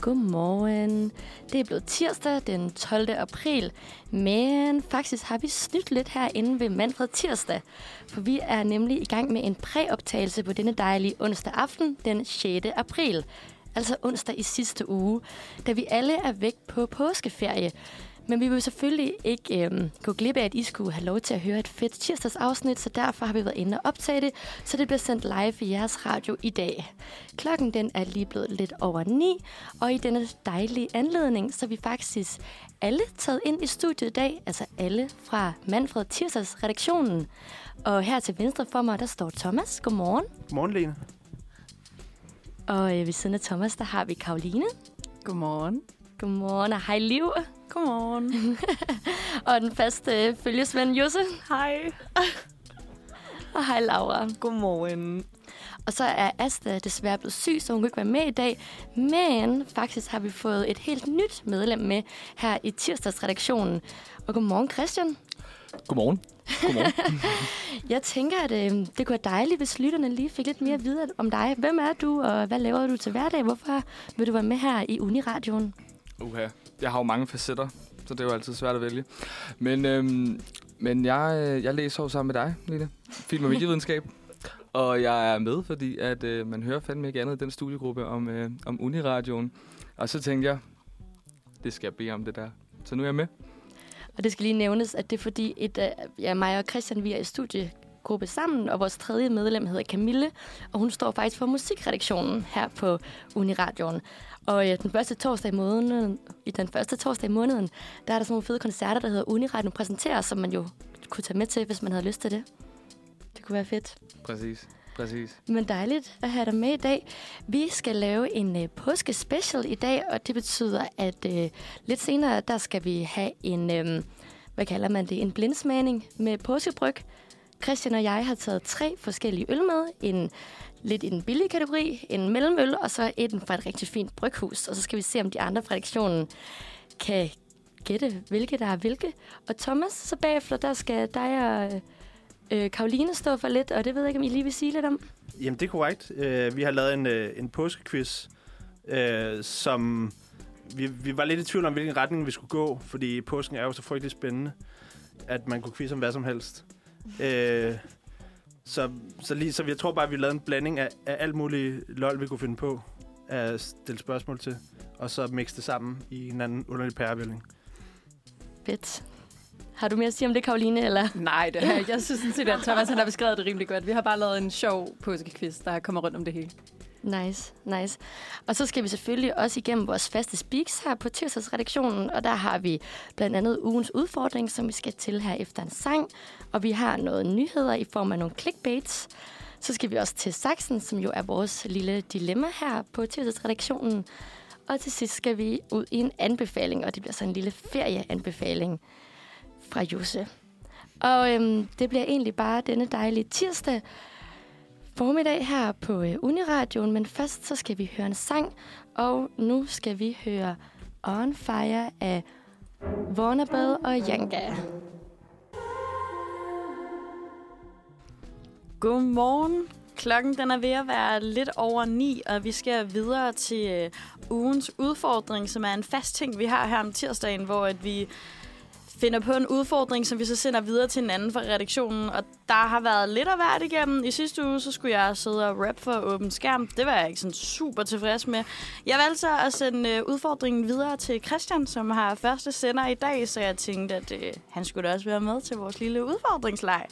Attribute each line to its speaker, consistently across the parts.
Speaker 1: Godmorgen. Det er blevet tirsdag den 12. april, men faktisk har vi snydt lidt herinde ved Manfred Tirsdag, for vi er nemlig i gang med en præoptagelse på denne dejlige onsdag aften den 6. april, altså onsdag i sidste uge, da vi alle er væk på påskeferie. Men vi vil selvfølgelig ikke øhm, gå glip af, at I skulle have lov til at høre et fedt tirsdagsafsnit, så derfor har vi været inde og optage det, så det bliver sendt live i jeres radio i dag. Klokken den er lige blevet lidt over 9, og i denne dejlige anledning, så er vi faktisk alle taget ind i studiet i dag, altså alle fra Manfred Tirsdags redaktionen. Og her til venstre for mig, der står Thomas. Godmorgen.
Speaker 2: Godmorgen, Lene.
Speaker 1: Og øh, ved siden af Thomas, der har vi Karoline.
Speaker 3: Godmorgen.
Speaker 1: Godmorgen og hej Liv.
Speaker 3: Godmorgen.
Speaker 1: Og den faste øh, følgesvend Josse.
Speaker 3: Hej.
Speaker 1: Og hej Laura.
Speaker 3: Godmorgen.
Speaker 1: Og så er Asta desværre blevet syg, så hun kan ikke være med i dag. Men faktisk har vi fået et helt nyt medlem med her i tirsdagsredaktionen. Og godmorgen Christian.
Speaker 4: Godmorgen. Godmorgen.
Speaker 1: Jeg tænker, at øh, det kunne være dejligt, hvis lytterne lige fik lidt mere at vide om dig. Hvem er du, og hvad laver du til hverdag? Hvorfor vil du være med her i Uniradioen?
Speaker 4: Uha. Jeg har jo mange facetter, så det er jo altid svært at vælge. Men, øhm, men jeg, øh, jeg læser jo sammen med dig, Line. Film og medievidenskab. Og jeg er med, fordi at, øh, man hører fandme ikke andet i den studiegruppe om, øh, om Uniradioen. Og så tænkte jeg, det skal jeg bede om det der. Så nu er jeg med.
Speaker 1: Og det skal lige nævnes, at det er fordi, et, øh, ja, mig og Christian, vi er i studiegruppe sammen, og vores tredje medlem hedder Camille, og hun står faktisk for musikredaktionen her på Uniradioen. Og ja, den første torsdag i måneden, i den første torsdag i måneden, der er der sådan nogle fede koncerter, der hedder Uniradion præsenterer, som man jo kunne tage med til, hvis man havde lyst til det. Det kunne være fedt.
Speaker 4: Præcis. Præcis.
Speaker 1: Men dejligt at have dig med i dag. Vi skal lave en øh, påskespecial i dag, og det betyder, at øh, lidt senere, der skal vi have en, øh, hvad kalder man det, en blindsmagning med påskebryg. Christian og jeg har taget tre forskellige øl med. En lidt i den billige kategori, en mellemøl, og så en fra et rigtig fint bryghus. Og så skal vi se, om de andre fra redaktionen kan gætte, hvilke der er hvilke. Og Thomas, så bagefter, der skal dig og... øh, Øh, Karoline står for lidt, og det ved jeg ikke, om I lige vil sige lidt om.
Speaker 2: Jamen, det er korrekt. Øh, vi har lavet en, øh, en påskequiz, øh, som... Vi, vi var lidt i tvivl om, hvilken retning vi skulle gå, fordi påsken er jo så frygtelig spændende, at man kunne quizze om hvad som helst. Øh, så, så, lige, så jeg tror bare, at vi lavede en blanding af, af alt muligt lol, vi kunne finde på at stille spørgsmål til, og så mixe det sammen i en anden underlig pærevælling.
Speaker 1: Fedt. Har du mere at sige om det, Karoline, eller?
Speaker 3: Nej, det har jeg. ikke. Jeg synes sådan set, at Thomas han har beskrevet det rimelig godt. Vi har bare lavet en sjov påskequiz, der kommer rundt om det hele.
Speaker 1: Nice, nice. Og så skal vi selvfølgelig også igennem vores faste speaks her på tirsdagsredaktionen, og der har vi blandt andet ugens udfordring, som vi skal til her efter en sang, og vi har noget nyheder i form af nogle clickbaits. Så skal vi også til Saxen, som jo er vores lille dilemma her på tirsdagsredaktionen. Og til sidst skal vi ud i en anbefaling, og det bliver så en lille ferieanbefaling fra Jose. Og øhm, det bliver egentlig bare denne dejlige tirsdag formiddag her på øh, Uniradioen, men først så skal vi høre en sang, og nu skal vi høre On Fire af Warnerbell og Janka.
Speaker 5: Godmorgen. Klokken den er ved at være lidt over ni, og vi skal videre til øh, ugens udfordring, som er en fast ting, vi har her om tirsdagen, hvor at vi finder på en udfordring, som vi så sender videre til en anden fra redaktionen. Og der har været lidt af hvert igennem. I sidste uge, så skulle jeg sidde og rap for åben skærm. Det var jeg ikke sådan super tilfreds med. Jeg valgte så at sende øh, udfordringen videre til Christian, som har første sender i dag, så jeg tænkte, at øh, han skulle da også være med til vores lille udfordringsleg.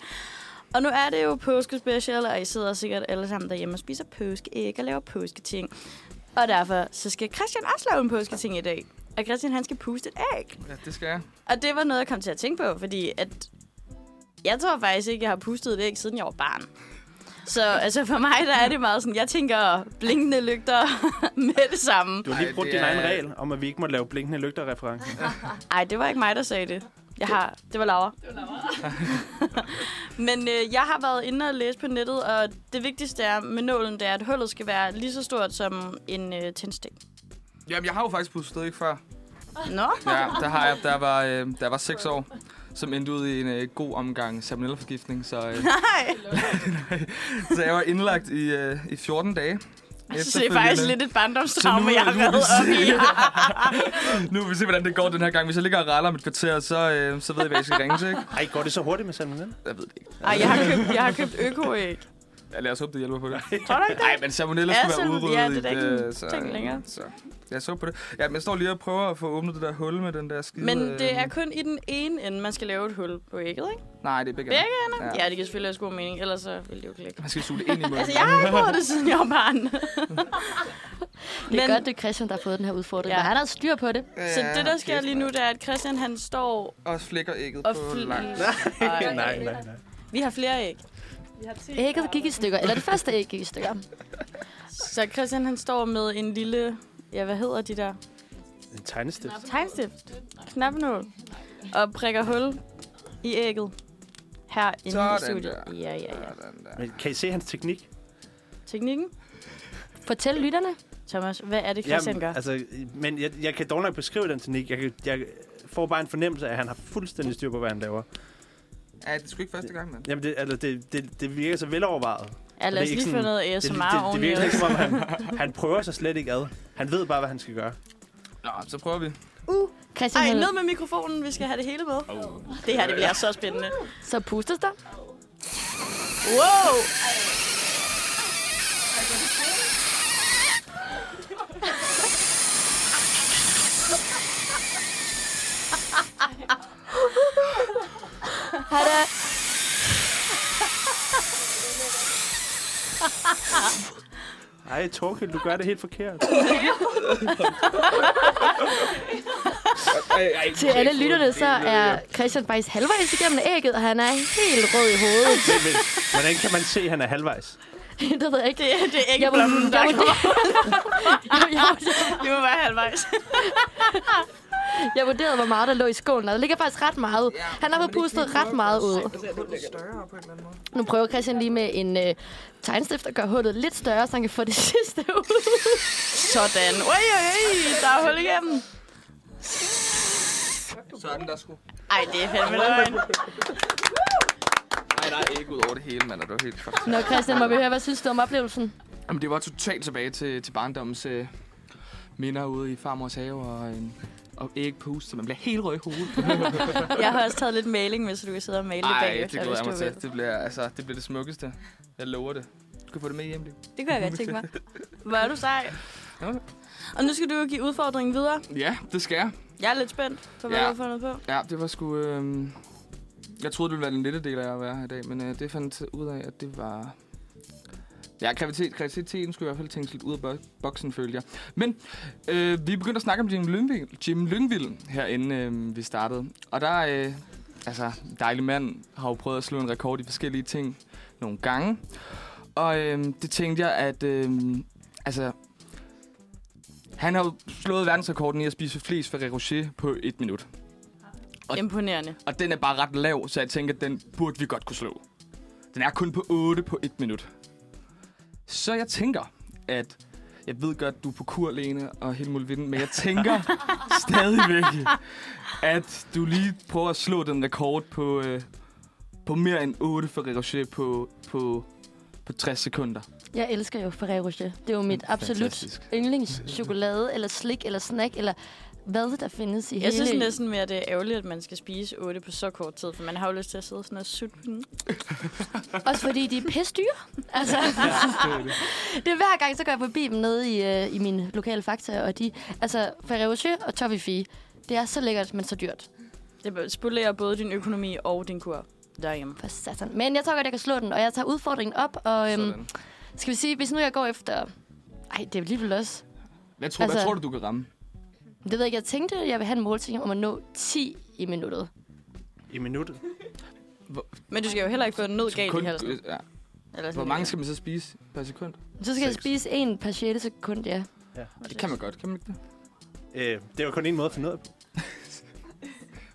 Speaker 5: Og nu er det jo påskespecial, og I sidder sikkert alle sammen derhjemme og spiser påskeæg og laver påsketing. Og derfor så skal Christian også lave en påsketing i dag. Og Christian, han skal puste et æg.
Speaker 4: Ja, det skal jeg.
Speaker 5: Og det var noget, jeg kom til at tænke på, fordi at jeg tror faktisk ikke, jeg har pustet et æg, siden jeg var barn. Så altså for mig, der er det meget sådan, jeg tænker blinkende lygter med det samme.
Speaker 2: Du har lige
Speaker 4: Ej,
Speaker 2: brugt
Speaker 4: det
Speaker 2: din
Speaker 4: er-
Speaker 2: egen regel om, at vi ikke må lave blinkende lygter-referencer.
Speaker 5: Nej, det var ikke mig, der sagde det. Jeg har, det var Laura. Det var Laura. Men øh, jeg har været inde og læse på nettet, og det vigtigste er med nålen, det er, at hullet skal være lige så stort som en øh, tændstik.
Speaker 4: Jamen, jeg har jo faktisk pustet ikke før.
Speaker 5: Nå,
Speaker 4: Ja, der har jeg, der var, øh, der var seks år, som endte ud i en øh, god omgang salmonellaforgiftning, så, øh,
Speaker 5: nej.
Speaker 4: så jeg var indlagt i, øh, i 14 dage.
Speaker 5: Altså, det er faktisk lidt et barndomstraume, jeg har
Speaker 4: nu er
Speaker 5: været op i.
Speaker 4: Nu vil vi se, hvordan det går den her gang. Hvis jeg ligger og raller om et kvarter, så, øh, så ved jeg, hvad jeg skal ringe til. Ikke?
Speaker 2: Ej, går det så hurtigt med salmonella?
Speaker 4: Jeg ved det ikke.
Speaker 5: Ej, jeg har købt, jeg har købt økoæg.
Speaker 4: Ja, lad os håbe, det hjælper på det.
Speaker 5: Tror du ikke
Speaker 4: Nej, men salmonella
Speaker 5: Ja,
Speaker 4: skulle være
Speaker 5: salmon-
Speaker 4: udryddet
Speaker 5: ja, det er da
Speaker 4: i
Speaker 5: ikke en
Speaker 4: øh, så,
Speaker 5: ting længere.
Speaker 4: Så. Jeg så på det. Ja, men jeg står lige og prøver at få åbnet det der hul med den der skide...
Speaker 5: Men det er
Speaker 4: øh,
Speaker 5: kun i den ene ende, man skal lave et hul på ægget, ikke?
Speaker 4: Nej, det er begge.
Speaker 5: Begge ender?
Speaker 4: Ja.
Speaker 5: Ja, det giver selvfølgelig også god mening, ellers så ville det jo klikke.
Speaker 4: Man skal suge det ind i munden.
Speaker 5: Altså, jeg har ikke prøvet det, siden jeg var barn.
Speaker 1: Det er
Speaker 5: Men-
Speaker 1: godt, det er Christian, der har fået den her udfordring.
Speaker 5: Ja.
Speaker 1: Ja. Og han har styr på det.
Speaker 5: Så det, der sker lige nu, det er, at Christian, han står
Speaker 4: Og flækker ægget
Speaker 5: og...
Speaker 4: på
Speaker 5: fl-
Speaker 4: langt.
Speaker 5: Ej.
Speaker 2: nej, nej, nej.
Speaker 5: Vi har flere æg.
Speaker 1: Ægget gik i stykker. Eller det første æg gik i stykker.
Speaker 5: Så Christian, han står med en lille... Ja, hvad hedder de der?
Speaker 2: En tegnestift.
Speaker 5: Tegnstift. Knapnål. Og prikker hul i ægget. Her inde i
Speaker 4: Sådan
Speaker 5: studiet.
Speaker 4: der.
Speaker 5: Ja, ja, ja.
Speaker 4: Sådan der.
Speaker 2: Men kan I se hans teknik?
Speaker 5: Teknikken?
Speaker 1: Fortæl lytterne.
Speaker 5: Thomas, hvad er det, Christian gør?
Speaker 2: altså, men jeg, jeg kan dog nok beskrive den teknik. Jeg, kan, jeg får bare en fornemmelse af, at han har fuldstændig styr på, hvad han laver.
Speaker 4: Ja, det er sgu ikke første gang, mand.
Speaker 2: Jamen, det, altså, det, det, det virker så velovervejet.
Speaker 5: Ja, lad
Speaker 2: det er
Speaker 5: os
Speaker 2: ikke
Speaker 5: lige få
Speaker 2: sådan-
Speaker 5: noget
Speaker 2: det, det,
Speaker 5: ASMR
Speaker 2: det, det
Speaker 5: oveni.
Speaker 2: virker slet ikke,
Speaker 5: også.
Speaker 2: som om han, han prøver sig slet ikke ad. Han ved bare, hvad han skal gøre.
Speaker 4: Nå, så prøver vi.
Speaker 1: Christian,
Speaker 5: Ej,
Speaker 1: han-
Speaker 5: ned med mikrofonen. Vi skal have det hele med. Det her, det bliver så spændende.
Speaker 1: så pustes der.
Speaker 5: Wow!
Speaker 1: Hej da.
Speaker 2: Ej, Torkild, du gør det helt forkert.
Speaker 4: Ej, ej,
Speaker 1: Til alle lytterne, så er Christian faktisk halvvejs igennem ægget, og han er helt rød i hovedet.
Speaker 2: Men, men, hvordan kan man se, at han er halvvejs?
Speaker 1: det ved jeg ikke.
Speaker 5: Det, det er ikke
Speaker 1: Jeg var, jeg,
Speaker 5: blommen,
Speaker 1: var,
Speaker 5: der
Speaker 1: jeg,
Speaker 5: kommer.
Speaker 1: jeg,
Speaker 5: Det må være halvvejs.
Speaker 1: jeg vurderede, hvor meget der lå i skålen, og der ligger faktisk ret meget. Han har fået pustet ret meget ud.
Speaker 6: større på en eller anden måde.
Speaker 1: Nu prøver Christian lige med en øh, tegnstift at gøre hullet lidt større, så han kan få det sidste ud.
Speaker 5: Sådan. Oj, oj, oj. Der er hul igennem.
Speaker 4: Sådan der sgu.
Speaker 5: Ej, det er fandme løgn.
Speaker 4: Nej, der er æg ud over det hele, mand. og Det var helt fantastisk.
Speaker 1: Nå, Christian, må vi høre, hvad synes du om oplevelsen?
Speaker 4: Jamen, det var totalt tilbage til, til barndommens øh, minder ude i farmors have og, øh, og ægpose, så man bliver helt rød i hovedet.
Speaker 5: Jeg har også taget lidt maling med, så du kan sidde og male lidt
Speaker 4: Ej, det
Speaker 5: bagefter,
Speaker 4: glæder
Speaker 5: hvis
Speaker 4: jeg
Speaker 5: du
Speaker 4: mig
Speaker 5: vil.
Speaker 4: til. Det bliver, altså, det bliver det smukkeste. Jeg lover det. Du kan få det med hjem, lige.
Speaker 5: Det kunne jeg godt tænke mig. Hvor er du sej.
Speaker 4: Ja.
Speaker 5: Og nu skal du jo give udfordringen videre.
Speaker 4: Ja, det skal jeg.
Speaker 5: Jeg er lidt spændt på, hvad
Speaker 4: Ja.
Speaker 5: du har fundet på.
Speaker 4: Ja, det var sgu... Øh, jeg troede, det ville være den lille del af at være her i dag, men øh, det fandt jeg ud af, at det var... Ja, kreativitet, kreativiteten skulle i hvert fald tænkes lidt ud af bo- boksen, følte jeg. Men øh, vi begyndte at snakke om Jim Lyngvild, Jim Lyngvild herinde, øh, vi startede. Og der er... Øh, altså, dejlig mand har jo prøvet at slå en rekord i forskellige ting nogle gange. Og øh, det tænkte jeg, at... Øh, altså, han har jo slået verdensrekorden i at spise flest Ferrero Rocher på et minut. Og-
Speaker 5: Imponerende.
Speaker 4: Og den er bare ret lav, så jeg tænker, at den burde vi godt kunne slå. Den er kun på 8 på 1 minut. Så jeg tænker, at... Jeg ved godt, du er på kur, Lene, og hele muligheden, men jeg tænker stadigvæk, at du lige prøver at slå den rekord på, øh, på mere end 8 for Rocher på, på, på 60 sekunder.
Speaker 1: Jeg elsker jo Ferrero Rocher. Det er jo mit absolut
Speaker 4: Fantastisk.
Speaker 1: yndlingschokolade, eller slik, eller snack, eller hvad der findes i
Speaker 5: Jeg
Speaker 1: hele...
Speaker 5: synes næsten mere, det er ærgerligt, at man skal spise 8 på så kort tid, for man har jo lyst til at sidde sådan og sutte den.
Speaker 1: Også fordi de er pisse dyre. Altså, det er hver gang, så går jeg forbi dem nede i, øh, i min lokale fakta, og de... Altså, Ferrero Rocher og Toffifee, det er så lækkert, men så dyrt.
Speaker 5: Det spolerer både din økonomi og din kur derhjemme.
Speaker 1: For satan. Men jeg tror godt, jeg kan slå den, og jeg tager udfordringen op, og øhm,
Speaker 4: Sådan.
Speaker 1: skal vi sige, hvis nu jeg går efter... Ej, det er alligevel også...
Speaker 4: Hvad tror, altså,
Speaker 1: altså-
Speaker 4: hvad tror du, du kan ramme?
Speaker 1: Det ved jeg ikke, jeg tænkte, at jeg vil have en målsætning om at nå 10 i minuttet.
Speaker 2: I minuttet.
Speaker 5: Men du skal jo heller ikke få den nød galt i halsen.
Speaker 4: øh, ja.
Speaker 5: Eller sådan
Speaker 4: Hvor mange skal man så spise per sekund?
Speaker 1: Så skal jeg
Speaker 2: Seks.
Speaker 1: spise en per 6 sekund, ja.
Speaker 4: Det kan man godt, kan man ikke det?
Speaker 2: Øh, det var kun en måde at finde ud af. det på.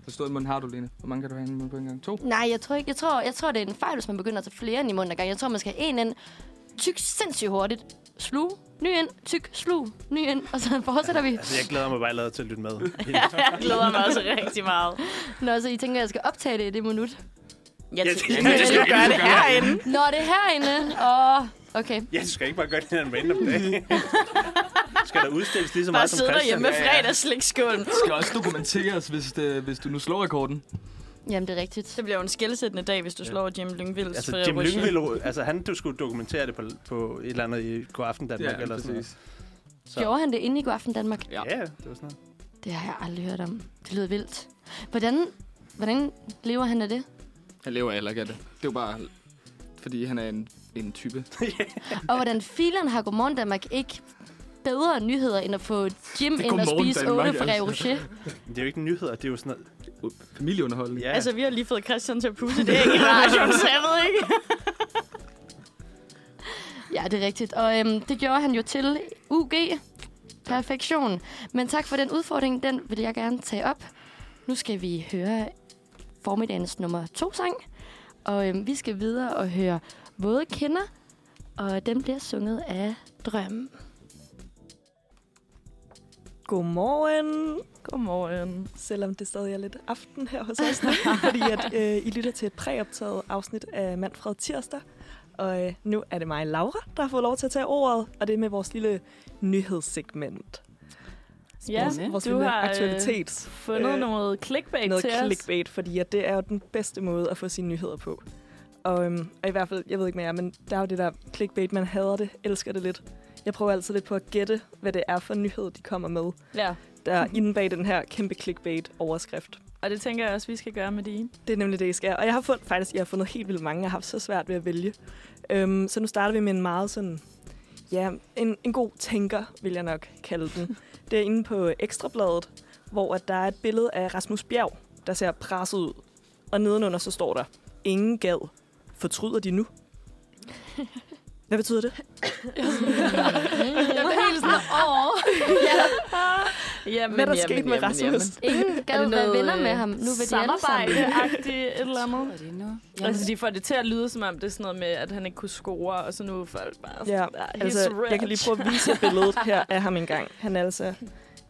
Speaker 4: Hvor stor en mund har du, Lene? Hvor mange kan du have i munden på en gang? To?
Speaker 1: Nej, jeg tror ikke. Jeg tror, jeg tror, det er en fejl, hvis man begynder at tage flere ind i munden ad gangen. Jeg tror, man skal have en ind, tyk sindssygt hurtigt, slug, ny ind, tyk, slug, ny ind, og så fortsætter vi.
Speaker 2: Altså, jeg glæder mig bare allerede til at lytte med.
Speaker 5: Jeg glæder mig også rigtig meget.
Speaker 1: Nå, så I tænker, at jeg skal optage det i det minut.
Speaker 5: Jeg
Speaker 2: Ja,
Speaker 5: tænker,
Speaker 2: det-
Speaker 5: at du gør det herinde.
Speaker 1: Nå, det er herinde. Åh, Okay.
Speaker 2: Ja, du skal ikke bare gøre det her en random dag. skal der udstilles lige så
Speaker 5: Bare
Speaker 2: meget som
Speaker 5: sidde derhjemme med
Speaker 2: Ja, ja.
Speaker 5: fredagsslikskålen.
Speaker 4: Det skal også dokumenteres, hvis, det, hvis du nu slår rekorden.
Speaker 1: Jamen, det er rigtigt.
Speaker 5: Det bliver jo en skældsættende dag, hvis du slår Jim Lyngvilds
Speaker 2: Altså, Jim Lyngvild, altså han du skulle dokumentere det på, på et eller andet i God Aften Danmark eller sådan noget. Så,
Speaker 1: Gjorde han det inde i God Aften Danmark?
Speaker 4: Ja.
Speaker 2: Ja, det var sådan noget.
Speaker 1: Det har jeg aldrig hørt om. Det lyder vildt. Hvordan, hvordan lever han af det?
Speaker 4: Han lever heller ikke af det. Det er jo bare, fordi han er en, en type.
Speaker 1: Og hvordan fileren har Godmorgen Danmark ikke bedre nyheder, end at få Jim
Speaker 4: er
Speaker 1: ind og
Speaker 4: Godmorgen
Speaker 1: spise
Speaker 4: Danmark,
Speaker 1: åle fra
Speaker 4: altså.
Speaker 1: Rocher?
Speaker 2: Men Det er jo ikke nyheder, det er jo sådan noget.
Speaker 4: Familieunderholdning.
Speaker 2: Ja,
Speaker 5: Altså, vi har lige fået Christian til at pusse det ikke i radioen, så jeg ved ikke.
Speaker 1: Ja, det er rigtigt. Og øhm, det gjorde han jo til UG. Perfektion. Men tak for den udfordring. Den vil jeg gerne tage op. Nu skal vi høre formiddagens nummer to sang. Og øhm, vi skal videre og høre Våde Kinder. Og den bliver sunget af Drømmen.
Speaker 6: Godmorgen. Godmorgen. Selvom det stadig er lidt aften her hos os, nu, fordi at, øh, I lytter til et præoptaget afsnit af Manfred Tirsdag. Og øh, nu er det mig, Laura, der har fået lov til at tage ordet, og det er med vores lille nyhedssegment.
Speaker 5: Ja,
Speaker 6: vores vores
Speaker 5: du
Speaker 6: lille
Speaker 5: har, øh,
Speaker 6: aktualitets.
Speaker 5: Fundet
Speaker 6: Øh,
Speaker 5: noget clickbait
Speaker 6: noget
Speaker 5: til os.
Speaker 6: clickbait, fordi at det er jo den bedste måde at få sine nyheder på. Og, øhm, og i hvert fald, jeg ved ikke med jer, men der er jo det der clickbait, man hader det, elsker det lidt. Jeg prøver altid lidt på at gætte, hvad det er for nyhed, de kommer med,
Speaker 5: Ja,
Speaker 6: der er inde bag den her kæmpe clickbait-overskrift.
Speaker 5: og det tænker jeg også, vi skal gøre med dine.
Speaker 6: Det er nemlig det, I skal. Og jeg har fundet, faktisk, jeg har fundet helt vildt mange, jeg har haft så svært ved at vælge. Øhm, så nu starter vi med en meget sådan, ja, en, en god tænker, vil jeg nok kalde den. det er inde på Ekstrabladet, hvor at der er et billede af Rasmus Bjerg, der ser presset ud. Og nedenunder så står der, ingen gad. Fortryder de nu? Hvad betyder det?
Speaker 7: Mm.
Speaker 5: Jeg blev helt sådan, åh. ja. Jamen,
Speaker 6: Hvad er der sket med Rasmus?
Speaker 1: Ingen gad være venner
Speaker 7: øh,
Speaker 1: med ham. Nu vil de alle sammen.
Speaker 5: øh, Samarbejde-agtigt et eller andet.
Speaker 3: det nu?
Speaker 5: Altså, de får det til at lyde, som om det er sådan noget med, at han ikke kunne score, og så nu er folk bare sådan,
Speaker 6: Ja,
Speaker 5: "Ah, he's
Speaker 6: altså, jeg kan lige
Speaker 5: rich."
Speaker 6: prøve at vise billedet her af ham engang. Han er altså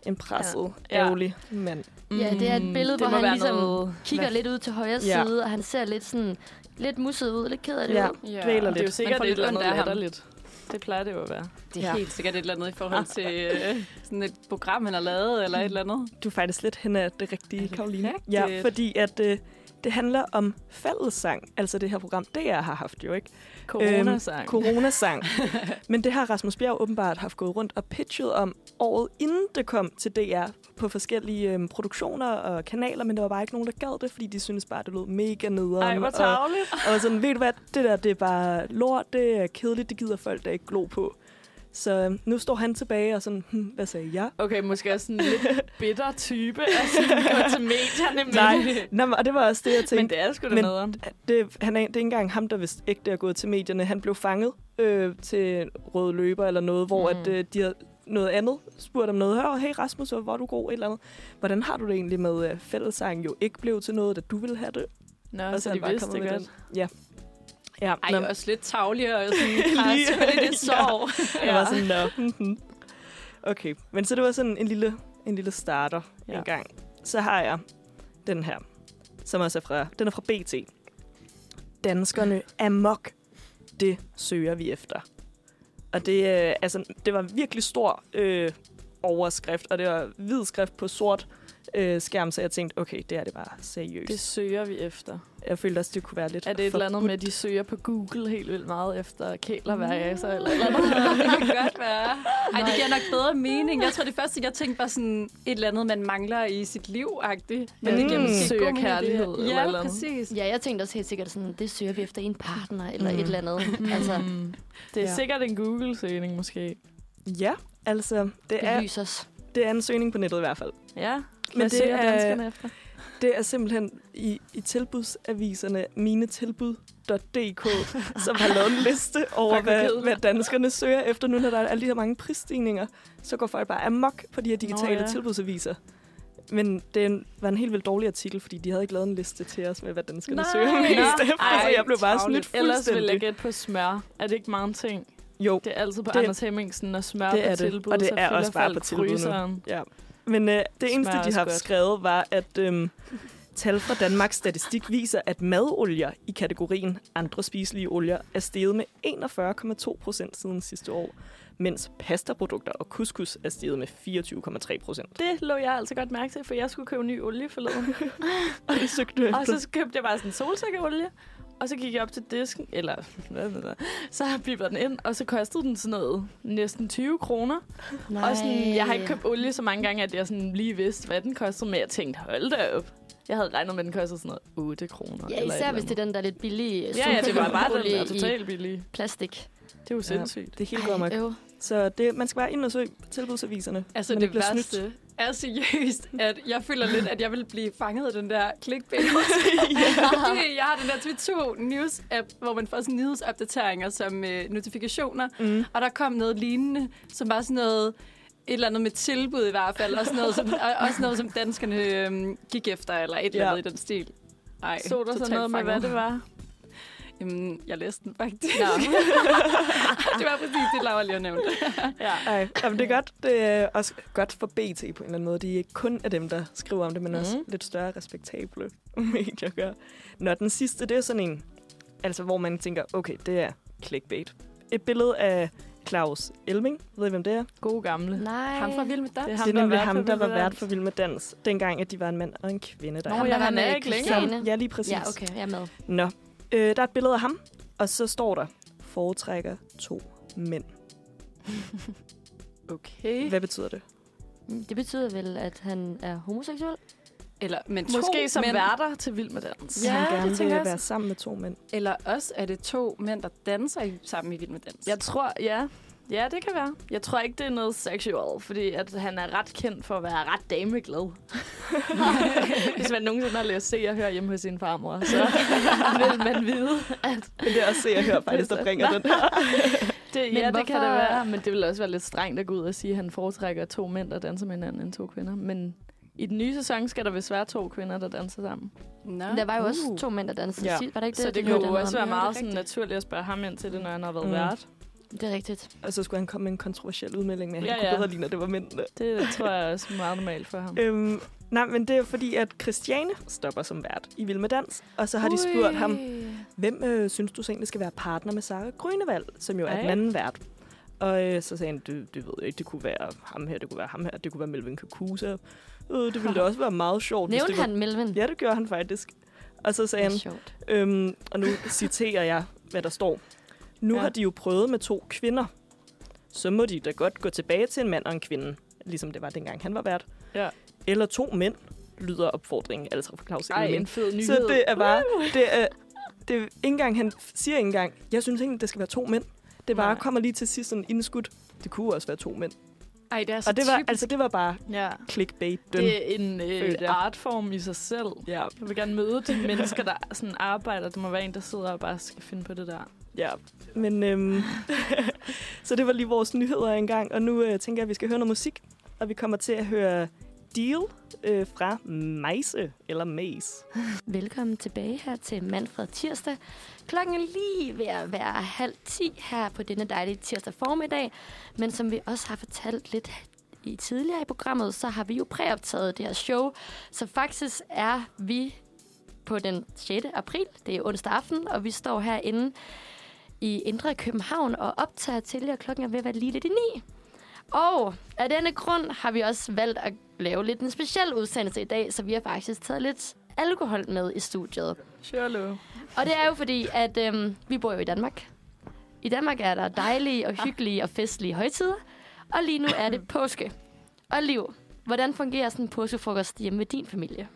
Speaker 6: en presset,
Speaker 5: Ja. Ja.
Speaker 6: ærgerlig mand.
Speaker 1: Ja, det er et billede,
Speaker 5: Mm, det
Speaker 1: hvor
Speaker 5: må
Speaker 1: han
Speaker 5: være
Speaker 1: ligesom
Speaker 5: noget-
Speaker 1: kigger
Speaker 6: Hvad-
Speaker 1: lidt ud til højre
Speaker 6: Ja.
Speaker 1: side, og han ser lidt sådan lidt musset ud, lidt ked af det
Speaker 6: Ja.
Speaker 1: ud.
Speaker 3: Ja.
Speaker 6: Dvæler
Speaker 5: Det er jo
Speaker 6: lidt.
Speaker 5: sikkert
Speaker 3: Man får
Speaker 5: et
Speaker 3: lidt
Speaker 5: eller
Speaker 3: ondt
Speaker 5: andet
Speaker 3: af ham.
Speaker 5: latterligt. Det plejer det jo at være. Øhm,
Speaker 3: Det
Speaker 6: Ja.
Speaker 3: er ja. helt sikkert et eller andet i forhold til øh, sådan et program, han har lavet, eller et eller andet.
Speaker 6: Du er faktisk lidt hen af det rigtige,
Speaker 3: Er det
Speaker 6: Karoline.
Speaker 3: rigtigt?
Speaker 6: Ja, fordi at øh, det handler om fællessang. Altså det her program, DR har haft jo, ikke?
Speaker 5: Coronasang.
Speaker 6: Coronasang. Men det har Rasmus Bjerg åbenbart haft gået rundt og pitchet om året inden det kom til DR på forskellige øhm, produktioner og kanaler, men der var bare ikke nogen, der gad det, fordi de synes bare, det lød mega nederen.
Speaker 5: Ej, hvor
Speaker 6: og,
Speaker 5: tavligt.
Speaker 6: og sådan, ved du hvad, det der, det er bare lort, det er kedeligt, det gider folk, der ikke glo på. Så øhm, nu står han tilbage og sådan, hm, hvad sagde jeg?
Speaker 5: Okay, måske også sådan en lidt bitter type, altså gå til medierne med.
Speaker 6: Nej, Nå, men- og det var også det, jeg tænkte.
Speaker 5: Men det er sgu da
Speaker 6: Men-
Speaker 5: nederen.
Speaker 6: det, han er, det er ikke engang ham, der vist ægte er gået til medierne. Han blev fanget øh, til røde løber eller noget, hvor mm.
Speaker 1: Mm.
Speaker 6: at, øh, de har noget andet spurgt om noget. Hør, hey Rasmus, hvor var du god? Et eller andet. Hvordan har du det egentlig med øh, fællesang jo ikke blev til noget, da du ville have det?
Speaker 5: Nå, så
Speaker 6: er
Speaker 5: de
Speaker 6: han bare
Speaker 5: vidste
Speaker 6: kommet
Speaker 5: det
Speaker 6: med
Speaker 5: godt.
Speaker 6: den. Ja. Ja,
Speaker 3: Ej,
Speaker 6: nå,
Speaker 3: Nå. også lidt tavlige og sådan
Speaker 6: Lige-
Speaker 3: krasse med det, det
Speaker 6: Ja.
Speaker 3: sorg.
Speaker 6: jeg var sådan, nå. mhm. okay, men så det var sådan en lille, en lille starter ja.
Speaker 5: Ja.
Speaker 6: en gang. Så har jeg den her, som også er fra, den er fra BT. Danskerne amok, det søger vi efter. Og det, øh, altså, det var en virkelig stor øh, overskrift, og det var hvid skrift på sort øh, skærm, så jeg tænkte, okay, det er det bare
Speaker 5: Det
Speaker 6: seriøst. Det...
Speaker 5: søger vi efter.
Speaker 6: Jeg følte også, det kunne være lidt
Speaker 5: Er det et eller andet
Speaker 6: forbudt.
Speaker 5: med, at de søger på Google helt vildt meget efter
Speaker 1: Mm.
Speaker 5: kælerværelser eller et eller andet?
Speaker 3: det kan godt være. Ej, det giver nok bedre mening. Jeg tror, det første, jeg tænkte, var sådan et eller andet, man mangler i sit liv-agtigt. Men det giver
Speaker 6: Mm.
Speaker 3: måske
Speaker 5: Søger
Speaker 3: god mening,
Speaker 5: kærlighed
Speaker 3: det her.
Speaker 5: eller et
Speaker 3: Ja,
Speaker 5: eller andet.
Speaker 3: præcis.
Speaker 1: Ja, jeg tænkte også helt sikkert sådan, det søger vi efter en partner eller
Speaker 6: Mm.
Speaker 1: mm. et eller andet. Altså,
Speaker 5: Det er
Speaker 6: Ja.
Speaker 5: sikkert en Google-søgning måske.
Speaker 6: Ja, altså, det er,
Speaker 1: belys os.
Speaker 6: det er en søgning på nettet i hvert fald.
Speaker 5: Ja,
Speaker 6: Men det
Speaker 5: søger
Speaker 6: er,
Speaker 5: danskerne efter?
Speaker 6: det er simpelthen i, i tilbudsaviserne minetilbud.dk, som har lavet en liste over,
Speaker 5: Fuck, hvor
Speaker 6: hvad,
Speaker 5: kedeligt.
Speaker 6: hvad danskerne søger efter nu, når der er alle de her mange prisstigninger. Så går folk bare amok på de her digitale
Speaker 5: ja.
Speaker 6: tilbudsaviser. Men det er en- var en helt vildt dårlig artikel, fordi de havde ikke lavet en liste til os med, hvad danskerne
Speaker 5: Nej.
Speaker 6: søger mest
Speaker 5: Nå.
Speaker 6: efter. så jeg blev bare snydt
Speaker 5: Travligt. Ellers vil jeg
Speaker 6: fuldstændig.
Speaker 5: gætte på smør. Er det ikke meget en ting?
Speaker 6: Jo,
Speaker 5: Det er altid på
Speaker 6: Det-
Speaker 5: det, Anders Hemmingsen og smør
Speaker 6: det
Speaker 5: på
Speaker 6: er det.
Speaker 5: tilbud,
Speaker 6: Og det
Speaker 5: så
Speaker 6: er
Speaker 5: fylder
Speaker 6: også bare
Speaker 5: folk
Speaker 6: på tilbud nu.
Speaker 5: fryseren.
Speaker 6: men øh, det eneste,
Speaker 5: Smager
Speaker 6: de
Speaker 5: også
Speaker 6: har
Speaker 5: godt.
Speaker 6: skrevet, var, at øhm, Tal fra Danmarks Statistik viser, at madolier i kategorien andre spiselige olier er steget med 41,2 procent siden sidste år, mens pastaprodukter og couscous er steget med 24,3 procent.
Speaker 7: Det lå jeg altså godt mærke til, for jeg skulle købe ny olie forleden.
Speaker 6: Og det søgte du efter.
Speaker 7: og så købte jeg bare sådan en solsikkeolie. Og så gik jeg op til disken, eller så bipper den ind, og så kostede den sådan noget næsten 20 kroner.
Speaker 1: Nej.
Speaker 7: Og sådan, jeg har ikke købt olie så mange gange, at jeg sådan lige vidste, hvad den kostede, men jeg tænkte, hold da op. Jeg havde regnet med, at den kostede sådan noget 8 kroner.
Speaker 1: Ja, især hvis det er den, der er lidt billige.
Speaker 7: Ja, ja, det var bare den,
Speaker 1: olie
Speaker 7: der er
Speaker 1: i
Speaker 7: totalt billig.
Speaker 1: plastik.
Speaker 7: Det er jo sindssygt.
Speaker 6: Det hele går nok.
Speaker 1: øv.
Speaker 6: Så det, man skal bare ind og søge på tilbudsaviserne.
Speaker 7: Altså
Speaker 6: Man
Speaker 7: det
Speaker 6: bliver
Speaker 7: værste
Speaker 6: snydt.
Speaker 7: snydt. er seriøst, at jeg føler lidt, at jeg vil blive fanget af den der clickbait. ja. Fordi jeg har den der TV2 News app, hvor man får sådan nyhedsopdateringer som øh, notifikationer.
Speaker 6: Mm.
Speaker 7: Og der kom noget lignende, som var sådan noget et eller andet med tilbud i hvert fald, og sådan noget, som, og, også noget, som danskerne øhm, gik efter, eller et eller
Speaker 6: Ja.
Speaker 7: andet i den stil. Ej,
Speaker 5: Så der så
Speaker 7: totalt
Speaker 5: noget med,
Speaker 7: fanget.
Speaker 5: hvad det var?
Speaker 7: Jamen, jeg læste den faktisk. det var præcis det, Laura lige har nævnt. ja.
Speaker 6: Ej, jamen det er godt. Det er også godt for BT på en eller anden måde. De er ikke kun af dem, der skriver om det,
Speaker 1: Mhm.
Speaker 6: men mm. også lidt større respektable medier gør. Nå, den sidste, det er sådan en, altså hvor man tænker, okay, det er clickbait. Et billede af Claus Elming. Ved I, hvem det er?
Speaker 7: Gode gamle.
Speaker 1: Nej.
Speaker 7: Ham fra Vild med Dans.
Speaker 5: Det er ham,
Speaker 6: Ham, det
Speaker 5: der
Speaker 6: er nemlig
Speaker 5: var
Speaker 6: ham, der var vært
Speaker 5: for...
Speaker 6: for Vild med Dans, dengang at de var en mand og en kvinde. Der
Speaker 7: Nå,
Speaker 6: er.
Speaker 1: Ham,
Speaker 7: ja,
Speaker 1: der var
Speaker 7: han
Speaker 1: med
Speaker 7: er ikke længere.
Speaker 1: Christiane.
Speaker 6: ja, lige præcis.
Speaker 1: Ja, okay, jeg er med.
Speaker 6: Nå, øh, der er et billede af ham, og så står der, foretrækker to mænd.
Speaker 7: Okay.
Speaker 6: Hvad betyder det?
Speaker 1: Det betyder vel, at han er homoseksuel?
Speaker 7: Eller, men to
Speaker 5: Måske som
Speaker 7: mænd.
Speaker 5: værter til Vild med Dans.
Speaker 6: Så
Speaker 7: Ja,
Speaker 6: han
Speaker 7: det
Speaker 6: gerne
Speaker 7: tænker
Speaker 6: vil
Speaker 7: jeg også.
Speaker 6: være sammen med to mænd.
Speaker 7: Eller også er det to mænd, der danser i- sammen i Vild med Dans.
Speaker 5: Jeg tror, ja. Ja, det kan være. Jeg tror ikke, det er noget sexual, fordi at han er ret kendt for at være ret dameglad. Hvis man nogensinde har læst Se og Hør hjemme hos sin farmor, så vil man vide, at Altså,
Speaker 6: Men det er også se og høre faktisk, der bringer den her.
Speaker 1: Men
Speaker 5: det, ja, det kan det
Speaker 1: hvorfor-
Speaker 5: være. Men det vil også være lidt strengt at gå ud og sige, at han foretrækker to mænd, der danser med hinanden, end to kvinder. Men i den nye sæson skal der vist være to kvinder, der danser sammen.
Speaker 7: Nå.
Speaker 1: Der var jo også
Speaker 6: Uh.
Speaker 1: to mænd, der dansede
Speaker 6: Ja.
Speaker 1: ja. Var det ikke
Speaker 5: Det, så det, det
Speaker 1: hørte
Speaker 5: kunne jo
Speaker 1: jeg
Speaker 5: også
Speaker 1: noget
Speaker 5: være
Speaker 1: om?
Speaker 7: Ja, det er
Speaker 5: meget sådan
Speaker 7: rigtigt.
Speaker 5: naturligt at spørge ham ind til det, når han har været
Speaker 6: Mm.
Speaker 5: mm. vært.
Speaker 1: Det er rigtigt.
Speaker 6: Og så skulle han komme med en kontroversiel udmelding med, at han
Speaker 5: Ja,
Speaker 6: ja, ja.
Speaker 5: ja.
Speaker 6: kunne bedre lide, at det var mændene.
Speaker 5: Det tror jeg også er meget normalt for ham.
Speaker 6: Øhm, nej, men det er fordi, at Christiane stopper som vært i Vild med Dans. Og så har de spurgt ham, hvem øh, synes du så egentlig skal være partner med Sara Grønevald, som jo er den
Speaker 5: Ej.
Speaker 6: anden vært. Og øh, så sagde han, det, det ved jeg ikke, det kunne være ham her, det kunne være ham her, det kunne være Melvin Kakusa. Øh, det ville da også være meget sjovt. hvis
Speaker 1: Nævnte
Speaker 6: det var...
Speaker 1: han Melvin?
Speaker 6: Ja, det gjorde han faktisk. Og så
Speaker 1: det
Speaker 6: sagde han,
Speaker 1: er sjovt.
Speaker 6: Øhm, og nu citerer jeg, hvad der står. Nu ja.
Speaker 5: Ja.
Speaker 6: har de jo prøvet med to kvinder. Så må de da godt gå tilbage til en mand og en kvinde, ligesom det var dengang han var vært.
Speaker 5: Ja.
Speaker 6: Eller to mænd, lyder opfordringen altså fra Claus
Speaker 5: Ej, en
Speaker 6: Elming.
Speaker 5: fed nyhed.
Speaker 6: Så det er bare, det er, det er ikke engang, han siger ikke engang, jeg synes egentlig, det skal være to mænd. Det bare
Speaker 5: Nej.
Speaker 6: kommer lige til sidst sådan indskudt. Det kunne også være to mænd.
Speaker 7: Ej, det er så
Speaker 6: Og det var,
Speaker 7: typisk.
Speaker 6: altså, det var bare
Speaker 5: Ja.
Speaker 6: clickbait.
Speaker 5: Det er en øh,
Speaker 6: Følte jeg.
Speaker 5: artform i sig selv.
Speaker 6: Ja,
Speaker 5: Jeg vil gerne møde de mennesker, der sådan arbejder. Det må være en, der sidder og bare skal finde på det der.
Speaker 6: Ja, men øhm, så det var lige vores nyheder engang, og nu øh, tænker jeg, at vi skal høre noget musik, og vi kommer til at høre Deal øh, fra Majse, eller Maze.
Speaker 1: Velkommen tilbage her til Manfred Tirsdag. Klokken er lige ved at være halv ti her på denne dejlige tirsdag formiddag. Men som vi også har fortalt lidt i tidligere i programmet, så har vi jo præoptaget det her show. Så faktisk er vi på den 6. april, det er onsdag aften, og vi står herinde i Indre København og optager til, og klokken er ved at være lige lidt i ni. Og af denne grund har vi også valgt at lave lidt en speciel udsendelse i dag, så vi har faktisk taget lidt alkohol med i studiet.
Speaker 5: Sure,
Speaker 1: Og det er jo fordi, at øhm, vi bor jo i Danmark. I Danmark er der dejlige og hyggelige og festlige højtider, og lige nu er det påske. Og Liv, hvordan fungerer sådan en påskefrokost hjemme med din familie?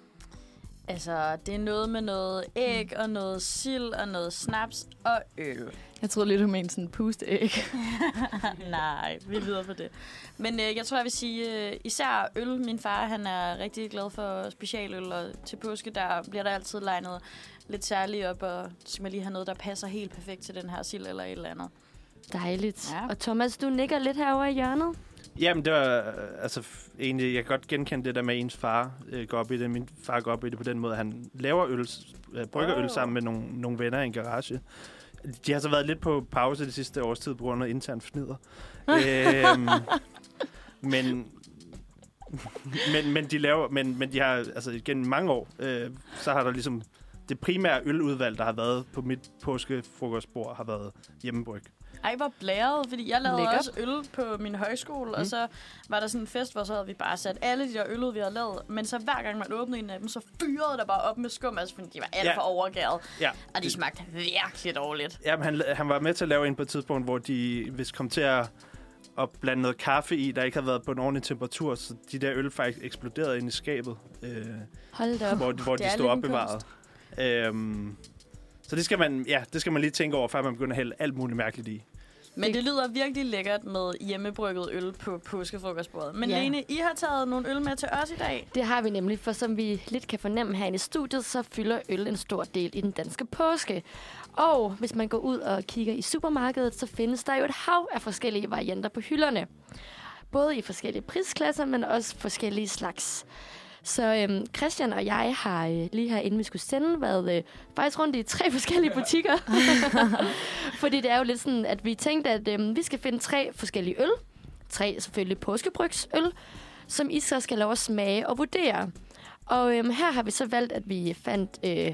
Speaker 5: Altså, det er noget med noget æg og noget sild og noget snaps og øl. Jeg troede lidt, du mente sådan pusteæg. Nej, vi lyder på det. Men øh, jeg tror, jeg vil sige øh, især øl. Min far han er rigtig glad for specialøl, og til påske der bliver der altid legnet lidt særligt op, og skal man lige have noget, der passer helt perfekt til den her sild eller et eller andet.
Speaker 1: Dejligt.
Speaker 5: Ja.
Speaker 1: Og Thomas, du nikker lidt herovre i hjørnet.
Speaker 2: Jamen, det var øh, altså f- egentlig, jeg kan godt genkende det der med ens far øh, går op i det. Min far går op i det på den måde, at han laver øl, s- øh, brygger øl sammen med nogle, nogle venner i en garage. De har så været lidt på pause det sidste års tid på grund af intern fnider. øhm, men, men, men, de laver, men, men de har, altså gennem mange år, øh, så har der ligesom det primære øludvalg, der har været på mit påskefrokostbord, har været hjemmebryg.
Speaker 5: Ej, hvor blæret, fordi jeg lavede
Speaker 1: Lækkert.
Speaker 5: også øl på min højskole, mm.
Speaker 2: Mm.
Speaker 5: og så var der sådan en fest, hvor så havde vi bare sat alle de der øl, vi havde lavet, men så hver gang man åbnede en af dem, så fyrede der bare op med skum, altså fordi de var alt
Speaker 2: Ja.
Speaker 5: for overgæret,
Speaker 2: Ja.
Speaker 5: og de smagte virkelig dårligt.
Speaker 2: Jamen, han, han var med til at lave en på et tidspunkt, hvor de hvis kom til at, at blande noget kaffe i, der ikke havde været på en ordentlig temperatur, så de der øl faktisk eksploderede ind i skabet, øh,
Speaker 1: Hold da op.
Speaker 2: hvor, hvor
Speaker 5: er
Speaker 2: de
Speaker 5: lidt
Speaker 2: stod
Speaker 5: en
Speaker 2: opbevaret. Øhm, så det skal, man, ja, det skal man lige tænke over, før man begynder at hælde alt muligt mærkeligt i.
Speaker 5: Men det lyder virkelig lækkert med hjemmebrygget øl på påskefrokostbordet. Men
Speaker 1: Ja.
Speaker 5: ja. Lene, I har taget nogle øl med til os i dag.
Speaker 1: Det har vi nemlig, for som vi lidt kan fornemme herinde i studiet, så fylder øl en stor del i den danske påske. Og hvis man går ud og kigger i supermarkedet, så findes der jo et hav af forskellige varianter på hylderne. Både i forskellige prisklasser, men også forskellige slags. Så øhm, Christian og jeg har øh, lige her, inden vi skulle sende, været øh, faktisk rundt i tre forskellige butikker. Fordi det er jo lidt sådan, at vi tænkte, at øhm, vi skal finde tre forskellige øl. Tre selvfølgelig påskebrygsøl, som I så skal lov at smage og vurdere. Og øhm, her har vi så valgt, at vi fandt øh,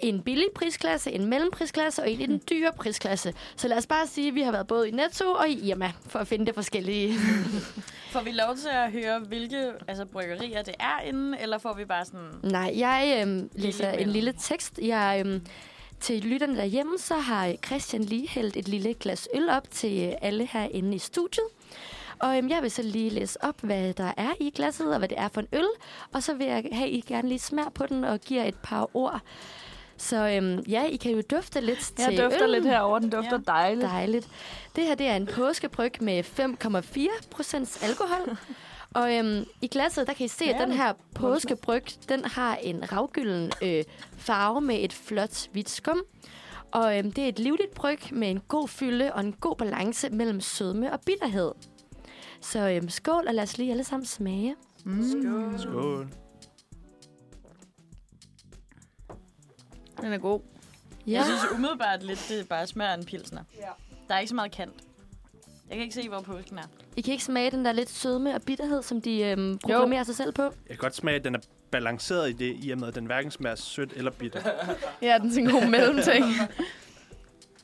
Speaker 1: en billig prisklasse, en mellemprisklasse og en i den dyre prisklasse. Så lad os bare sige, at vi har været både i Netto og i Irma for at finde det forskellige.
Speaker 5: Får vi lov til at høre, hvilke altså, bryggerier det er inden, eller får vi bare sådan...
Speaker 1: Nej, jeg øhm, læser en
Speaker 5: mellem.
Speaker 1: lille tekst. Jeg, øhm, til lytterne derhjemme, så har Christian lige hældt et lille glas øl op til øh, alle herinde i studiet. Og øhm, jeg vil så lige læse op, hvad der er i glasset, og hvad det er for en øl. Og så vil jeg have, at I gerne lige smager på den og giver et par ord. Så øhm, ja, I kan jo dufte lidt
Speaker 7: Jeg
Speaker 1: til
Speaker 7: dufter
Speaker 1: øllen.
Speaker 7: lidt herover, den dufter
Speaker 5: Ja.
Speaker 7: dejligt.
Speaker 1: Dejligt. Det her det er en påskebryg med 5,4 procents alkohol. Og øhm, i glasset, der kan I se, at den her påskebryg, den har en ravgylden øh, farve med et flot hvidt skum. Og øhm, det er et livligt bryg med en god fylde og en god balance mellem sødme og bitterhed. Så øhm, skål, og lad os lige alle sammen smage.
Speaker 2: Skål.
Speaker 5: Den er god. Ja.
Speaker 1: Ja,
Speaker 5: Jeg synes umiddelbart lidt, det bare smager af en pilsner. Ja. Der er ikke så meget kant. Jeg kan ikke se, hvor påsken er.
Speaker 1: I kan ikke smage den der lidt sødme og bitterhed, som de øhm, programmerer sig selv på.
Speaker 2: Jeg kan godt smage, at den er balanceret i det, i og med, at den hverken smager sødt eller bitter.
Speaker 7: Ja, den er sådan en god mellemting.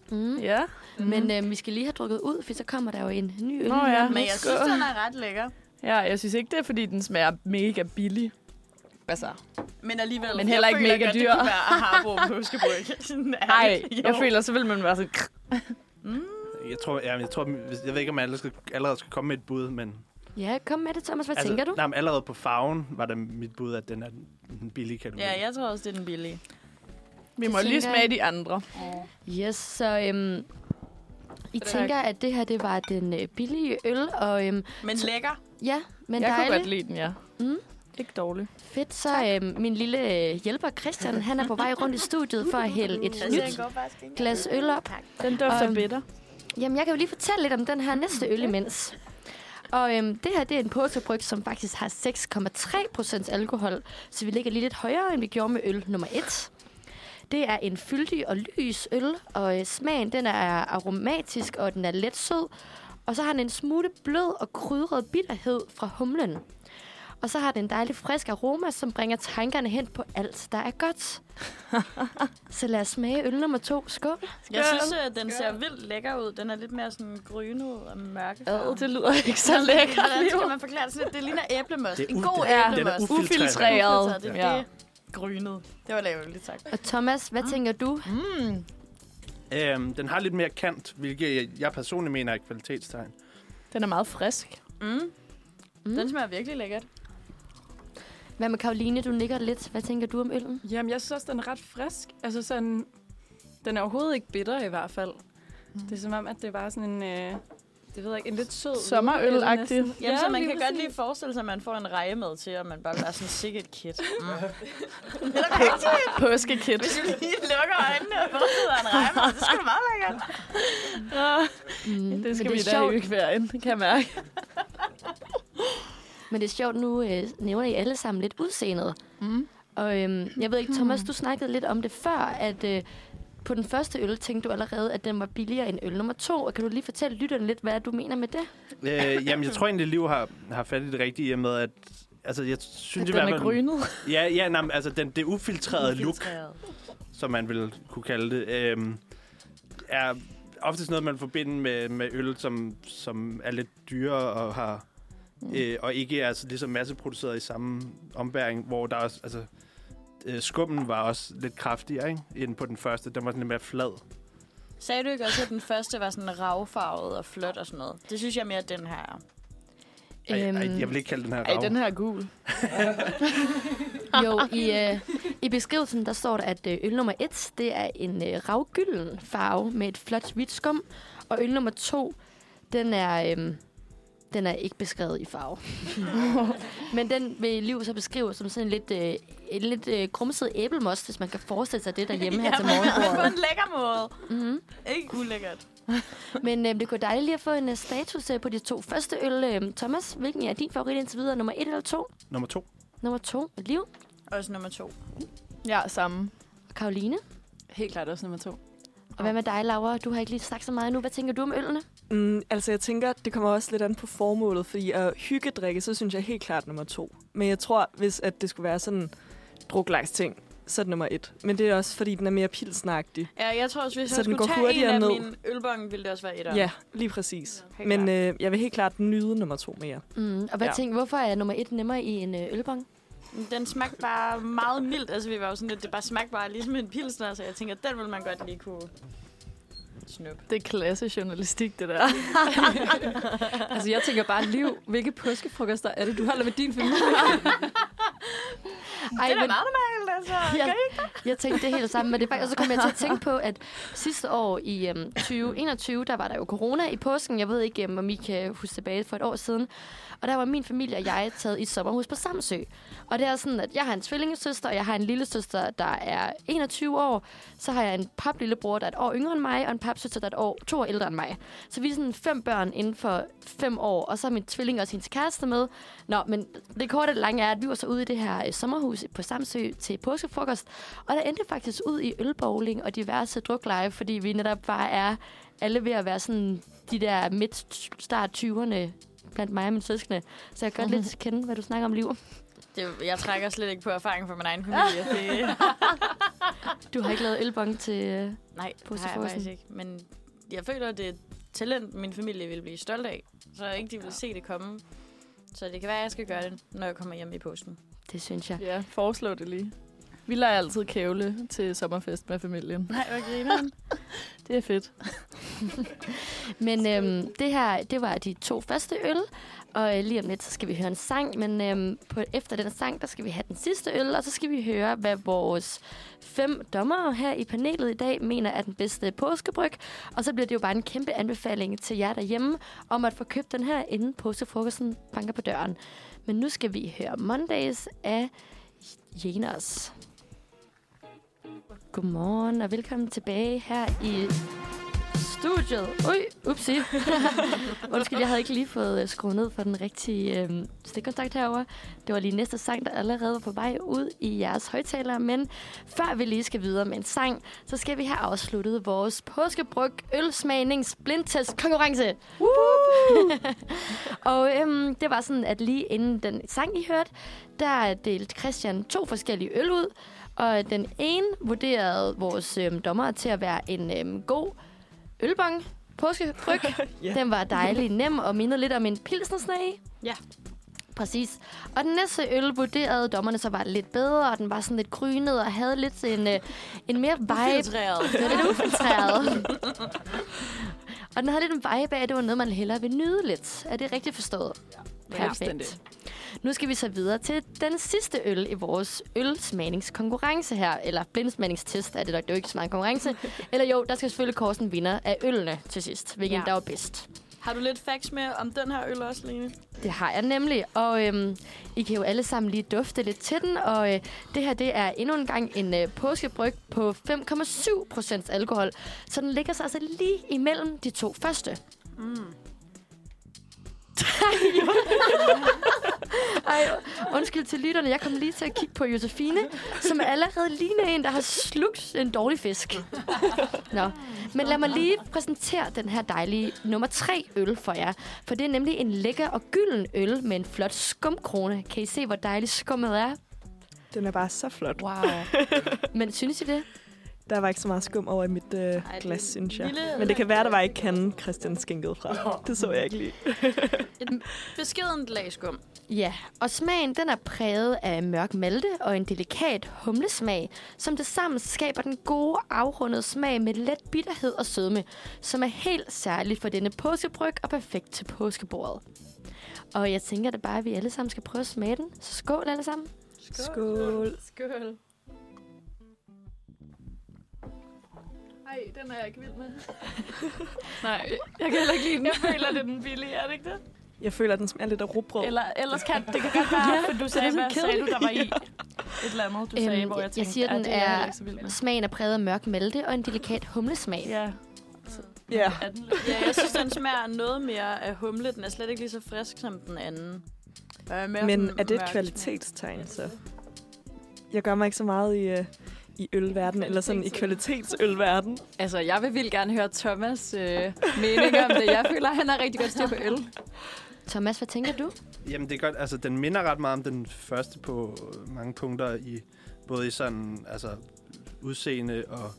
Speaker 1: Mm.
Speaker 7: ja.
Speaker 1: Men øhm, vi skal lige have drukket ud, for så kommer der jo en ny øl.
Speaker 7: Nå ja.
Speaker 5: Men jeg synes, den er ret lækker.
Speaker 7: Ja, jeg synes ikke, det er, fordi den smager mega billig. Altså,
Speaker 5: Men alligevel.
Speaker 7: Men heller ikke
Speaker 5: jeg føler
Speaker 7: mega
Speaker 5: godt,
Speaker 7: dyr.
Speaker 5: Det kunne være Harbo påskebryg. Sådan ærligt.
Speaker 7: nej, jeg
Speaker 5: Jo.
Speaker 7: føler, så vil man være sådan...
Speaker 2: Jeg tror, ja, jeg, tror, hvis- jeg ved ikke, om jeg allerede skal, allerede skal komme med et bud, men...
Speaker 1: Ja, kom med det, Thomas. Hvad altså, tænker du?
Speaker 2: Nej, men allerede på farven var det mit bud, at den er den billige kategori.
Speaker 5: Ja, jeg tror også, det er den billige.
Speaker 7: Vi
Speaker 1: Det
Speaker 7: må lige
Speaker 1: tænker jeg.
Speaker 7: smage de andre.
Speaker 1: Yes, så øhm, I
Speaker 7: Tak.
Speaker 1: tænker, at det her det var den øh, billige øl, og øhm,
Speaker 5: Men lækker.
Speaker 1: ja, men
Speaker 7: jeg kunne
Speaker 1: dejlig.
Speaker 7: godt lide den, ja.
Speaker 1: Mm.
Speaker 7: Ikke dårlig.
Speaker 1: Fedt, så øhm, min lille øh, hjælper Christian, han er på vej rundt i studiet for at hælde et nyt
Speaker 5: går faktisk ikke.
Speaker 1: glas øl op.
Speaker 7: Den dufter
Speaker 1: Og-
Speaker 7: bitter.
Speaker 1: Jamen, jeg kan jo lige fortælle lidt om den her næste øl imens. Og øhm, det her, det er en påskebryg, som faktisk har 6,3 procents alkohol, så vi ligger lige lidt højere, end vi gjorde med øl nummer 1. Det er en fyldig og lys øl, og øh, smagen den er aromatisk, og den er let sød. Og så har den en smule blød og krydret bitterhed fra humlen. Og så har den en dejlig frisk aroma, som bringer tankerne hen på alt, der er godt. så lad os smage øl nummer to. Skål.
Speaker 5: Jeg synes, at den ser vildt lækker ud. Den er lidt mere sådan grynet og mørke.
Speaker 7: Ad, det lyder ikke så lækkert.
Speaker 5: Hvordan skal man forklare det sådan lidt? Det ligner æblemost.
Speaker 2: Det er
Speaker 5: En
Speaker 2: u-
Speaker 5: god
Speaker 2: det-
Speaker 7: den er
Speaker 5: æblemost.
Speaker 2: u-
Speaker 7: Ufiltreret.
Speaker 5: Ufiltreret, Det er
Speaker 7: Ja.
Speaker 5: det. Grynet. Det var lavet tak.
Speaker 1: Og Thomas, hvad tænker du?
Speaker 2: Øhm, den har lidt mere kant, hvilket jeg, jeg personligt mener er et kvalitetstegn.
Speaker 7: Den er meget frisk.
Speaker 5: Mm.
Speaker 1: Mm.
Speaker 5: Den smager virkelig lækkert.
Speaker 1: Hvad med Karoline? Du nikker lidt. Hvad tænker du om øllen?
Speaker 3: Jamen, jeg synes også, den er ret frisk. Altså sådan, den er overhovedet ikke bitter i hvert fald. Mm. Det er som om, at det er bare sådan en, øh, det ved jeg ikke, en lidt sød...
Speaker 7: Sommerølagtig.
Speaker 3: øl næsten.
Speaker 5: Jamen, ja, så man
Speaker 3: lige
Speaker 5: kan
Speaker 3: præcis.
Speaker 5: godt lige forestille sig, at man får en reje med til, og man bare bliver sådan sikkert kit. Mm.
Speaker 7: Påskekit.
Speaker 5: Hvis du lige lukker øjnene og forestiller dig en reje med, det skulle meget lækkert.
Speaker 1: Mm.
Speaker 7: Det skal
Speaker 1: men
Speaker 7: vi
Speaker 1: det er
Speaker 7: da
Speaker 1: sjovt,
Speaker 7: ikke være ind, kan jeg mærke.
Speaker 1: Men det er sjovt, nu øh, nævner I alle sammen lidt udseendet.
Speaker 7: Mm. Hmm.
Speaker 1: Og øhm, jeg ved ikke, Thomas, du snakkede lidt om det før, at øh, På den første øl tænkte du allerede, at den var billigere end øl nummer to, og kan du lige fortælle lytterne lidt, hvad du mener med det?
Speaker 2: Øh, jamen, jeg tror egentlig, at Liv har, har fat i det rigtige i og med, at altså, jeg synes i
Speaker 7: Den
Speaker 2: hvert
Speaker 7: er
Speaker 2: fald...
Speaker 7: grynet.
Speaker 2: Ja, ja nej, altså den, det ufiltrerede look, som man vil kunne kalde det, øh, er oftest noget, man forbinder med, med øl, som, som er lidt dyrere og har
Speaker 7: Mm.
Speaker 2: øh, og ikke er altså, ligesom masseproduceret i samme ombæring, hvor der også, altså, øh, skummen var også lidt kraftigere, ikke? End på den første. Den var sådan lidt mere flad.
Speaker 5: Sagde du ikke også, at den første var sådan ravfarvet og flot og sådan noget? Det synes jeg mere, at den her er.
Speaker 2: Ej, ej, jeg vil ikke kalde den her
Speaker 7: Øhm, Ej,
Speaker 2: rav.
Speaker 7: den her er gul.
Speaker 1: Jo, i, øh, i beskrivelsen der står der, at øh, øl nummer 1, det er en øh, ravgylden farve med et flot hvidt skum. Og øl nummer 2, den er, øh, den er ikke beskrevet i farve. Men den vil Liv så beskrive som sådan lidt, øh, en lidt øh, krumset æblemost, hvis man kan forestille sig det derhjemme her til
Speaker 5: på
Speaker 1: morgenbordet.
Speaker 5: en lækker måde.
Speaker 1: Mm-hmm.
Speaker 5: Ikke ulækkert.
Speaker 1: Men øh, det kunne være dejligt lige at få en øh, status øh, på de to første øl. Øh, Thomas, hvilken er din favorit indtil videre? Nummer 1 eller 2?
Speaker 2: Nummer to.
Speaker 1: Nummer 2, Liv.
Speaker 5: Også nummer to.
Speaker 7: Ja, samme.
Speaker 1: Og Karoline.
Speaker 3: Helt klart også nummer to.
Speaker 1: Og hvad med dig, Laura? Du har ikke lige sagt så meget nu. Hvad tænker du om ølene?
Speaker 6: Mm, altså, jeg tænker, det kommer også lidt an på formålet, fordi at hyggedrikke, så synes jeg helt klart nummer to. Men jeg tror, hvis at det skulle være sådan druklags ting, så er det nummer et. Men det er også, fordi den er mere pilsnagtig.
Speaker 5: Ja, jeg tror også, hvis
Speaker 6: Så
Speaker 5: jeg
Speaker 6: den
Speaker 5: skulle
Speaker 6: går
Speaker 5: tage en
Speaker 6: hurtigere
Speaker 5: af
Speaker 6: ned.
Speaker 5: mine ølbonge, ville det også være
Speaker 6: Ja,
Speaker 5: etteren.
Speaker 6: ja lige præcis.
Speaker 5: Helt
Speaker 6: Men
Speaker 5: klart.
Speaker 6: øh, jeg vil helt klart nyde nummer to mere.
Speaker 1: Mm, og hvad ja.
Speaker 6: Ja.
Speaker 1: tænker, hvorfor er nummer et nemmere i en øh, ølbong?
Speaker 5: Den smagte bare meget mildt. Altså, vi var jo sådan lidt, det bare smagte bare ligesom en pilsner, så jeg tænker, den ville man godt lige kunne snuppe.
Speaker 7: Det er klasse journalistik, det der.
Speaker 3: Altså, jeg tænker bare, Liv, hvilke påskefrokoster er det, du holder med din familie?
Speaker 1: Ej,
Speaker 5: det er da
Speaker 1: men-
Speaker 5: meget normalt, altså.
Speaker 1: Ja. Jeg tænkte det helt sammen, men det er faktisk, og så kom jeg til at tænke på, at sidste år i øhm, 2021, der var der jo corona i påsken. Jeg ved ikke, øhm, om I kan huske tilbage for et år siden. Og der var min familie og jeg taget i et sommerhus på Samsø. Og det er sådan, at jeg har en tvillingesøster, og jeg har en lille søster, der er 21 år. Så har jeg en paplillebror, der er et år yngre end mig, og en papsøster, der er et år, to år ældre end mig. Så vi er sådan fem børn inden for fem år, og så har min tvilling også hendes kæreste med. Nå, men det korte og det lange er, at vi var så ude i det her øh, sommerhus på Samsø til påskefrokost, og der endte faktisk ud i ølbowling og diverse drukleje, fordi vi netop bare er alle ved at være sådan de der midt-start 20'erne blandt mig og mine søskende. Så jeg kan godt lidt kende, hvad du snakker om, Liv.
Speaker 5: Det, jeg trækker slet ikke på erfaring fra min egen familie. Det,
Speaker 1: Du har ikke lavet ølbong til... øh,
Speaker 5: nej, det har jeg
Speaker 1: Påskefrokosten.
Speaker 5: faktisk ikke. Men jeg føler, det er et talent, min familie vil blive stolt af. Så ikke de vil se det komme. Så det kan være, at jeg skal gøre det, når jeg kommer hjem i posten.
Speaker 1: Det synes jeg.
Speaker 7: Ja, foreslå det lige. Vi leger altid kævle til sommerfest med familien.
Speaker 5: Nej, hvor griner
Speaker 7: Det er fedt.
Speaker 1: Men øhm, det her, det var de to første øl, og øh, lige om lidt, så skal vi høre en sang, men øhm, på, efter den sang, der skal vi have den sidste øl, og så skal vi høre, hvad vores fem dommere her i panelet i dag mener er den bedste påskebryg, og så bliver det jo bare en kæmpe anbefaling til jer derhjemme, om at få købt den her, inden påskefrokosten banker på døren. Men nu skal vi høre Mondays af Jeners. Godmorgen og velkommen tilbage her i studiet. Ui, upsi. Undskyld, jeg havde ikke lige fået øh, skruet ned for den rigtige øh, stikkontakt herover. Det var lige næste sang, der allerede var på vej ud i jeres højtalere. Men før vi lige skal videre med en sang, så skal vi have afsluttet vores påskebryg ølsmagnings blindtest konkurrence. og øhm, det var sådan, at lige inden den sang, I hørte, der delte Christian to forskellige øl ud. Og den ene vurderede vores øhm, dommer til at være en øhm, god ølbong, påskefryg.
Speaker 6: Ja.
Speaker 1: yeah. Den var dejlig nem og mindede lidt om en pilsnersnage.
Speaker 5: Ja.
Speaker 1: Præcis. Og den næste øl vurderede dommerne så var lidt bedre, og den var sådan lidt krynet og havde lidt en, øh, en mere vibe. Det var lidt ufiltreret. og den havde lidt en vibe af, at det var noget, man hellere vil nyde lidt. Er det rigtigt forstået? Ja,
Speaker 3: fuldstændig.
Speaker 1: Nu skal vi så videre til den sidste øl i vores ølsmagningskonkurrence her. Eller blindsmagningstest er det nok. Det er jo ikke så meget en konkurrence. Eller jo, der skal selvfølgelig kåres en vinder af ølene til sidst. Hvilken ja.
Speaker 5: Ja.
Speaker 1: der var bedst.
Speaker 5: Har du lidt facts med om den her øl også, Lene?
Speaker 1: Det har jeg nemlig, og øhm, I kan jo alle sammen lige dufte lidt til den, og øh, det her det er endnu en gang en øh, påskebryg på 5,7 procents alkohol, så den ligger sig altså lige imellem de to første. Mm. Ej, Ej, undskyld til lytterne. Jeg kom lige til at kigge på Josefine, som allerede ligner en, der har slugt en dårlig fisk. Nå. Men lad mig lige præsentere den her dejlige nummer 3 øl for jer. For det er nemlig en lækker og gylden øl med en flot skumkrone. Kan I se, hvor dejligt skummet er?
Speaker 6: Den er bare så flot.
Speaker 1: Wow. Men synes I det?
Speaker 6: Der var ikke så meget skum over i mit øh,
Speaker 5: er
Speaker 6: glas,
Speaker 5: en
Speaker 6: synes jeg.
Speaker 5: lille-
Speaker 6: Men det kan være, der var ikke kanden, Christian skænkede fra. Det så jeg ikke lige.
Speaker 5: Beskedent lag skum.
Speaker 1: Ja, og smagen den er præget af mørk malte og en delikat humlesmag, som det sammen skaber den gode, afrundede smag med let bitterhed og sødme, som er helt særlig for denne påskebryg og perfekt til påskebordet. Og jeg tænker da bare, at vi alle sammen skal prøve at smage den. Så skål alle sammen.
Speaker 6: Skål.
Speaker 7: Skøl. Ej, den er jeg ikke vild med. Nej, jeg kan heller ikke lide den. Jeg føler, det er den billige, er det ikke det?
Speaker 6: Jeg føler, at den smager lidt af rugbrød.
Speaker 7: Eller, ellers kan det kan godt være, for du sagde,
Speaker 1: sådan
Speaker 7: hvad sagde du, der var i? Et eller andet, du sagde,
Speaker 1: Øhm,
Speaker 7: hvor jeg
Speaker 1: jeg
Speaker 7: tænkte,
Speaker 1: siger,
Speaker 7: "Ah,
Speaker 1: den
Speaker 7: det jeg
Speaker 1: er-
Speaker 7: heller ikke så vild med.
Speaker 1: Smagen er præget af mørk malte og en delikat humlesmag.
Speaker 7: Ja,
Speaker 6: Ja.
Speaker 7: er den lidt?
Speaker 5: Ja, jeg synes, den smager noget mere af humle. Den er slet ikke lige så frisk som den anden.
Speaker 6: Men er det et kvalitetstegn, så? Jeg gør mig ikke så meget i, øh, i ølverden, eller sådan i kvalitetsølverden.
Speaker 3: Altså, jeg vil vildt gerne høre Thomas' øh, mening om det. Jeg føler, han har rigtig godt styr på øl.
Speaker 1: Thomas, hvad tænker du?
Speaker 2: Jamen, det er godt. Altså, den minder ret meget om den første på øh, mange punkter i både i sådan, altså, udseende og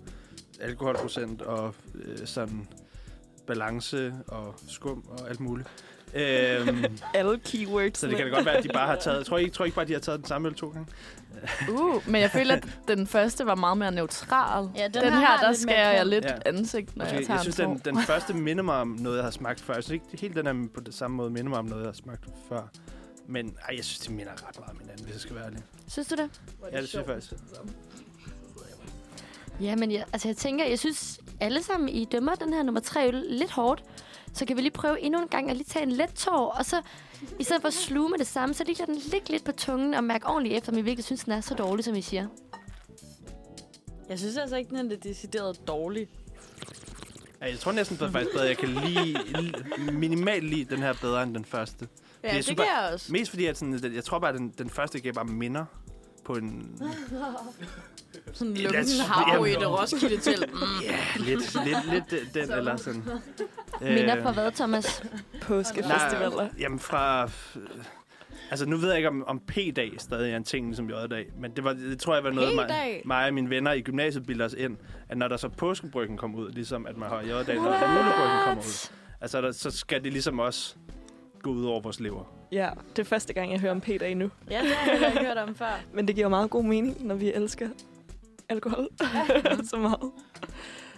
Speaker 2: alkoholprocent og øh, sådan balance og skum og alt muligt. Øhm,
Speaker 6: Alle keywords.
Speaker 2: så det kan da godt være, at de bare har taget... Tror I ikke, tror I ikke bare, de har taget den samme øl to gange?
Speaker 7: Uh, men jeg føler, at den første var meget mere neutral.
Speaker 5: Ja, den
Speaker 7: den,
Speaker 5: her
Speaker 7: her,
Speaker 5: har
Speaker 7: der
Speaker 5: lidt mere
Speaker 7: skærer jeg
Speaker 5: kant.
Speaker 7: lidt
Speaker 2: Ja.
Speaker 7: ansigt, når
Speaker 2: Måske, Altså,
Speaker 7: jeg
Speaker 2: jeg,
Speaker 7: tager
Speaker 2: jeg synes,
Speaker 7: en
Speaker 2: den, den første minder mig om noget, jeg har smagt før. Jeg synes ikke helt, den er på den samme måde minder mig om noget, jeg har smagt før. Men ej, jeg synes, de minder ret meget om hinanden, hvis jeg skal være ærlig.
Speaker 1: Synes du det?
Speaker 2: Ja, det synes jeg faktisk.
Speaker 1: Ja, men jeg, altså jeg tænker, jeg synes alle sammen, I dømmer den her nummer 3 øl lidt hårdt. Så kan vi lige prøve endnu en gang at lige tage en let tår, og så i stedet for at sluge med det samme, så lige lade den ligge lidt på tungen og mærke ordentligt efter, om I virkelig synes, den er så dårlig, som I siger.
Speaker 5: Jeg synes altså ikke, den er decideret dårlig.
Speaker 2: Ja, jeg tror næsten, det er faktisk bedre. Jeg kan lige l- minimalt lide den her bedre end den første.
Speaker 5: Ja, det,
Speaker 2: super-
Speaker 5: kan jeg også.
Speaker 2: Mest fordi, at sådan, den- jeg tror bare, at den, den første gav bare minder på en...
Speaker 5: Sådan
Speaker 2: Ja,
Speaker 5: lukken
Speaker 2: that's-
Speaker 5: hav i
Speaker 2: jamen.
Speaker 5: det Mm. roskilde til.
Speaker 2: Ja, lidt, lidt, lidt den- den, eller sådan...
Speaker 1: Øh. Minder fra hvad, Thomas?
Speaker 6: Påskefestivaler.
Speaker 2: Nej, jamen fra... Altså, nu ved jeg ikke, om, om P-dag stadig er en ting, som J-dag. Men det, var, det tror jeg var noget, mig,
Speaker 5: P-dag?
Speaker 2: mig og mine venner i gymnasiet bildte os ind. At når der så påskebryggen kom ud, ligesom at man har J-dag, når julebryggen kommer ud. Altså, der, så skal det ligesom også gå ud over vores lever.
Speaker 6: Ja, det er første gang, jeg hører om Peter endnu.
Speaker 5: Ja, det har jeg heller ikke hørt om før.
Speaker 6: Men det giver jo meget god mening, når vi elsker alkohol så meget.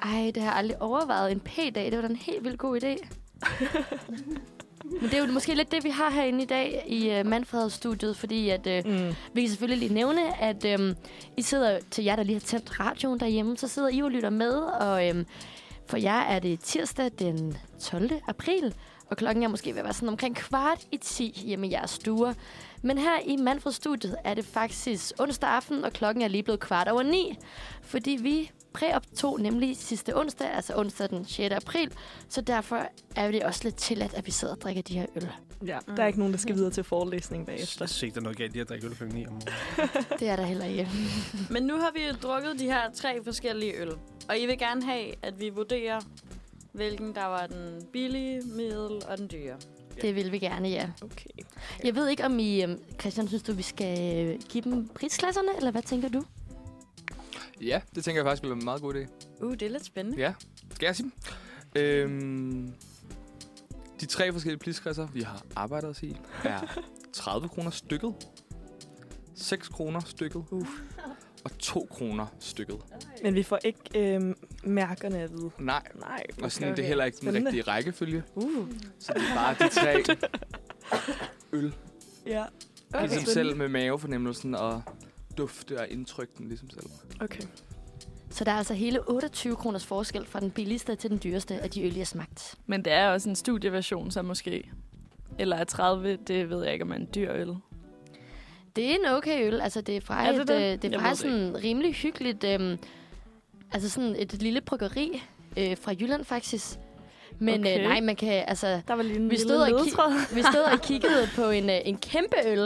Speaker 1: Ej, det har jeg aldrig overvejet. En p-dag, det var da en helt vildt god idé. Men det er jo måske lidt det, vi har herinde i dag i uh, Manfred-studiet, fordi at, uh,
Speaker 6: Mm.
Speaker 1: Vi kan selvfølgelig lige nævne, at øhm, I sidder til jer, der lige har tændt radioen derhjemme, så sidder I og lytter med, og øhm, for jer er det tirsdag den 12. april, og klokken er måske ved at være sådan omkring kvart i 10 hjemme i jeres stuer. Men her i Manfred Studiet er det faktisk onsdag aften, og klokken er lige blevet kvart over 9, fordi vi præoptog nemlig sidste onsdag, altså onsdag den 6. april, så derfor er det også lidt tilladt, at vi sidder og drikker de her øl.
Speaker 6: Ja, der er ikke nogen, der skal videre til forelæsning bagefter.
Speaker 2: Jeg synes ikke, der er noget galt i at drikke øl kl. 9 om morgenen.
Speaker 1: Det er der heller ikke.
Speaker 5: Men nu har vi jo drukket de her tre forskellige øl. Og I vil gerne have, at vi vurderer, hvilken der var den billige, middel og den dyre.
Speaker 1: Det vil vi gerne, ja.
Speaker 6: Okay.
Speaker 1: Jeg ved ikke, om I... øhm, Christian, synes du, vi skal øh, give dem prisklasserne, eller hvad tænker du?
Speaker 4: Ja, det tænker jeg faktisk ville være en meget god idé.
Speaker 5: Uh, det er lidt spændende.
Speaker 4: Ja, skal jeg sige dem? øhm, De tre forskellige prisklasser, vi har arbejdet os i, er 30 kroner stykket, 6 kroner stykket
Speaker 6: Uh.
Speaker 4: og 2 kroner stykket.
Speaker 6: Men vi får ikke øh, mærkerne at vide.
Speaker 4: Nej,
Speaker 6: Nej.
Speaker 4: og sådan, det er heller ikke den
Speaker 6: Spændende.
Speaker 4: rigtige rækkefølge,
Speaker 6: Uh,
Speaker 4: så det er bare de tre. Øl.
Speaker 6: ja.
Speaker 4: Okay.
Speaker 6: Okay.
Speaker 4: Ligesom selv med mavefornemmelsen og dufte og indtryk den ligesom selv.
Speaker 6: Okay.
Speaker 1: Så der er altså hele 28 kroners forskel fra den billigste til den dyreste af de øl, jeg har smagt.
Speaker 7: Men det er også en studieversion, så måske. Eller er 30, det ved jeg ikke, om er en dyr øl.
Speaker 1: Det er en okay øl. Altså, det er fra,
Speaker 7: Er det
Speaker 1: et,
Speaker 7: det?
Speaker 1: øh, det
Speaker 7: Jeg
Speaker 1: er
Speaker 7: ved
Speaker 1: fra
Speaker 7: det
Speaker 1: sådan rimelig hyggeligt... Øhm, altså sådan et lille bryggeri øh, fra Jylland, faktisk. Men okay.
Speaker 6: Okay.
Speaker 1: øh, nej, man kan, altså...
Speaker 6: Der var lige en
Speaker 1: Vi stod, og ki- vi stod og kiggede på en, øh, en kæmpe øl.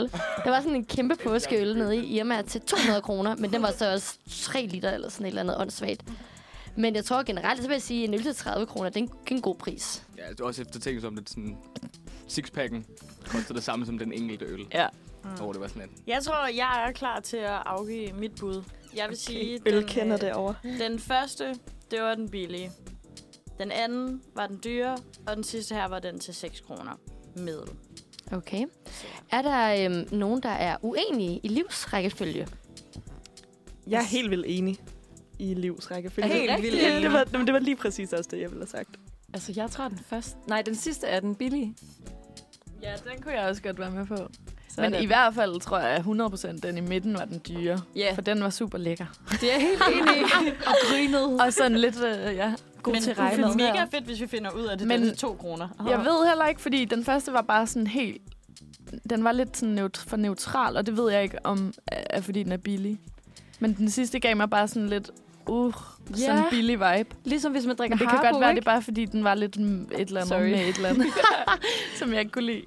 Speaker 1: Der var sådan en kæmpe påskeøl nede i Irma til 200 kroner, men den var så også 3 liter eller sådan et eller andet åndssvagt. Men jeg tror generelt, så vil jeg sige, at en øl til 30 kroner, det er en, det er en god pris.
Speaker 4: Ja, det er også efter ting som det sådan... Sixpacken koster det samme som den enkelte øl.
Speaker 6: Ja.
Speaker 3: Mm.
Speaker 4: Åh, oh, det var sådan en.
Speaker 5: Jeg tror, jeg er klar til at afgive mit bud. Jeg vil sige,
Speaker 6: Øl kender
Speaker 5: øh,
Speaker 6: derovre.
Speaker 5: Den første, det var den billige. Den anden var den dyre, og den sidste her var den til 6 kroner. Middel.
Speaker 1: Okay. Er der øhm, nogen, der er uenige i livsrækkefølge?
Speaker 6: Jeg er helt vildt enig i livs rækkefølge.
Speaker 3: Er det Helt vildt rigtigt?
Speaker 6: Det var, det var lige præcis også det, jeg ville have sagt.
Speaker 3: Altså, jeg tror den første... Nej, den sidste er den billige.
Speaker 7: Ja, den kunne jeg også godt være med på.
Speaker 3: Sådan.
Speaker 7: Men i hvert fald tror jeg, at 100% den i midten var den dyre.
Speaker 3: Ja,
Speaker 7: For den var super lækker.
Speaker 3: det er jeg helt enig i. og grynet.
Speaker 7: Og sådan lidt, øh, ja, god
Speaker 5: Men
Speaker 7: til
Speaker 5: det er
Speaker 7: regnet.
Speaker 5: mega fedt, hvis vi finder ud af det. Men
Speaker 7: Men-
Speaker 5: den til 2 kroner.
Speaker 7: Jeg ved heller ikke, fordi den første var bare sådan helt... Den var lidt sådan neut- for neutral, og det ved jeg ikke om, øh, er fordi den er billig. Men den sidste gav mig bare sådan lidt, uh, yeah. sådan en
Speaker 3: Ja.
Speaker 7: billig vibe.
Speaker 3: Ligesom hvis man drikker
Speaker 7: Men det kan
Speaker 3: Harbo,
Speaker 7: godt være,
Speaker 3: ikke?
Speaker 7: det er bare fordi, den var lidt mm, et eller andet
Speaker 3: Sorry.
Speaker 7: med et eller andet, som jeg ikke kunne lide.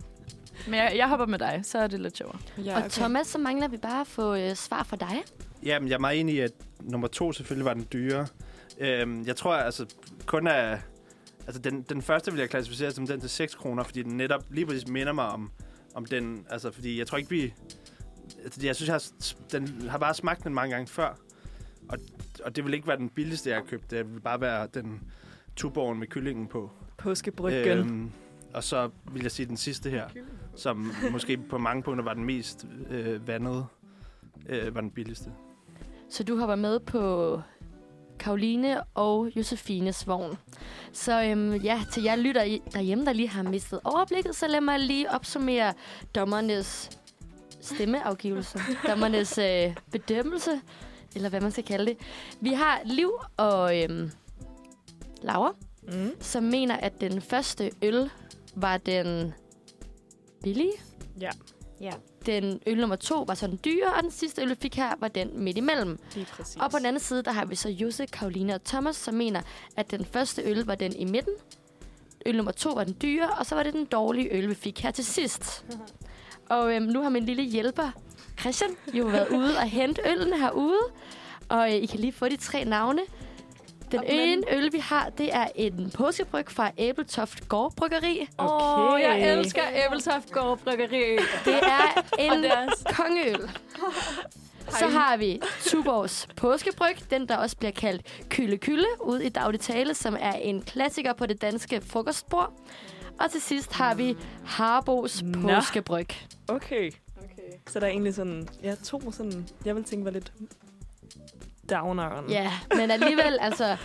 Speaker 7: Men jeg, jeg hopper med dig, så er det lidt sjovere.
Speaker 3: Ja,
Speaker 1: Okay. Og Thomas, så mangler vi bare at få øh, svar fra dig.
Speaker 2: Jamen, jeg er meget enig i, at nummer to selvfølgelig var den dyre. Øhm, jeg tror altså kun er... Altså, den, den første vil jeg klassificere som den til 6 kroner, fordi den netop lige præcis minder mig om, om den... Altså, fordi jeg tror ikke, vi... Altså, jeg synes, jeg har, s- den har bare smagt den mange gange før. Og, og det vil ikke være den billigste, jeg har købt. Det vil bare være den tuborgen med kyllingen på.
Speaker 6: Påskebryggen. Øhm.
Speaker 2: og så vil jeg sige den sidste her, som måske på mange punkter var den mest øh, vandede, øh, var den billigste.
Speaker 1: Så du hopper med på Karoline og Josefines vogn. Så øhm, ja, til jer lytter i- derhjemme, der lige har mistet overblikket, så lad mig lige opsummere dommernes stemmeafgivelse, dommernes øh, bedømmelse, eller hvad man skal kalde det. Vi har Liv og øhm, Laura,
Speaker 6: Mm.
Speaker 1: som mener, at den første øl var den billige.
Speaker 6: Ja.
Speaker 5: Ja.
Speaker 1: Den øl nummer to var så den dyre, og den sidste øl, vi fik her, var den midt imellem.
Speaker 6: Lige præcis.
Speaker 1: Og på den anden side, der har vi så Jose, Karoline og Thomas, som mener, at den første øl var den i midten. Øl nummer to var den dyre, og så var det den dårlige øl, vi fik her til sidst. Og øhm, nu har min lille hjælper, Christian, jo været ude og hente øllen herude. Og øh, I kan lige få de tre navne. Den ene øl, vi har, det er en påskebryg fra Æbletoft Gård Bryggeri.
Speaker 3: Åh, oh, jeg elsker Æbeltoft Gård Bryggeri.
Speaker 1: Det er en
Speaker 3: deres.
Speaker 1: kongeøl. Så har vi Tuborgs påskebryg, den der også bliver kaldt Kylle Kylle, ud i daglig tale, som er en klassiker på det danske frokostbord. Og til sidst har vi Harbos
Speaker 6: Nå.
Speaker 1: påskebryg.
Speaker 6: Okay. okay. Så der er egentlig sådan, ja, to sådan, jeg vil tænke var lidt downeren.
Speaker 1: Ja, men alligevel, altså...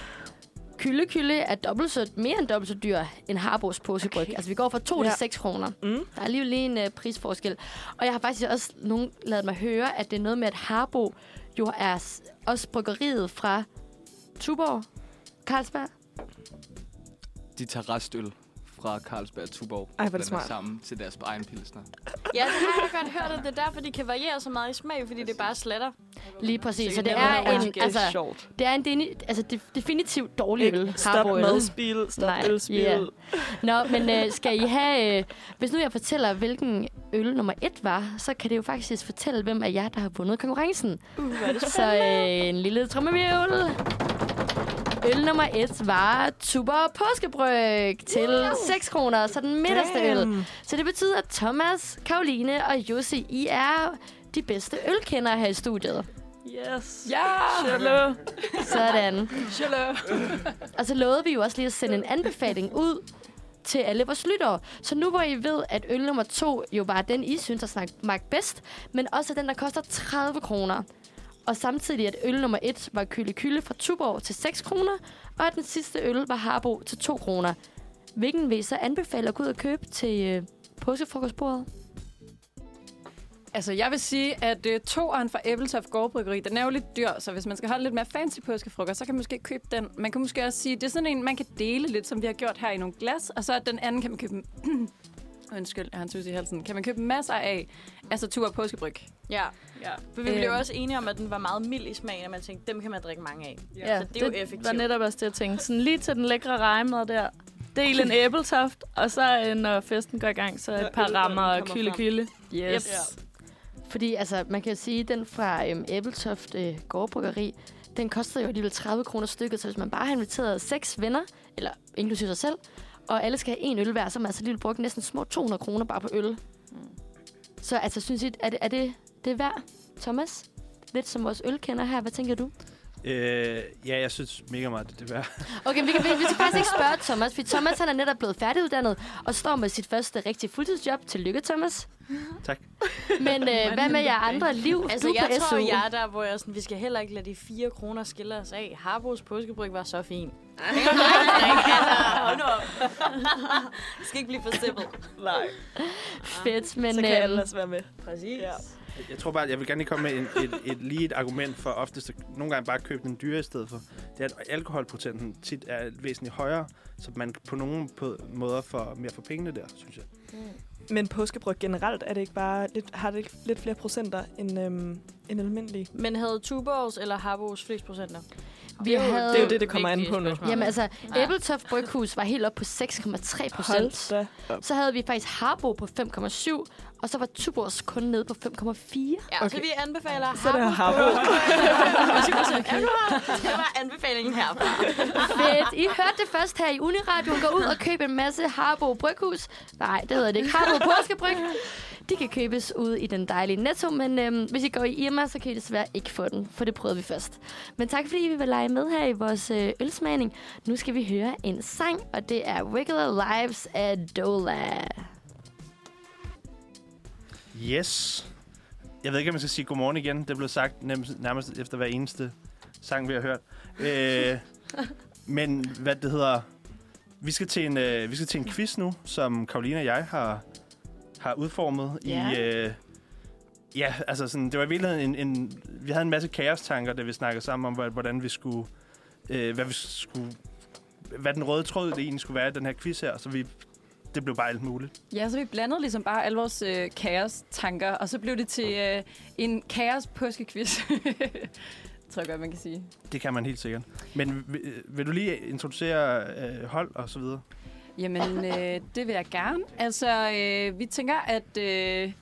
Speaker 1: Kylle Kylle er dobbelt så, mere end dobbelt så dyr end Harbos påskebryg. Okay. Altså, vi går fra 2 ja.
Speaker 6: Ja.
Speaker 1: til 6 kroner.
Speaker 6: Mm.
Speaker 1: Der er alligevel lige en øh, prisforskel. Og jeg har faktisk også nogen lavet mig høre, at det er noget med, at Harbo jo er s- også bryggeriet fra Tuborg, Carlsberg.
Speaker 4: De tager restøl fra Carlsberg og Tuborg.
Speaker 6: Ej, hvor er
Speaker 4: blander
Speaker 6: det smart.
Speaker 4: sammen til deres egen pilsner.
Speaker 5: Ja, det har jeg godt hørt, at det er derfor, de kan variere så meget i smag, fordi det er bare sletter.
Speaker 1: Lige præcis. Så det
Speaker 5: det
Speaker 1: er
Speaker 5: er
Speaker 1: en, altså,
Speaker 6: sjovt.
Speaker 1: det er en deni- altså, de- definitivt dårlig øl,
Speaker 6: Stop
Speaker 1: Harbo øl.
Speaker 6: madspil, stop
Speaker 1: Nej,
Speaker 6: ølspil.
Speaker 1: ja. Nå, men øh, skal I have... Øh, hvis nu jeg fortæller, hvilken øl nummer et var, så kan det jo faktisk fortælle, hvem af jer, der har vundet konkurrencen.
Speaker 5: Uh, hvor er det
Speaker 1: Så øh, en lille trummevirvel. Øl nummer et var Tuborg Påskebryg til 6 kroner, så den midterste øl. Så det betyder, at Thomas, Karoline og Jussi, I er de bedste ølkendere her i studiet.
Speaker 6: Yes.
Speaker 3: Ja!
Speaker 6: Hello.
Speaker 1: Sådan.
Speaker 3: Shalom.
Speaker 1: Og så lovede vi jo også lige at sende en anbefaling ud til alle vores lyttere. Så nu hvor I ved, at øl nummer to jo var den, I synes at snakke magt bedst, men også den, der koster 30 kroner. Og samtidig, at øl nummer et var Kylle Kylle fra Tuborg til 6 kroner, og at den sidste øl var Harbo til 2 kroner. Hvilken vil I så anbefale at gå ud og købe til øh, påskefrokostbordet?
Speaker 3: Altså, jeg vil sige, at øh, toeren fra Æbeltoft Gårdbryggeri, den er jo lidt dyr, så hvis man skal holde lidt mere fancy påskefrokost, så kan man måske købe den. Man kan måske også sige, det er sådan en, man kan dele lidt, som vi har gjort her i nogle glas, og så den anden kan man købe... Undskyld, jeg har en tus i halsen. Kan man købe masser af, altså tur påskebryg.
Speaker 5: Ja.
Speaker 7: Ja.
Speaker 5: For vi blev
Speaker 7: Øhm.
Speaker 5: også enige om, at den var meget mild i smagen, og man tænkte, dem kan man drikke mange af.
Speaker 7: Ja,
Speaker 5: Så det er jo effektivt.
Speaker 7: var netop også det, jeg tænkte. Sådan lige til den lækre rejemad der. Del en æbletoft, og så øh, når festen går i gang, så et par rammer og kylde kylde.
Speaker 3: Yes.
Speaker 1: Fordi altså, man kan jo sige, at den fra øhm, Æbeltoft øh, Gårdbryggeri, den kostede jo alligevel 30 kroner stykket, så hvis man bare har inviteret seks venner, eller inklusive sig selv, og alle skal have en øl hver, så har man altså alligevel brugt næsten små 200 kroner bare på øl. Mm. Så altså, synes I, er det, er det, det er værd, Thomas? Lidt som vores ølkender her, hvad tænker du?
Speaker 2: Øh, ja, jeg synes mega meget, det er værd.
Speaker 1: Okay, men vi, kan, vi, vi skal faktisk ikke spørge Thomas, for Thomas han er netop blevet færdiguddannet og står med sit første rigtige fuldtidsjob. Tillykke, Thomas.
Speaker 2: Tak.
Speaker 1: Men øh, hvad med jer andre liv?
Speaker 5: Altså,
Speaker 1: du
Speaker 5: jeg
Speaker 1: på
Speaker 5: tror,
Speaker 1: SU.
Speaker 5: jeg er der, hvor jeg er sådan, vi skal heller ikke lade de fire kroner skille os af. Harbos påskebryg var så fin. Nej, nej, nej. skal ikke blive for simpel.
Speaker 6: Nej,
Speaker 1: Fedt, men...
Speaker 6: så kan alle
Speaker 1: øhm,
Speaker 6: ellers være med.
Speaker 5: Præcis.
Speaker 6: Ja.
Speaker 2: Jeg tror bare, jeg vil gerne lige komme med en, et, et, lige et argument for oftest, at nogle gange bare købe den dyre i stedet for. Det er, at alkoholprocenten tit er væsentligt højere, så man på nogle på- måder får mere for pengene der, synes jeg.
Speaker 6: Men påskebryg generelt er det ikke bare lidt, har det ikke lidt flere procenter end, øhm, end almindelige?
Speaker 5: Men havde Tuborgs eller Harbos flest procenter?
Speaker 1: Vi havde...
Speaker 6: det er jo det, det kommer an på nu.
Speaker 1: Jamen altså,
Speaker 5: Ja.
Speaker 1: Æbletoft Bryghus var helt op på 6,3
Speaker 6: Hold
Speaker 1: procent.
Speaker 6: da.
Speaker 1: Så havde vi faktisk Harbo på 5,7, og så var Tuborgs kun nede på 5,4.
Speaker 5: Ja, okay. så
Speaker 6: Okay.
Speaker 5: vi anbefaler
Speaker 6: Så er det
Speaker 5: Harbos
Speaker 6: Harbo.
Speaker 5: påskebryg. Det var anbefalingen herfra.
Speaker 1: Fedt. I hørte det først her i Uniradioen. Gå ud og køb en masse Harbo Bryghus. Nej, det hedder det ikke. Harbo Påskebryg. De kan købes ude i den dejlige netto, men øhm, hvis I går i Irma, så kan I desværre ikke få den, for det prøvede vi først. Men tak fordi I vil lege med her i vores øh, ølsmagning. Nu skal vi høre en sang, og det er Regular Lives af Dola.
Speaker 2: Yes. Jeg ved ikke, om jeg skal sige godmorgen igen. Det blev sagt nem- nærmest efter hver eneste sang, vi har hørt. Øh, men hvad det hedder... Vi skal til en, øh, vi skal til en quiz nu, som Karoline og jeg har, har udformet
Speaker 5: Ja.
Speaker 2: i... Øh, ja, altså sådan, det var i virkeligheden en, en... Vi havde en masse kaostanker, da vi snakkede sammen om, hvor- hvordan vi skulle... Øh, hvad vi skulle hvad den røde tråd det egentlig skulle være i den her quiz her, så vi, det blev bare alt muligt.
Speaker 3: Ja, så vi blandede ligesom bare alle vores øh, kaos-tanker, og så blev det til øh, en kaos-påskequiz. tror jeg godt, man kan sige.
Speaker 2: Det kan man helt sikkert. Men vil, øh, vil du lige introducere øh, hold og så videre?
Speaker 3: Jamen, øh, det vil jeg gerne. Altså, øh, vi tænker, at øh,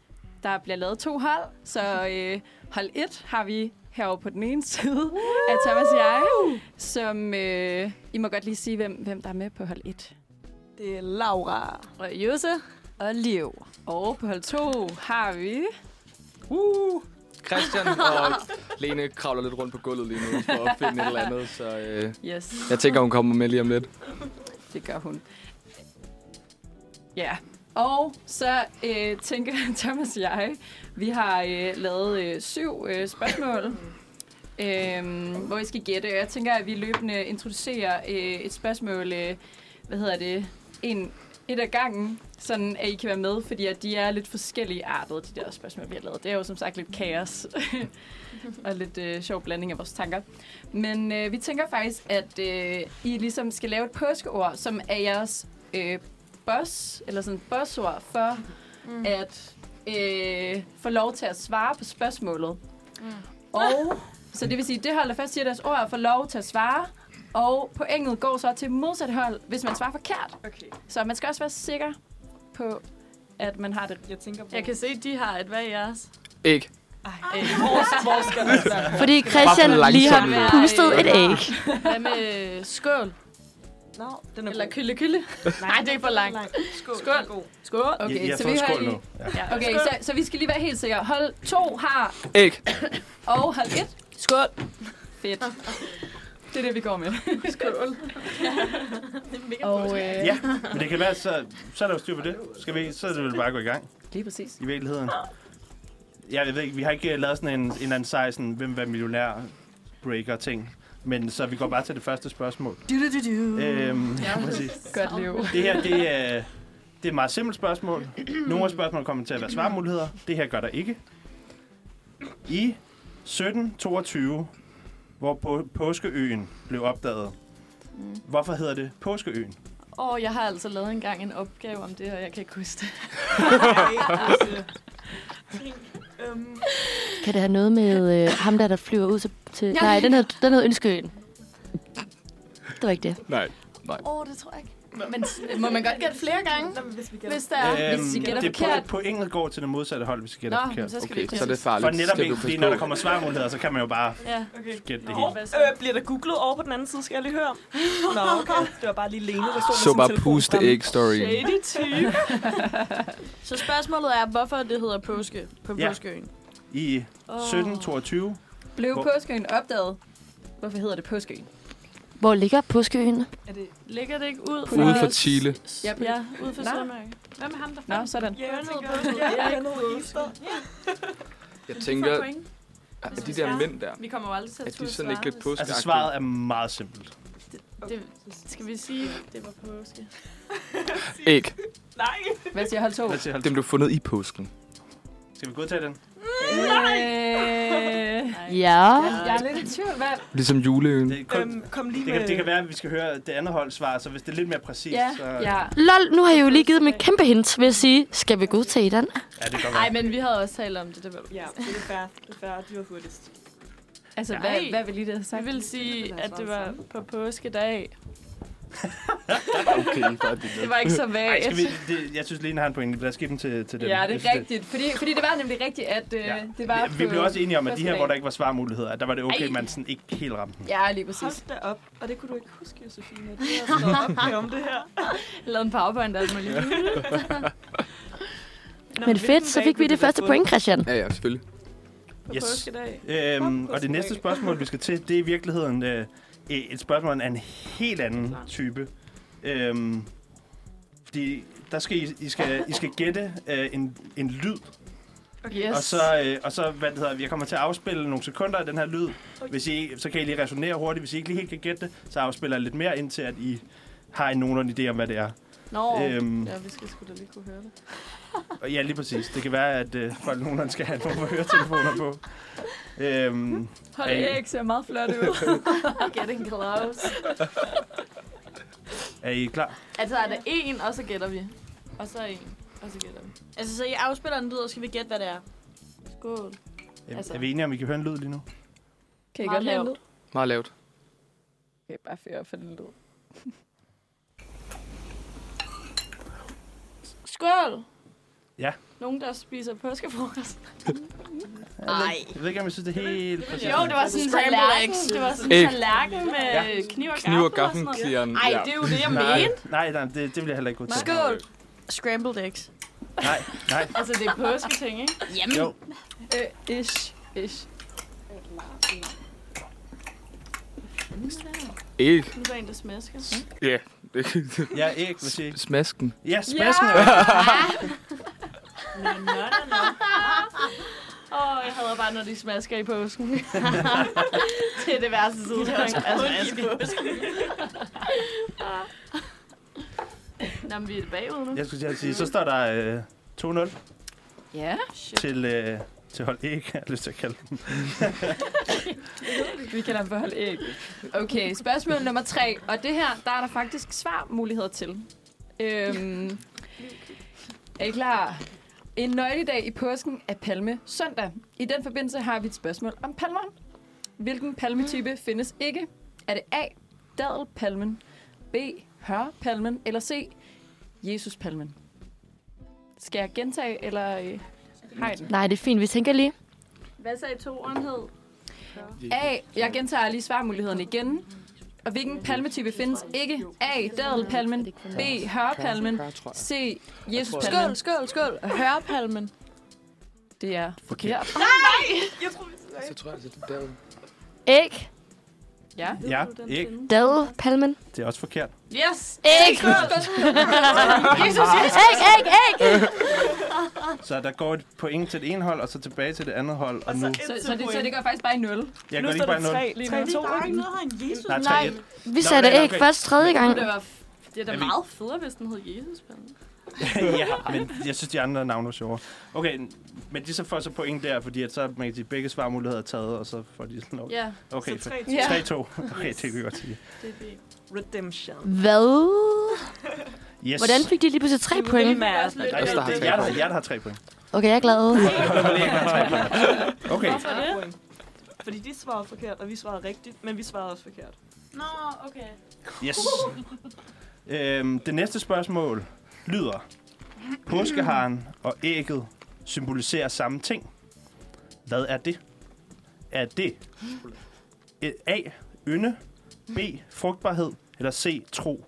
Speaker 3: der bliver lavet to hold. Så øh, hold 1 har vi herovre på den ene side af Thomas og jeg, som... Øh, I må godt lige sige, hvem, hvem der er med på hold 1.
Speaker 6: Det er Laura.
Speaker 3: Og Jose. Og Liv. Og på hold 2 har vi... Uh,
Speaker 4: Christian og Lene kravler lidt rundt på gulvet lige nu for at finde et eller andet, så øh,
Speaker 3: yes.
Speaker 4: jeg tænker, hun kommer med lige om lidt.
Speaker 3: Det gør hun. Ja. Og så øh, tænker Thomas og jeg, vi har øh, lavet øh, syv øh, spørgsmål, øh, hvor I skal gætte. Jeg tænker, at vi løbende introducerer øh, et spørgsmål, øh, hvad hedder det, en, et af gangen, sådan at I kan være med, fordi at de er lidt forskellige artet, de der spørgsmål, vi har lavet. Det er jo som sagt lidt kaos og lidt øh, sjov blanding af vores tanker. Men øh, vi tænker faktisk, at øh, I ligesom skal lave et påskeord, som er jeres øh, boss, eller sådan bossord, for mm. at øh, få lov til at svare på spørgsmålet. Mm. Og, så det vil sige, det hold, der først siger deres ord, får lov til at svare, og pointet går så til modsat hold, hvis man svarer forkert.
Speaker 6: Okay.
Speaker 3: Så man skal også være sikker på, at man har det.
Speaker 6: Jeg tænker på...
Speaker 7: Jeg kan se, de har et. Hvad er jeres?
Speaker 4: Ikke.
Speaker 3: Ah.
Speaker 1: Fordi Christian
Speaker 4: Bare for
Speaker 1: lige har
Speaker 4: langsomt.
Speaker 1: pustet et æg.
Speaker 7: Hvad med øh, skål?
Speaker 6: Nå, den er
Speaker 7: Eller kylde kylde? Nej, det er for langt.
Speaker 6: Skål.
Speaker 7: Skål. Skål.
Speaker 3: Okay,
Speaker 2: I, I har
Speaker 3: så
Speaker 2: fået
Speaker 3: vi har
Speaker 2: skål
Speaker 3: lige-
Speaker 2: nu. Ja.
Speaker 3: Ja, okay, så, så vi skal lige være helt sikre. Hold to har,
Speaker 4: Ikke.
Speaker 3: og hold et
Speaker 7: Skål.
Speaker 3: Fedt. Det er det, vi går med.
Speaker 7: Skål.
Speaker 3: Og, øh,
Speaker 2: ja, men det kan være, så, så er der jo styr på det. Skal vi, så er det vel bare at gå i gang,
Speaker 3: Lige præcis.
Speaker 2: i virkeligheden. Ja, jeg ved ikke, vi har ikke øh, lavet sådan en, en eller anden sej, sådan, hvem var millionær breaker ting. Men så vi går bare til det første spørgsmål.
Speaker 7: Du, du, du, du.
Speaker 2: Øhm, ja, præcis.
Speaker 3: Godt liv.
Speaker 2: Det her, det er, det er et meget simpelt spørgsmål. Nogle af spørgsmålene kommer til at være svarmuligheder. Det her gør der ikke. I 1722, hvor på Påskeøen blev opdaget,
Speaker 3: Mm.
Speaker 2: hvorfor hedder det Påskeøen?
Speaker 7: Åh, jeg har altså lavet engang en opgave om det, og jeg kan ikke huske det.
Speaker 1: Kan det have noget med øh, ham der, der flyver ud til... til nej, den hed, den hed Ønskeøen. Det var ikke det.
Speaker 4: Nej.
Speaker 7: Åh, oh, det tror jeg ikke. Men s- må man godt gætte flere gange,
Speaker 6: Hvis vi
Speaker 7: hvis der er?
Speaker 3: hvis I gætter
Speaker 2: Øhm, det
Speaker 3: forkert.
Speaker 2: på, pointet går til det modsatte hold, hvis I gætter
Speaker 3: Nå,
Speaker 2: forkert.
Speaker 3: så skal vi
Speaker 4: Okay,
Speaker 3: ikke
Speaker 4: så er det
Speaker 2: For
Speaker 4: farligt.
Speaker 2: netop
Speaker 4: Skal
Speaker 2: ikke,
Speaker 4: du
Speaker 2: fordi
Speaker 4: passe
Speaker 2: når der
Speaker 4: på?
Speaker 2: kommer svarmuligheder, så kan man jo bare
Speaker 3: Ja.
Speaker 6: Okay.
Speaker 2: gætte det
Speaker 6: Nå,
Speaker 2: hele.
Speaker 6: øh, bliver der googlet over på den anden side, skal jeg lige høre om. Nå, okay. Det var bare lige Lene, der stod med
Speaker 4: Så
Speaker 6: sin
Speaker 4: bare
Speaker 6: telefon
Speaker 4: puste
Speaker 6: fremme.
Speaker 4: ikke story.
Speaker 6: Shady type.
Speaker 5: Så spørgsmålet er, hvorfor det hedder påske på
Speaker 2: Ja.
Speaker 5: påskeøen?
Speaker 2: I 1722,
Speaker 3: Blev
Speaker 2: Hvor-
Speaker 3: påskeøen opdaget? Hvorfor hedder det påskeøen?
Speaker 1: Hvor ligger påskeøen?
Speaker 6: Er det
Speaker 5: Ligger det ikke ud
Speaker 4: Ude for Chile.
Speaker 3: Yep.
Speaker 5: Ja, ude for
Speaker 3: Nå.
Speaker 5: Søndermærke. Hvem er ham, der
Speaker 3: Nå, sådan.
Speaker 6: Ja, jeg
Speaker 5: Bønnede
Speaker 6: tænker,
Speaker 5: påske.
Speaker 6: ja,
Speaker 5: Ja,
Speaker 6: bønnede Easter.
Speaker 4: Jeg
Speaker 5: Tænker...
Speaker 4: tænker, at de der mænd der,
Speaker 5: Vi kommer jo aldrig til at
Speaker 4: at de
Speaker 5: turde
Speaker 4: sådan ikke
Speaker 5: svare,
Speaker 4: lidt
Speaker 5: hvis-
Speaker 4: påskeagtige.
Speaker 2: altså svaret er meget simpelt.
Speaker 7: Det, skal vi sige,
Speaker 5: Det var
Speaker 3: Øh.
Speaker 5: påske.
Speaker 4: Æg.
Speaker 2: Altså,
Speaker 6: Nej.
Speaker 3: Hvad siger hold to?
Speaker 2: Hvad siger hold?
Speaker 4: Dem blev fundet i påsken.
Speaker 2: Skal vi godtage den?
Speaker 3: Nej!
Speaker 1: Ja.
Speaker 3: Jeg er lidt i tvivl, hvad?
Speaker 4: Ligesom juleøen.
Speaker 2: Det, er kun,
Speaker 6: Øhm, kom lige
Speaker 2: det,
Speaker 6: med...
Speaker 2: kan, det kan være, at vi skal høre det andet hold svar, så hvis det er lidt mere præcist,
Speaker 3: øh. Ja,
Speaker 2: så
Speaker 3: ja.
Speaker 1: Lol, nu har jeg jo lige givet dem et kæmpe hint, vil jeg sige. Skal vi godtage den?
Speaker 2: ja, det kan
Speaker 7: Nej,
Speaker 2: godt være.
Speaker 7: men vi havde også talt om det. Det var
Speaker 6: Ja, det er fair. Det er fair. De var hurtigst.
Speaker 3: Altså,
Speaker 7: hvad-
Speaker 3: hvad, hvad vil I det
Speaker 7: Jeg
Speaker 3: sagt?
Speaker 7: vil sige, at det var på påskedag.
Speaker 4: Okay, bare det.
Speaker 7: Det var ikke så
Speaker 2: Ej,
Speaker 7: vagt.
Speaker 2: skal vi, det, jeg synes, Lene har en pointe. Lad os give den til, til dem.
Speaker 3: Ja, det
Speaker 2: Jeg
Speaker 3: er
Speaker 2: synes,
Speaker 3: rigtigt. Fordi, fordi det var nemlig rigtigt, at øh,
Speaker 2: Ja.
Speaker 3: det var
Speaker 2: Vi, vi blev også enige om, at de her,
Speaker 3: Påskedag.
Speaker 2: hvor der ikke var svarmuligheder, at der var det okay,
Speaker 3: Ej.
Speaker 2: man sådan ikke helt ramte den.
Speaker 3: Ja, lige præcis.
Speaker 6: Hold da op. Og det kunne du ikke huske, Josefine. Det er sådan opgave om det her.
Speaker 7: Jeg lavede en powerpoint og alt muligt.
Speaker 6: Nå,
Speaker 1: Men
Speaker 6: hvilken
Speaker 1: fedt, så
Speaker 6: dag
Speaker 1: fik vi
Speaker 6: blev
Speaker 1: det
Speaker 6: der
Speaker 1: første
Speaker 6: fundet
Speaker 1: point, Christian.
Speaker 4: Ja, ja, selvfølgelig.
Speaker 6: På
Speaker 2: Yes.
Speaker 6: påskedag.
Speaker 2: Øhm, og det næste
Speaker 6: Påskedag.
Speaker 2: spørgsmål, vi skal til, det er i virkeligheden øh, et spørgsmål af en helt anden type. Øhm, fordi der skal I, I, skal, I skal gætte øh, en, en lyd,
Speaker 7: Yes.
Speaker 2: og så, øh, og så hvad det hedder, jeg kommer til at afspille nogle sekunder af den her lyd. Hvis I, så kan I lige resonere hurtigt. Hvis I ikke lige helt kan gætte det, så afspiller jeg lidt mere indtil, at I har en nogenlunde idé om, hvad det er.
Speaker 7: Nå,
Speaker 2: Øhm,
Speaker 7: ja, vi skal sgu da lige kunne høre det.
Speaker 2: Og Ja, lige præcis. Det kan være, at øh, folk nogenlunde skal have nogle høretelefoner på. Øhm,
Speaker 3: Hold
Speaker 2: Ej.
Speaker 3: æg ser meget flot ud.
Speaker 7: Getting close.
Speaker 2: er I klar?
Speaker 7: Altså er der en, og så gætter vi. Og så en, og så gætter vi.
Speaker 5: Altså, så I afspiller en lyd, og så skal vi gætte, hvad det er.
Speaker 7: Skål.
Speaker 2: Er,
Speaker 7: Altså.
Speaker 2: er vi enige om, I kan høre en lyd lige nu?
Speaker 3: Kan I
Speaker 7: Meget
Speaker 3: godt lave
Speaker 7: lavt.
Speaker 3: lyd?
Speaker 4: Meget lavt.
Speaker 3: Okay, bare fyre op for den lyd.
Speaker 7: Skål!
Speaker 2: Ja.
Speaker 7: Nogen, der spiser påskefrokost.
Speaker 5: Nej.
Speaker 2: Jeg ved ikke, om jeg synes, det er helt præcis.
Speaker 7: Jo, det var sådan en
Speaker 5: Scrambled
Speaker 7: tallerken.
Speaker 5: eggs.
Speaker 7: Det var sådan
Speaker 4: Æg.
Speaker 7: en tallerken med
Speaker 2: Ja.
Speaker 7: kniv og
Speaker 4: Kniv og
Speaker 7: gaffel og
Speaker 4: gaffen,
Speaker 7: sådan noget.
Speaker 4: siger han.
Speaker 7: Ej, det er jo det, jeg
Speaker 2: nej,
Speaker 7: mente.
Speaker 2: nej, nej, det, det bliver heller ikke godt til.
Speaker 7: Skål!
Speaker 5: Scrambled eggs.
Speaker 2: Nej, nej.
Speaker 7: Altså, det er påsketing, ikke?
Speaker 5: Jamen.
Speaker 2: Jo,
Speaker 3: Øh, ish, ish.
Speaker 4: Æg.
Speaker 5: Nu er der en, der smasker.
Speaker 4: Ja.
Speaker 2: jeg er ikke, vil sige.
Speaker 4: Smasken.
Speaker 2: Ja, spasken.
Speaker 7: Åh, oh, jeg hader bare, når de smasker i påsken. Til det værste tidspunkt. Altså, jeg skal... Nå, men vi er bagud nu.
Speaker 2: Jeg skulle til at sige, så står der øh, 2-0
Speaker 3: Ja,
Speaker 2: til, øh, til hold ikke, jeg har lyst til at kalde dem.
Speaker 3: vi kan da holde æg. Okay, spørgsmål nummer tre. Og det her, der er der faktisk svarmuligheder til. Øhm, er I klar? En nøgledag i påsken er palme søndag. I den forbindelse har vi et spørgsmål om palmer. Hvilken palmetype findes ikke? Er det A. Dadelpalmen, B. Hørpalmen eller C. Jesuspalmen? Skal jeg gentage, eller øh, har I den?
Speaker 1: Nej, det er fint. Vi tænker lige.
Speaker 5: Hvad sagde toeren hed?
Speaker 3: A. Jeg gentager lige svarmuligheden igen. Og hvilken palmetype findes ikke? A. Dadelpalmen. B. Hørpalmen. C. Jesuspalmen.
Speaker 7: Skål, skål, skål. Hørepalmen.
Speaker 3: Det er forkert.
Speaker 4: Så tror jeg, altså, det er der.
Speaker 1: Æg,
Speaker 3: Ja.
Speaker 2: Ja, ikke.
Speaker 1: dad, palmen.
Speaker 2: Det er også forkert.
Speaker 7: Yes!
Speaker 1: Æg!
Speaker 7: Jesus, yes!
Speaker 1: Æg, æg, æg!
Speaker 2: Så der går et point til det ene hold, og så tilbage til det andet hold. Og nu,
Speaker 3: Så, så, det, så det går faktisk bare i nul.
Speaker 2: jeg
Speaker 6: nu
Speaker 2: går lige
Speaker 6: står
Speaker 2: bare
Speaker 6: der
Speaker 2: nul.
Speaker 6: tre,
Speaker 3: Lige
Speaker 6: tre,
Speaker 3: nu.
Speaker 6: to.
Speaker 5: Der er ikke noget, han Jesus.
Speaker 2: Nej,
Speaker 7: Nej.
Speaker 2: 3-1.
Speaker 1: Vi
Speaker 2: Nå,
Speaker 1: sagde
Speaker 2: det er
Speaker 1: æg
Speaker 2: okay.
Speaker 1: først tredje gang.
Speaker 7: Det var f-
Speaker 5: Det er da
Speaker 2: Er vi-
Speaker 5: meget federe, hvis den hed Jesus-palmen.
Speaker 2: ja, men jeg synes, de andre navne var sjovere. Okay, men de så får så point der, fordi at så man kan sige, begge svarmuligheder er taget, og så får de sådan noget.
Speaker 5: Ja,
Speaker 2: Okay,
Speaker 6: Så
Speaker 2: så
Speaker 6: tre,
Speaker 2: 3-2.
Speaker 6: to.
Speaker 3: Ja.
Speaker 2: Okay, det kan vi godt sige.
Speaker 5: det er det.
Speaker 6: Redemption.
Speaker 1: Hvad?
Speaker 2: Yes.
Speaker 1: Hvordan fik de lige pludselig tre point?
Speaker 6: Mads.
Speaker 2: Nej, det
Speaker 4: der har
Speaker 2: er
Speaker 4: tre
Speaker 2: jer, der,
Speaker 4: point.
Speaker 2: jer, der har tre point.
Speaker 1: Okay, jeg er glad.
Speaker 2: Okay,
Speaker 5: Hvorfor det?
Speaker 6: Fordi de svarede forkert, og vi svarede rigtigt, men vi svarede også forkert.
Speaker 5: Nå, okay.
Speaker 2: yes. Øhm, det næste spørgsmål lyder, påskeharen og ægget symboliserer samme ting. Hvad er det? Er det et A. Ynde, B. Frugtbarhed, eller C. Tro?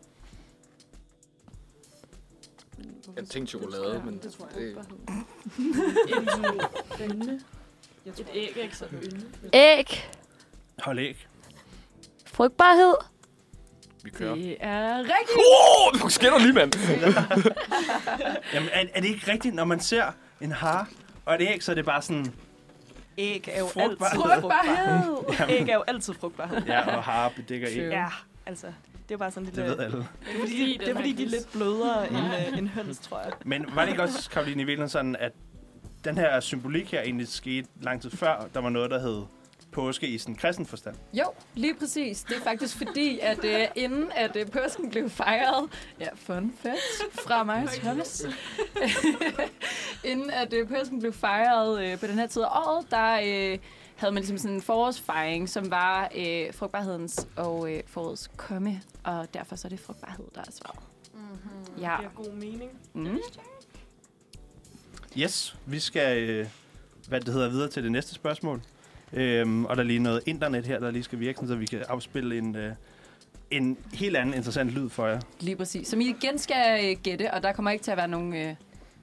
Speaker 4: Jeg tænkte chokolade, men det, det,
Speaker 5: Et æg, ikke så
Speaker 1: Æg,
Speaker 2: Hold æg.
Speaker 1: frugtbarhed.
Speaker 4: vi kører.
Speaker 3: Det er rigtigt.
Speaker 4: Åh, oh, skænder lige, mand!
Speaker 2: Jamen, er, er det ikke rigtigt, når man ser en hare og et æg, så er det bare sådan...
Speaker 6: Æg er jo
Speaker 2: Frugtbarhed.
Speaker 6: altid
Speaker 3: Frugtbarhed.
Speaker 6: Æg er jo altid frugtbarhed.
Speaker 2: Ja, og hare bedækker æg.
Speaker 6: Ja, altså, det er bare sådan lidt...
Speaker 2: Det ved alle.
Speaker 6: Det er fordi, det er, fordi de er lidt blødere end, øh, end høns, tror jeg.
Speaker 2: Men var det ikke også, Karoline, i virkeligheden sådan, at den her symbolik her egentlig skete lang tid før, der var noget, der hed påske i sådan kristen forstand?
Speaker 3: Jo, lige præcis. Det er faktisk fordi, at øh, inden at øh, påsken blev fejret, ja, fun fact fra mig og Thomas, inden at øh, påsken blev fejret øh, på den her tid af året, der øh, havde man ligesom sådan en forårsfejring, som var øh, frugtbarhedens og øh, forårets komme, og derfor så er det frugtbarhed, der er svaret. Mm-hmm. Ja.
Speaker 6: god mening.
Speaker 3: Mm.
Speaker 2: Yes, vi skal, øh, hvad det hedder, videre til det næste spørgsmål. Øhm, og der er lige noget internet her, der lige skal virke, sådan, så vi kan afspille en, øh, en helt anden interessant lyd for jer.
Speaker 3: Lige præcis. Som I igen skal øh, gætte, og der kommer ikke til at være nogen øh,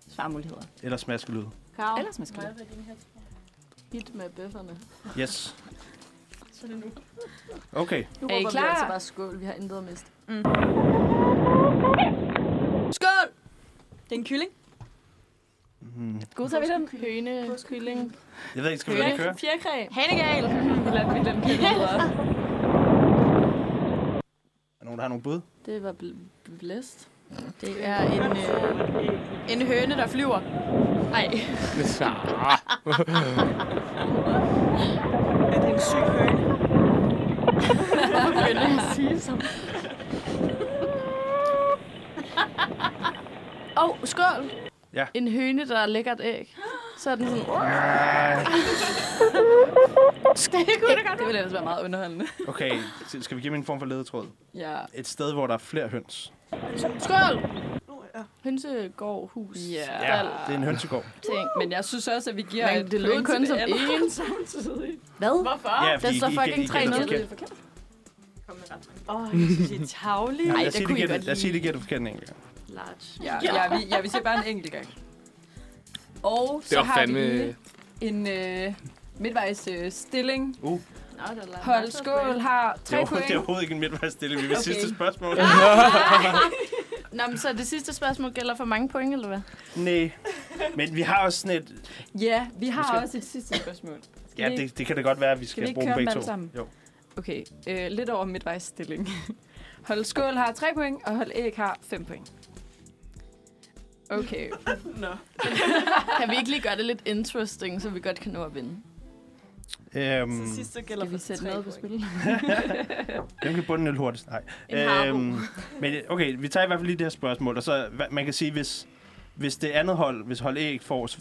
Speaker 3: svarmuligheder.
Speaker 2: Eller smaskelyd.
Speaker 7: Kav,
Speaker 3: Ellers man skal
Speaker 7: hit med bøfferne.
Speaker 2: Yes. Okay.
Speaker 7: Nu
Speaker 3: Er I
Speaker 7: råber vi
Speaker 3: klar?
Speaker 7: altså bare skål, vi har intet at miste.
Speaker 5: Skål! Det er en kylling.
Speaker 2: Hmm.
Speaker 3: God, så vi den.
Speaker 7: Høne, kylling.
Speaker 2: Jeg ved ikke, skal vi lade det køre?
Speaker 5: Fjerkræ. Hanegal.
Speaker 3: Lad vi den kylling videre.
Speaker 2: Er nogen, der har nogle bud?
Speaker 7: Det var bl- blæst.
Speaker 5: Det er en, øh, en høne, der flyver. Nej.
Speaker 6: Er det en syg høne?
Speaker 7: Åh, oh, skål!
Speaker 2: Ja.
Speaker 7: En høne, der lægger et æg. Så er den sådan...
Speaker 2: Nej.
Speaker 7: Det kunne det godt
Speaker 3: Det ville ellers være meget underholdende.
Speaker 2: Okay, skal vi give dem en form for ledetråd?
Speaker 3: Ja.
Speaker 2: Et sted, hvor der er flere høns.
Speaker 7: Skål!
Speaker 6: Uh, ja.
Speaker 7: Hønsegård, hus,
Speaker 3: Ja.
Speaker 2: Ja, det er en hønsegård.
Speaker 3: Ting. Men jeg synes også, at vi giver
Speaker 7: Men
Speaker 3: et
Speaker 7: det lød
Speaker 3: point til
Speaker 7: kun som
Speaker 3: andet.
Speaker 7: én. Hvad? Hvorfor?
Speaker 2: Ja,
Speaker 7: Der står fucking 3-0.
Speaker 5: Åh,
Speaker 6: Det er tavlig.
Speaker 2: Nej,
Speaker 7: Ej,
Speaker 2: lad
Speaker 7: det
Speaker 2: os sige,
Speaker 7: kunne
Speaker 2: det
Speaker 7: I
Speaker 2: gætter-
Speaker 7: godt
Speaker 2: lad os sige,
Speaker 7: lide.
Speaker 2: det gætter forkert en enkelt gang.
Speaker 7: Large.
Speaker 3: Ja, ja, vi, ja, vi ser bare en enkelt gang. Og
Speaker 4: Det
Speaker 3: så
Speaker 4: var
Speaker 3: har
Speaker 4: fandme...
Speaker 3: vi en øh, midtvejs øh, stilling.
Speaker 7: Nå, det er
Speaker 3: Hold skål har
Speaker 2: Det Uh, er,
Speaker 3: tre
Speaker 2: overhovedet- det er
Speaker 3: point.
Speaker 2: overhovedet ikke en midtvejsstilling. Vi vil
Speaker 3: Okay. Ah.
Speaker 2: sidste spørgsmål.
Speaker 7: Nå, men så det sidste spørgsmål gælder for mange point, eller hvad?
Speaker 2: Nej, men vi har også sådan et...
Speaker 3: Ja, vi har
Speaker 2: Måske.
Speaker 3: også et sidste spørgsmål.
Speaker 2: Ja,
Speaker 3: vi-
Speaker 2: det, det kan da godt være, at vi skal,
Speaker 3: vi ikke
Speaker 2: bruge dem
Speaker 3: køre dem
Speaker 2: begge
Speaker 3: alle
Speaker 2: to.
Speaker 3: sammen?
Speaker 2: Jo.
Speaker 3: Okay, øh, lidt over midtvejs stilling. Hold skål har tre point, og hold æg har fem point. Okay,
Speaker 7: Kan vi ikke lige gøre det lidt interesting, så vi godt kan nå at vinde?
Speaker 2: Øhm,
Speaker 6: Så sidst så gælder
Speaker 3: skal vi
Speaker 6: for
Speaker 3: sætte
Speaker 6: tre
Speaker 3: noget på
Speaker 6: point.
Speaker 3: spil?
Speaker 2: hvem kan bunde en øl hurtigst? Nej. Øhm,
Speaker 7: En harbo.
Speaker 2: men okay, vi tager i hvert fald lige det her spørgsmål, og så hva- man kan sige, hvis, hvis det andet hold, hvis hold ikke får s-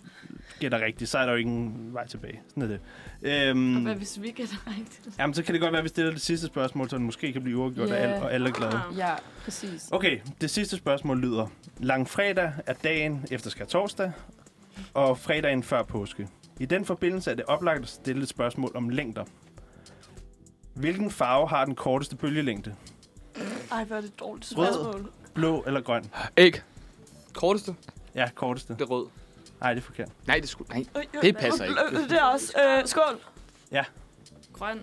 Speaker 2: gætter rigtigt, så er der jo ingen vej tilbage. Sådan er det.
Speaker 7: Og hvad
Speaker 2: Øhm,
Speaker 7: hvis vi gætter rigtigt?
Speaker 2: jamen, så kan det godt være, at vi stiller det sidste spørgsmål, så det måske kan blive uafgjort,
Speaker 7: Ja. Ah.
Speaker 2: yeah. alle, og alle er glade.
Speaker 3: Ja, præcis.
Speaker 2: Okay, det sidste spørgsmål lyder. Langfredag er dagen efter skærtorsdag, og fredagen før påske. I den forbindelse er det oplagt at stille et spørgsmål om længder. Hvilken farve har den korteste bølgelængde?
Speaker 6: Ej, hvor er det et dårligt
Speaker 2: Rød.
Speaker 6: spørgsmål.
Speaker 2: Blå eller grøn?
Speaker 4: Æg. Korteste.
Speaker 2: Ja, korteste.
Speaker 4: Det er rød.
Speaker 2: Nej, det er forkert.
Speaker 4: Nej, det skulle... Nej.
Speaker 6: Øh, øh,
Speaker 4: Det passer ikke.
Speaker 6: øh, øh, Det er også... Øh, skål.
Speaker 7: Grøn.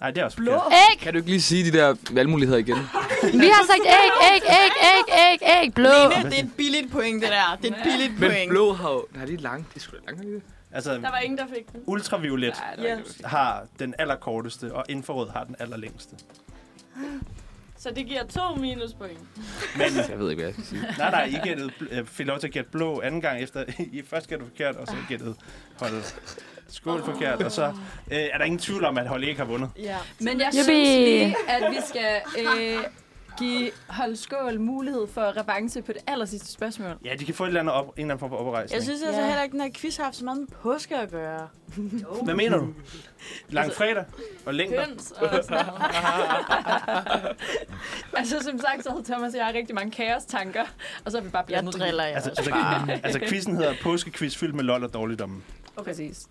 Speaker 2: Nej, det er også
Speaker 6: Blå.
Speaker 2: forkert.
Speaker 1: Æg!
Speaker 4: Kan du ikke lige sige de der valgmuligheder igen?
Speaker 1: Vi har sagt æg, æg, æg, æg, æg, æg, blå.
Speaker 5: Det, det er et billigt point, det der. Det er et billigt
Speaker 4: Men
Speaker 5: point.
Speaker 4: blå har jo... Nej, det er langt. Det er sgu da langt. ikke?
Speaker 7: Der
Speaker 2: Altså,
Speaker 7: var ingen, der fik den.
Speaker 2: ultraviolet
Speaker 3: Nej, det
Speaker 6: Ja.
Speaker 3: var ikke det.
Speaker 2: har den allerkorteste, og infrarød har den allerlængste.
Speaker 7: Så det giver to minuspoint.
Speaker 2: Men
Speaker 4: Jeg ved ikke, hvad jeg skal sige.
Speaker 2: nej, nej, I gættede, bl- øh, fik lov til at gætte blå anden gang efter. I først gættede forkert, og så gættede holdet skål forkert. Og så øh, er der ingen tvivl om, at holdet ikke har vundet.
Speaker 6: Ja.
Speaker 3: Men jeg
Speaker 1: Yippee.
Speaker 3: synes lige, at vi skal øh, give Hold Skål mulighed for revanche på det aller sidste spørgsmål.
Speaker 2: Ja, de kan få et eller andet op, en eller anden form for oprejsning.
Speaker 5: Jeg synes altså
Speaker 3: Ja.
Speaker 5: heller ikke, den her quiz har haft så meget med påske at gøre.
Speaker 2: Hvad mener du? Langfredag og længder?
Speaker 7: Høns og sådan noget.
Speaker 3: Altså, som sagt, så havde Thomas og jeg rigtig mange kaostanker, og så er vi bare
Speaker 5: Jeg
Speaker 3: blandet.
Speaker 5: driller jer
Speaker 2: Altså,
Speaker 5: også
Speaker 2: altså,
Speaker 5: bare.
Speaker 2: altså quizzen hedder påskequiz fyldt med lol og dårligdommen.
Speaker 3: Okay. Præcis.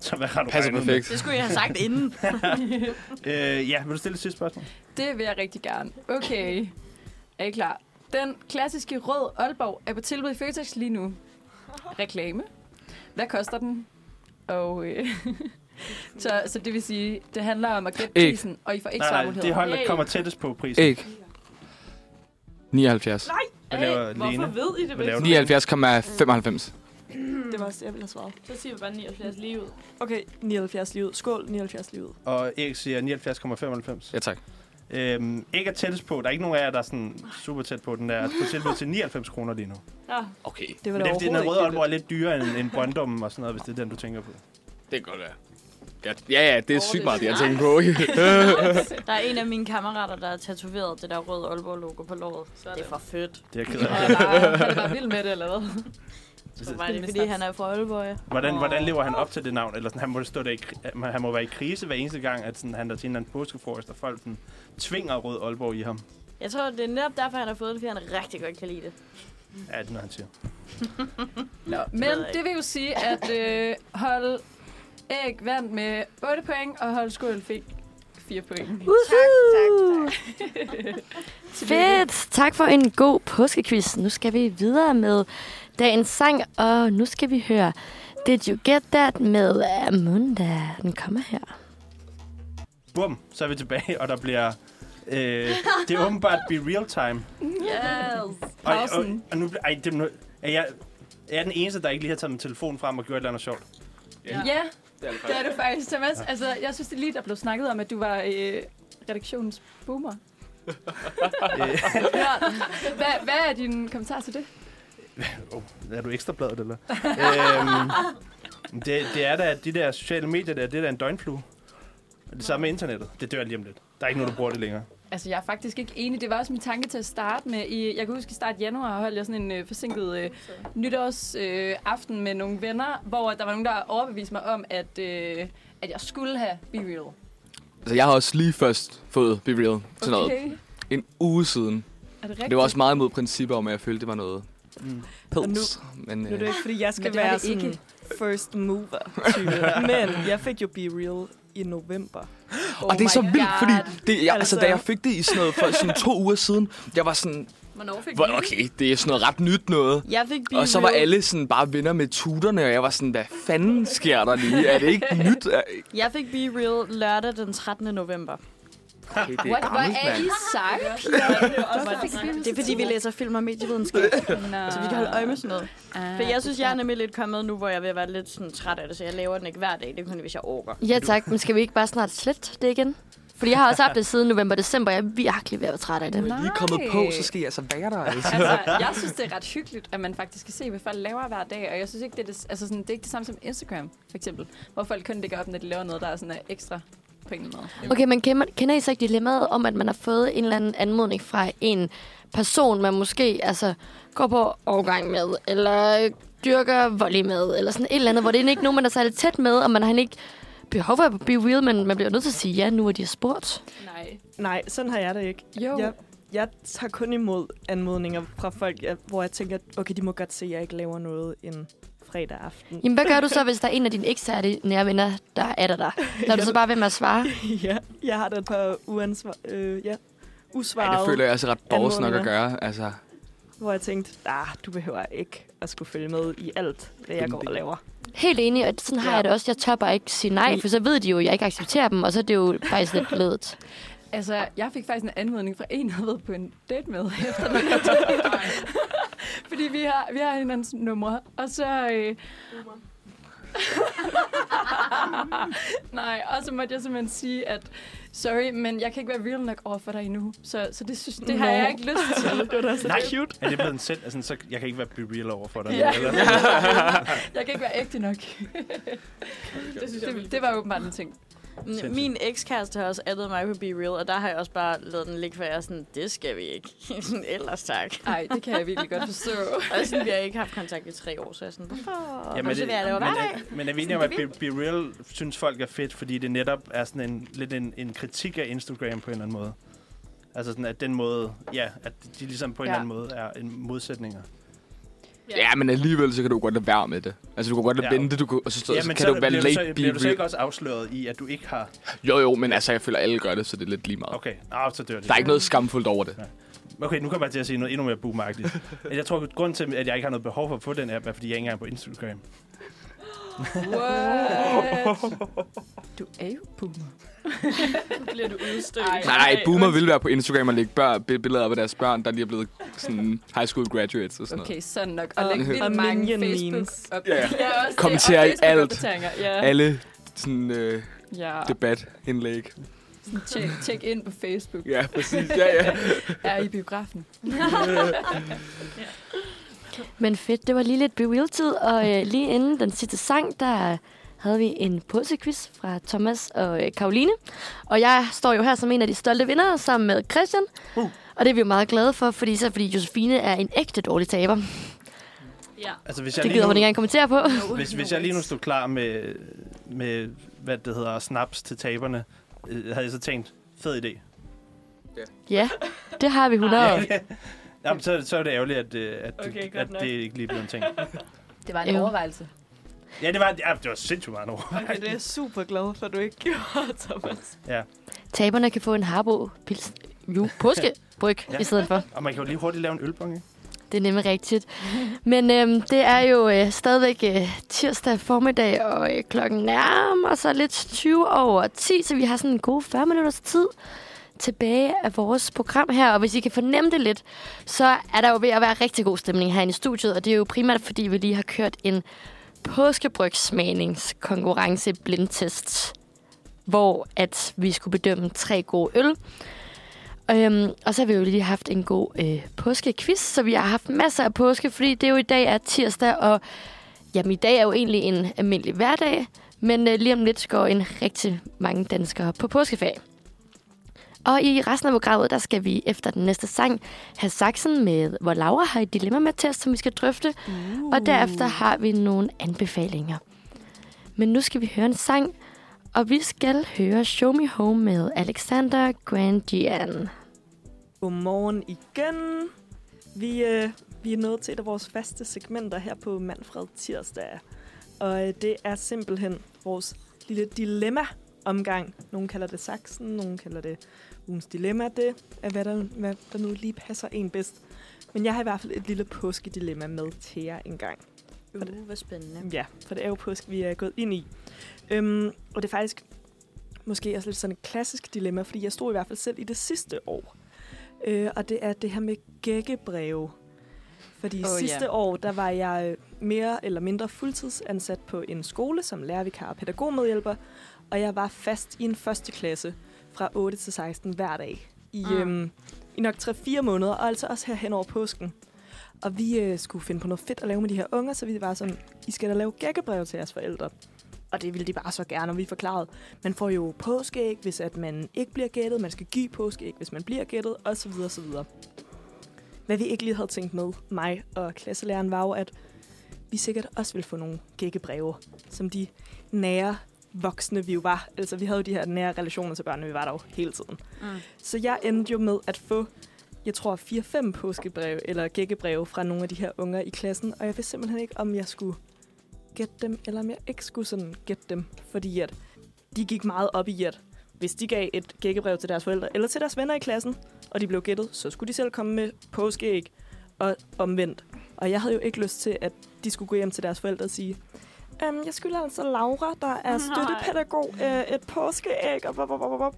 Speaker 2: Så hvad har du
Speaker 4: Passer
Speaker 2: regnet
Speaker 4: perfekt.
Speaker 5: Det skulle jeg have sagt inden.
Speaker 2: med? Øh, ja, vil du stille et sidste spørgsmål?
Speaker 3: Det vil jeg rigtig gerne. Okay. Er I klar? Den klassiske rød Aalborg er på tilbud i Føtex lige nu. Reklame. Hvad koster den? Og, øh, så, så det vil sige, det handler om at gætte
Speaker 4: Æg.
Speaker 3: prisen, og I får ikke
Speaker 2: Nej, nej, det er
Speaker 3: svarmuligheder.
Speaker 2: hold, der
Speaker 3: Yay.
Speaker 2: kommer tættest på prisen.
Speaker 4: Æg. 79.
Speaker 2: Hvad laver Lene?
Speaker 5: Hvorfor ved I det?
Speaker 2: Hvad laver du?
Speaker 4: 79,95.
Speaker 6: Det var også det, jeg ville have svaret.
Speaker 7: Så siger vi bare 79 lige ud.
Speaker 6: Okay, 79 livet. Skål, 79 livet.
Speaker 2: Og Erik siger 79,95.
Speaker 4: Ja, tak.
Speaker 2: Øhm, ikke er tættest på. Der er ikke nogen af jer, der er sådan super tæt på. Den er på tilbud til 99 kroner lige nu.
Speaker 4: Okay,
Speaker 6: Det var
Speaker 2: Men
Speaker 6: da
Speaker 2: det er fordi, den her
Speaker 6: overhovedet
Speaker 2: røde
Speaker 6: ikke
Speaker 2: Aalborg er lidt dyrere end, end Brøndummen og sådan noget, hvis det er den, du tænker på.
Speaker 4: det kan godt være. Ja, ja, det er
Speaker 3: Åh,
Speaker 4: sygt
Speaker 3: det
Speaker 4: meget,
Speaker 3: er
Speaker 4: det jeg
Speaker 3: nice.
Speaker 4: tænker på. ikke?
Speaker 5: Der er en af mine kammerater, der har tatoveret det der røde Aalborg-logo på låret. Det er for fedt.
Speaker 2: Det er jeg ked
Speaker 3: Og
Speaker 2: af.
Speaker 3: er bare- Han er bare vild med det, eller hvad?
Speaker 5: Det var det, fordi han er fra Aalborg, ja.
Speaker 2: Hvordan, hvordan lever han op til det navn? Eller sådan, han, må stå der i, kri- han må være i krise hver eneste gang, at sådan, han der til en eller anden påskefrokost, og folk sådan, tvinger rød Aalborg i ham.
Speaker 5: Jeg tror, det er netop derfor, han har fået det, fordi han rigtig godt kan lide det.
Speaker 2: Ja, det er noget, han siger.
Speaker 3: Nå,
Speaker 5: ved
Speaker 3: men
Speaker 5: jeg ikke.
Speaker 3: det vil jo sige, at øh, hold æg vandt med 8 point, og hold skål fik 4 point.
Speaker 1: Uhuh!
Speaker 3: Tillykke.
Speaker 1: Fedt! Tak for en god påskequiz. Nu skal vi videre med dagens sang, og nu skal vi høre Did You Get That med Amunda. Den kommer her.
Speaker 2: Bum, så er vi tilbage, og der bliver... Øh, det er åbenbart be real time.
Speaker 5: Yes.
Speaker 2: Og, og,
Speaker 3: Pausen.
Speaker 2: og nu, bl- ej, det, er nu er jeg, er jeg den eneste, der ikke lige har taget min telefon frem og gjort et eller andet sjovt?
Speaker 3: Ja, det er du faktisk, Thomas. Altså, jeg synes det er lige, der blev snakket om, at du var øh, redaktionens boomer. ja. hvad, hvad er din kommentar til det?
Speaker 2: Oh, er du ekstrabladet, eller? øhm, det, det er da, at de der sociale medier, der, det er da en døgnflue. Og Det samme med internettet. Det dør lige om lidt. Der er ikke nogen, der bruger det længere.
Speaker 3: Altså, jeg er faktisk ikke enig. Det var også min tanke til at starte med. I, jeg kan huske, i start januar holdt jeg sådan en øh, forsinket øh, nytårsaften øh, aften med nogle venner, hvor der var nogen, der overbeviste mig om, at, øh, at jeg skulle have Be Real.
Speaker 4: Altså, jeg har også lige først fået Be Real til noget.
Speaker 3: Okay.
Speaker 4: En uge siden.
Speaker 3: Er det rigtigt?
Speaker 4: Det var også meget mod principper om, at jeg følte, det var noget
Speaker 2: Mm.
Speaker 4: pils. Men
Speaker 6: Nu er det
Speaker 4: øh,
Speaker 6: ikke, fordi jeg skal
Speaker 3: Men det var
Speaker 6: være
Speaker 3: det
Speaker 6: sådan
Speaker 3: ikke.
Speaker 6: ikke. first mover-type. Men jeg fik jo Be Real i november.
Speaker 4: og det er
Speaker 3: Oh my
Speaker 4: så vildt,
Speaker 3: God.
Speaker 4: fordi det, jeg, altså, da
Speaker 6: Altså.
Speaker 4: jeg fik det i sådan noget for sådan to uger siden, jeg var sådan,
Speaker 3: Hvornår fik
Speaker 4: "Hvor- okay, det er sådan noget ret nyt noget.
Speaker 5: Jeg fik bil.
Speaker 4: Og så var alle sådan bare venner med tuterne, og jeg var sådan, hvad fanden sker der lige? Er det ikke nyt? Er-
Speaker 5: Jeg fik Be Real lørdag den 13. november.
Speaker 4: Okay, det er
Speaker 3: What, hvor er I
Speaker 4: gammelt,
Speaker 3: seje,
Speaker 5: Det er fordi, vi læser film og medievidenskab, så vi kan holde øje med sådan noget. For jeg synes, jeg er nemlig lidt kommet nu, hvor jeg vil være lidt sådan træt af det, så jeg laver den ikke hver dag. Det kunne hvis jeg orker.
Speaker 1: Ja tak, men skal vi ikke bare snart slette det igen? Fordi jeg har også haft det siden november-december. Jeg er virkelig ved at være træt af det.
Speaker 4: mand. Lige kommet på, så skal jeg altså være der, altså.
Speaker 3: altså, jeg synes, det er ret hyggeligt, at man faktisk kan se, hvad folk laver hver dag. Og jeg synes ikke, det er det, altså sådan, det, er ikke det samme som Instagram, for eksempel. Hvor folk kun lægger op, når de laver noget, der er sådan er ekstra på en eller anden måde.
Speaker 1: Okay, men kender, kender I så ikke dilemmaet om, at man har fået en eller anden anmodning fra en person, man måske altså, går på overgang med, eller dyrker volley med, eller sådan et eller andet, hvor det egentlig ikke er nogen, man er særlig tæt med, og man har egentlig ikke behov for at blive real, men man bliver nødt til at sige ja, nu er de spurgt.
Speaker 3: Nej.
Speaker 6: Nej, sådan har jeg det ikke.
Speaker 3: Jo.
Speaker 6: Jeg, jeg tager kun imod anmodninger fra folk, jeg, hvor jeg tænker, okay, de må godt se, at jeg ikke laver noget en fredag aften.
Speaker 1: Jamen, hvad gør du så, hvis der er en af dine ikke særlige nære venner, der er der dig? Lader du så bare ved med at svare?
Speaker 6: ja, jeg har da et par uansvar, øh, ja,
Speaker 4: Ej,
Speaker 6: usvaret,
Speaker 4: det føler jeg altså ret dårligt nok at gøre, altså.
Speaker 6: hvor jeg tænkte, ah, du behøver ikke at skulle følge med i alt, hvad jeg går og laver.
Speaker 1: Helt enig, og sådan har
Speaker 6: Ja.
Speaker 1: jeg det også. Jeg tør bare ikke sige nej, for så ved de jo, at jeg ikke accepterer dem, og så er det jo faktisk lidt ledet.
Speaker 3: Altså, jeg fik faktisk en anmodning fra en, jeg havde været på en date med. Efter Fordi vi har, vi har hinandens numre, og så... Øh... Nej, og så måtte jeg simpelthen sige, at sorry, men jeg kan ikke være real nok over for dig endnu. Så, så det, synes, det har
Speaker 6: Nå.
Speaker 3: jeg ikke lyst til.
Speaker 6: Det var da så
Speaker 2: Nej.
Speaker 6: cute.
Speaker 2: Er det blevet en selv? Altså, så jeg kan ikke være be real over for dig.
Speaker 3: Ja.
Speaker 2: Eller?
Speaker 3: Jeg kan ikke være ægte nok. det, synes jeg, det, det var åbenbart en ting.
Speaker 5: Min-
Speaker 2: Sindssygt.
Speaker 5: Min ekskæreste har også addet mig på Be Real, og der har jeg også bare lavet den ligge, for jeg er sådan, det skal vi ikke. Sådan, Ellers tak.
Speaker 3: Nej, det kan jeg virkelig godt forstå.
Speaker 5: Og sådan, vi har ikke haft kontakt i tre år, så jeg er sådan, hvorfor? Jamen, det, vil jeg lave
Speaker 2: men,
Speaker 5: hver dag?
Speaker 2: er, men er vi enige om, at Be, Be Real synes folk er fedt, fordi det netop er sådan en, lidt en, en kritik af Instagram på en eller anden måde? Altså sådan, at den måde, ja, at de ligesom på en
Speaker 7: Ja.
Speaker 2: eller anden måde er en modsætninger.
Speaker 4: Ja, men alligevel så kan du godt lade være med det. Altså, du kan godt lade
Speaker 2: Ja.
Speaker 4: vente, du kan, og så, så,
Speaker 2: ja,
Speaker 4: så
Speaker 2: men
Speaker 4: kan du være
Speaker 2: bliver,
Speaker 4: late
Speaker 2: du så,
Speaker 4: be
Speaker 2: bliver du så
Speaker 4: real.
Speaker 2: ikke også afsløret i, at du ikke har...
Speaker 4: Jo, jo, men altså, jeg føler, alle gør det, så det er lidt lige meget. Okay.
Speaker 2: Okay, ah, så dør det.
Speaker 4: Der er ikke noget skamfuldt over det.
Speaker 2: Okay, nu kommer jeg til at sige noget endnu mere boomagtigt. Men jeg tror, at grunden til, at jeg ikke har noget behov for at få den app, er, fordi jeg ikke engang er på Instagram.
Speaker 3: What?
Speaker 7: Du er jo boomer.
Speaker 5: bliver du udstødt.
Speaker 4: Nej, nej, boomer vil være på Instagram og lægge bør, billeder op af deres børn, der lige er blevet sådan high school graduates og sådan okay.
Speaker 3: Okay, sådan nok. Og
Speaker 6: Og-
Speaker 3: lægge vildt
Speaker 6: og
Speaker 3: mange
Speaker 6: minion
Speaker 3: Facebook
Speaker 6: memes.
Speaker 3: op.
Speaker 4: Ja, ja.
Speaker 3: ja også det.
Speaker 4: Kommenter
Speaker 3: Og
Speaker 4: i alt.
Speaker 3: Facebook-opdateringer,
Speaker 4: noget.
Speaker 3: Ja.
Speaker 4: Alle sådan øh,
Speaker 3: ja.
Speaker 4: debatindlæg.
Speaker 3: Sådan, Tjek, tjek ind på Facebook.
Speaker 4: Ja, præcis. Ja, ja.
Speaker 3: Er I i biografen?
Speaker 1: Men fedt, det var lige lidt Be Real-tid, og øh, lige inden den sidste sang, der havde vi en påsequiz fra Thomas og øh, Karoline. Og jeg står jo her som en af de stolte vinder sammen med Christian.
Speaker 2: Uh.
Speaker 1: Og det er vi jo meget glade for, fordi så fordi Josefine er en ægte dårlig taber.
Speaker 2: Altså, hvis jeg
Speaker 1: Det
Speaker 2: lige
Speaker 1: gider
Speaker 2: nu,
Speaker 1: hun ikke engang kommentere på.
Speaker 2: hvis, hvis jeg lige nu stod klar med, med hvad det hedder, snaps til taberne, øh, havde jeg så tænkt, fed idé.
Speaker 1: Ja, det har vi 100.
Speaker 2: Jamen, så, så er det ærgerligt, at, øh, at,
Speaker 6: Okay,
Speaker 2: okay,
Speaker 6: godt
Speaker 2: at
Speaker 6: nok.
Speaker 2: det ikke lige blev en ting.
Speaker 8: Det var en
Speaker 3: Øhm.
Speaker 1: Jo.
Speaker 8: overvejelse.
Speaker 2: Ja, det var, ja, det var sindssygt meget over.
Speaker 6: Okay, det er jeg super glad for, at du ikke gjorde, Thomas.
Speaker 1: Taberne kan få en harbo pils, ju, påskebryg
Speaker 2: Ja.
Speaker 1: ja. i stedet for.
Speaker 2: Og man kan jo lige hurtigt lave en ølbong, ikke?
Speaker 1: Det er nemlig rigtigt. Men øhm, det er jo øh, stadigvæk øh, tirsdag formiddag, og øh, klokken nærmer sig lidt 20 over 10, så vi har sådan en god 40 minutters tid tilbage af vores program her. Og hvis I kan fornemme det lidt, så er der jo ved at være rigtig god stemning herinde i studiet, og det er jo primært, fordi vi lige har kørt en påskebrygsmagningskonkurrence blindtest, hvor at vi skulle bedømme tre gode øl. Øhm, og så har vi jo lige haft en god øh, påskequiz, så vi har haft masser af påske, fordi det jo i dag er tirsdag, og jamen, i dag er jo egentlig en almindelig hverdag, men øh, lige om lidt går en rigtig mange danskere på påskeferie. Og i resten af programmet, der skal vi efter den næste sang have Saxen med, hvor Laura har et dilemma med test, som vi skal drøfte. Uh. Og derefter har vi nogle anbefalinger. Men nu skal vi høre en sang, og vi skal høre Show Me Home med Alexander Grandian.
Speaker 6: Godmorgen igen. Vi, øh, vi er nået til et af vores faste segmenter her på Manfred Tirsdag. Og øh, det er simpelthen vores lille dilemma-omgang. Nogle kalder det saksen, nogle kalder det ugens dilemma. Det er, hvad der, hvad der nu lige passer en bedst. Men jeg har i hvert fald et lille påskedilemma med til jer engang.
Speaker 5: Uh, hvor spændende.
Speaker 6: Ja, for det er jo påske, vi er gået ind i. Øhm, og det er faktisk måske også lidt sådan et klassisk dilemma, fordi jeg stod i hvert fald selv i det sidste år. Øh, og det er det her med gækkebreve. Fordi
Speaker 3: Åh,
Speaker 6: oh,
Speaker 3: ja.
Speaker 6: sidste år, der var jeg øh, mere eller mindre fuldtidsansat på en skole som lærervikar og pædagogmedhjælper. Og jeg var fast i en første klasse fra 8 til 16 hver dag i,
Speaker 5: Mm.
Speaker 6: mm. øhm, i nok 3-4 måneder, og altså også her hen over påsken. Og vi øh, skulle finde på noget fedt at lave med de her unger, så vi var sådan, I skal da lave gækkebreve til jeres forældre. Og det ville de bare så gerne, og vi forklarede, man får jo påskeæg, hvis at man ikke bliver gættet, man skal give påskeæg, hvis man bliver gættet, osv. osv. Hvad vi ikke lige havde tænkt med, mig og klasselæreren, var jo, at vi sikkert også ville få nogle gækkebreve, som de nære voksne, vi jo var. Altså, vi havde jo de her nære relationer til børnene, vi var der jo hele tiden.
Speaker 5: Mm.
Speaker 6: Mm. Så jeg endte jo med at få, jeg tror, 4-5 påskebreve, eller gækkebreve fra nogle af de her unger i klassen, og jeg vidste simpelthen ikke, om jeg skulle gætte dem, eller om jeg ikke skulle sådan gætte dem, fordi at de gik meget op i, at hvis de gav et gækkebrev til deres forældre eller til deres venner i klassen, og de blev gættet, så skulle de selv komme med påskeæg og omvendt. Og jeg havde jo ikke lyst til, at de skulle gå hjem til deres forældre og sige, øhm, jeg skylder altså Laura, der er støttepædagog, øh, et påskeæg, og bop, bop, bop, bop.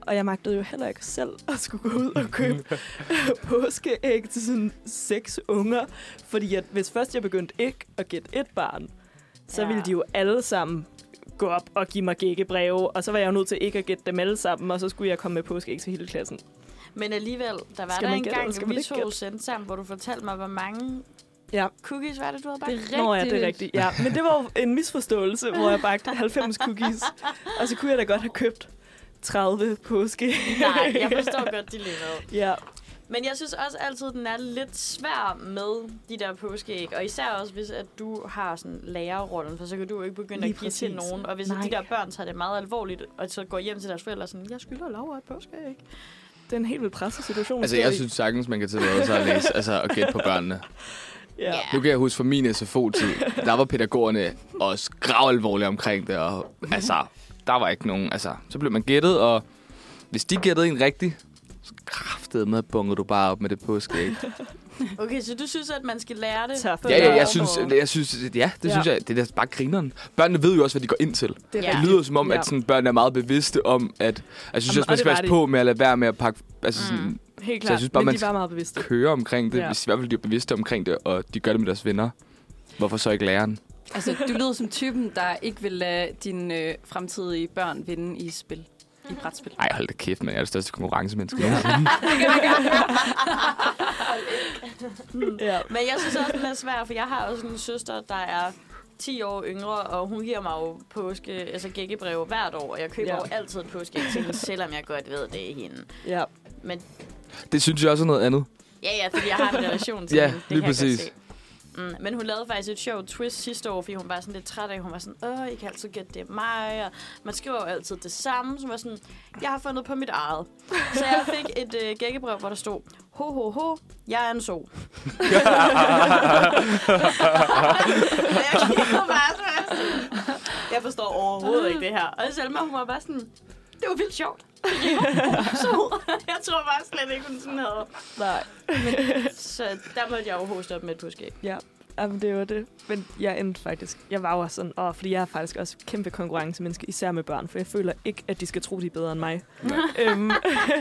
Speaker 6: Og jeg magtede jo heller ikke selv at skulle gå ud og købe påskeæg til sådan seks unger. Fordi at hvis først jeg begyndte ikke at gætte et barn, så
Speaker 5: Ja.
Speaker 6: ja. ville de jo alle sammen gå op og give mig gækkebreve, og så var jeg jo nødt til ikke at gætte dem alle sammen, og så skulle jeg komme med påskeæg til hele klassen.
Speaker 5: Men alligevel, der var
Speaker 6: Skal
Speaker 5: der
Speaker 6: man
Speaker 5: en
Speaker 6: gætte, eller skal
Speaker 5: gang,
Speaker 6: man
Speaker 5: vi
Speaker 6: ikke
Speaker 5: to
Speaker 6: gætte?
Speaker 5: sendte sammen, hvor du fortalte mig, hvor mange
Speaker 6: Ja.
Speaker 5: Cookies, hvad er det, du havde bagt?
Speaker 3: Det er rigtigt.
Speaker 6: Nå ja, det er rigtigt. Ja. Men det var jo en misforståelse, hvor jeg bagte 90 cookies. Og så kunne jeg da godt have købt 30 påske.
Speaker 5: Nej, jeg forstår godt dilemmaet.
Speaker 6: ja.
Speaker 5: Men jeg synes også altid, den er lidt svær med de der påskeæg. Og især også, hvis at du har sådan lærerrollen, for så kan du jo ikke begynde
Speaker 6: Lige
Speaker 5: at give til
Speaker 6: præcis.
Speaker 5: nogen. Og hvis
Speaker 6: Nej.
Speaker 5: de der børn tager det meget alvorligt, og så går hjem til deres forældre og sådan, jeg skylder Laura et påskeæg.
Speaker 6: Det er en helt vildt presset situation.
Speaker 4: Altså,
Speaker 6: vi står
Speaker 4: jeg
Speaker 6: i.
Speaker 4: synes sagtens, man kan tillade sig at læse altså, og gætte på børnene.
Speaker 6: Ja.
Speaker 5: Ja.
Speaker 4: Nu kan jeg huske fra min SFO-tid, der var pædagogerne også gravalvorlige omkring det, og altså, der var ikke nogen, altså, så blev man gættet, og hvis de gættede en rigtig, så kraftede med, bungede du bare op med det påskeæg.
Speaker 5: Okay, så du synes, at man skal lære det?
Speaker 6: Tak.
Speaker 5: på
Speaker 4: Ja, ja, jeg
Speaker 5: lærerrollen.
Speaker 4: synes, jeg synes, ja, det
Speaker 6: Ja.
Speaker 4: synes jeg, det er da bare grineren. Børnene ved jo også, hvad de går ind til.
Speaker 6: Det er
Speaker 5: Ja.
Speaker 4: Det
Speaker 6: rigtigt.
Speaker 4: lyder som om,
Speaker 6: Ja.
Speaker 4: at sådan, børn er meget bevidste om, at... altså, Jeg synes
Speaker 6: Jamen,
Speaker 4: også, man
Speaker 6: og det Mm.
Speaker 4: skal
Speaker 6: var
Speaker 4: passe
Speaker 6: de.
Speaker 4: på med at lade være med at pakke... Altså sådan,
Speaker 6: Helt
Speaker 4: Så jeg synes
Speaker 6: klart. Jeg synes
Speaker 4: bare,
Speaker 6: Men
Speaker 4: man
Speaker 6: de var meget bevidste.
Speaker 4: køre omkring det,
Speaker 6: Ja.
Speaker 4: hvis i hvert fald de er bevidste omkring det, og de gør det med deres venner. Hvorfor så ikke læreren?
Speaker 3: Altså, du lyder som typen, der ikke vil lade dine øh, fremtidige børn vinde i spil.
Speaker 5: Mhm.
Speaker 3: I brætspil.
Speaker 4: Nej, hold da kæft, man. Jeg er det største konkurrencemenneske. Ja.
Speaker 6: Ja.
Speaker 5: Men jeg synes også, den er svær, for jeg har også en søster, der er 10 år yngre, og hun giver mig jo påske, altså gækkebreve hvert år, og jeg køber
Speaker 6: Ja.
Speaker 5: ja. jo altid et påske til hende, selvom jeg godt ved, det er hende.
Speaker 6: ja.
Speaker 5: Men
Speaker 4: Det synes jeg også er noget andet.
Speaker 5: ja, ja, fordi jeg har en relation til
Speaker 4: Ja,
Speaker 5: hende. Det
Speaker 4: lige
Speaker 5: kan jeg
Speaker 4: præcis.
Speaker 5: godt se. Mm, men hun lavede faktisk et sjovt twist sidste år, fordi hun var sådan lidt træt af, hun var sådan, åh, I kan altid gætte, det er mig, og man skriver jo altid det samme, så hun var sådan, jeg har fundet på mit eget. Så jeg fik et øh, gækkebrev, hvor der stod, ho, ho, ho, jeg er en so. Og jeg kiggede bare, så var jeg sådan, jeg forstår overhovedet ikke det her. Og Selma, hun var bare sådan, det var vildt sjovt. så jeg tror bare slet ikke, hun sådan havde.
Speaker 6: Nej.
Speaker 5: Så der måtte jeg jo hoste op med et påskeæg.
Speaker 6: Jamen, det var det. Men jeg endte faktisk... Jeg var jo også sådan... Åh, fordi jeg er faktisk også kæmpe konkurrencemenneske, især med børn, for jeg føler ikke, at de skal tro, de er bedre end mig. øhm,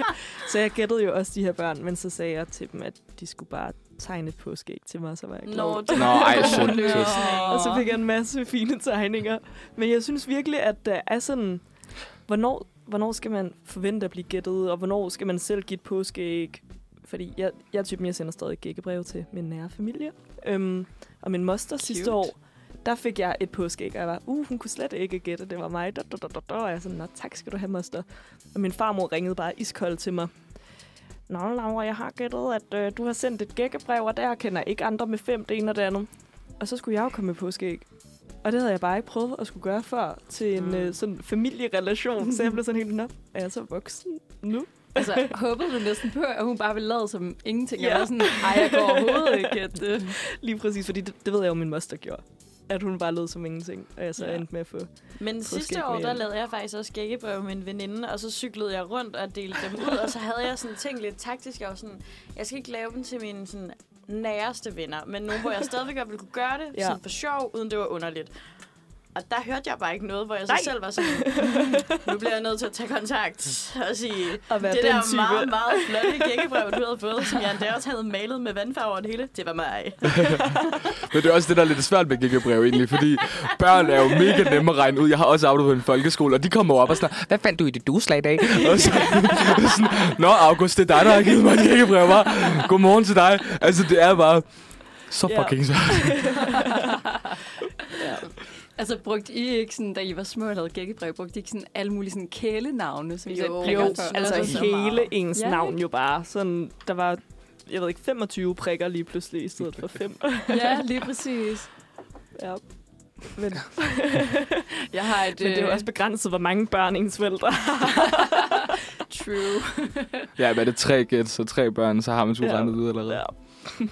Speaker 6: så jeg gættede jo også de her børn, men så sagde jeg til dem, at de skulle bare tegne et påskeæg til mig, og så var jeg glad.
Speaker 5: Nå,
Speaker 4: Nå, ej, sødt.
Speaker 3: Nå.
Speaker 4: sødt.
Speaker 6: Og så fik jeg en masse fine tegninger. Men jeg synes virkelig, at der er sådan... Hvornår, hvornår skal man forvente at blive gættet, og hvornår skal man selv give et påskeæg? Fordi jeg, jeg er typen, jeg sender stadig gækkebrev til min nære familie. Øhm, og min moster sidste år, der fik jeg et påskeæg, og jeg var, uh, hun kunne slet ikke gætte, det var mig. Da, da, da, da, da. Og jeg sådan, nå tak skal du have, moster. Og min farmor ringede bare iskold til mig. Nå, Laura, jeg har gættet, at øh, du har sendt et gækkebrev, og der kender ikke andre med fem det ene og det andet. Og så skulle jeg jo komme med påskeæg. Og det havde jeg bare ikke prøvet at skulle gøre før til en
Speaker 5: Mm.
Speaker 6: mm. øh, sådan familierelation. Så jeg blev sådan helt, nå, er jeg så voksen nu?
Speaker 3: Altså, håbede du næsten på, at hun bare ville lade som ingenting?
Speaker 6: Ja.
Speaker 3: Ja. Og sådan, ej, jeg går overhovedet ikke at det.
Speaker 6: Lige præcis, fordi det, det ved jeg jo, min moster gjorde. At hun bare lød som ingenting, og jeg så
Speaker 3: Ja.
Speaker 6: endte med at få...
Speaker 5: Men
Speaker 6: Påskeæg
Speaker 5: sidste år,
Speaker 6: med
Speaker 5: der
Speaker 6: hjem.
Speaker 5: lavede jeg faktisk også gækkebrev med en veninde, og så cyklede jeg rundt og delte dem ud, og så havde jeg sådan tænkt lidt taktisk, jeg var sådan, jeg skal ikke lave dem til mine sådan, næreste venner, men nogen, hvor jeg stadigvæk godt ville kunne gøre det,
Speaker 6: Ja.
Speaker 5: ja. sådan for sjov, uden det var underligt. Og der hørte jeg bare ikke noget, hvor jeg så
Speaker 6: Nej.
Speaker 5: Nej. selv var sådan, "Hmm, nu bliver jeg nødt til at tage kontakt og sige,
Speaker 6: At være
Speaker 5: det
Speaker 6: den
Speaker 5: der
Speaker 6: type.
Speaker 5: meget, meget flotte gækkebrev, du havde fået, som jeg endda også havde malet med vandfarve over det hele, det var mig.
Speaker 4: Men det er også det, der er lidt svært med gækkebrev egentlig, fordi børn er jo mega nemme at regne ud. Jeg har også arbejdet på en folkeskole, og de kommer op og sådan, hvad fandt du i dit dueslag i dag? Og så, og sådan, Nå, August, det er dig, der har givet mig et gækkebrev, var. Godmorgen til dig. Altså, det er bare så
Speaker 6: Ja.
Speaker 4: fucking svært.
Speaker 3: Altså, brugte I ikke sådan, da I var små og lavede gækkebrev, brugte I ikke sådan alle mulige sådan kælenavne, som I selv
Speaker 5: Jo.
Speaker 3: prikker
Speaker 5: Jo,
Speaker 3: for?
Speaker 6: Altså
Speaker 5: så
Speaker 6: hele
Speaker 5: meget.
Speaker 6: ens
Speaker 3: Ja,
Speaker 6: navn
Speaker 3: ikke?
Speaker 6: jo bare. Sådan, der var, jeg ved ikke, 25 prikker lige pludselig i stedet for 5.
Speaker 3: Ja, lige præcis.
Speaker 6: ja. Men,
Speaker 3: Jeg har et...
Speaker 6: men det er jo
Speaker 3: øh,
Speaker 6: også begrænset, hvor mange børn ens forældre har.
Speaker 3: True.
Speaker 4: Ja, men er det tre gæt, så tre børn, så har man to
Speaker 6: Ja.
Speaker 4: regnet ud allerede.
Speaker 6: Ja.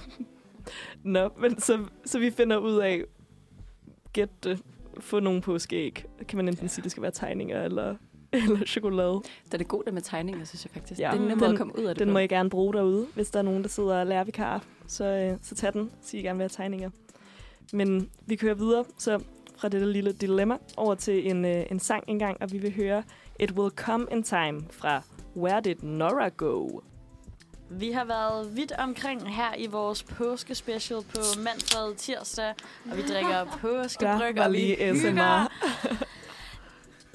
Speaker 6: Nå, men så, så vi finder ud af, gæt det, få nogle påskeæg. Kan man enten sige, at det skal være tegninger eller, eller chokolade.
Speaker 3: Den er god der med tegninger, synes jeg faktisk.
Speaker 6: Ja.
Speaker 3: Ja. Det er en nem
Speaker 7: Mm.
Speaker 6: Den-
Speaker 3: måde at komme ud af det
Speaker 6: Den
Speaker 3: på.
Speaker 6: må I gerne bruge derude, hvis der er nogen, der sidder og lærer vikar. Så, øh, så tag den, sig I gerne vil have tegninger. Men vi kører videre, så fra dette lille dilemma over til en, øh, en sang engang, og vi vil høre It Will Come In Time fra Where Did Nora Go?
Speaker 5: Vi har været vidt omkring her i vores påskespecial på Manfred tirsdag, og vi drikker påskebryg,
Speaker 6: Der var
Speaker 5: og vi
Speaker 6: lige
Speaker 5: hygger.
Speaker 6: SMR.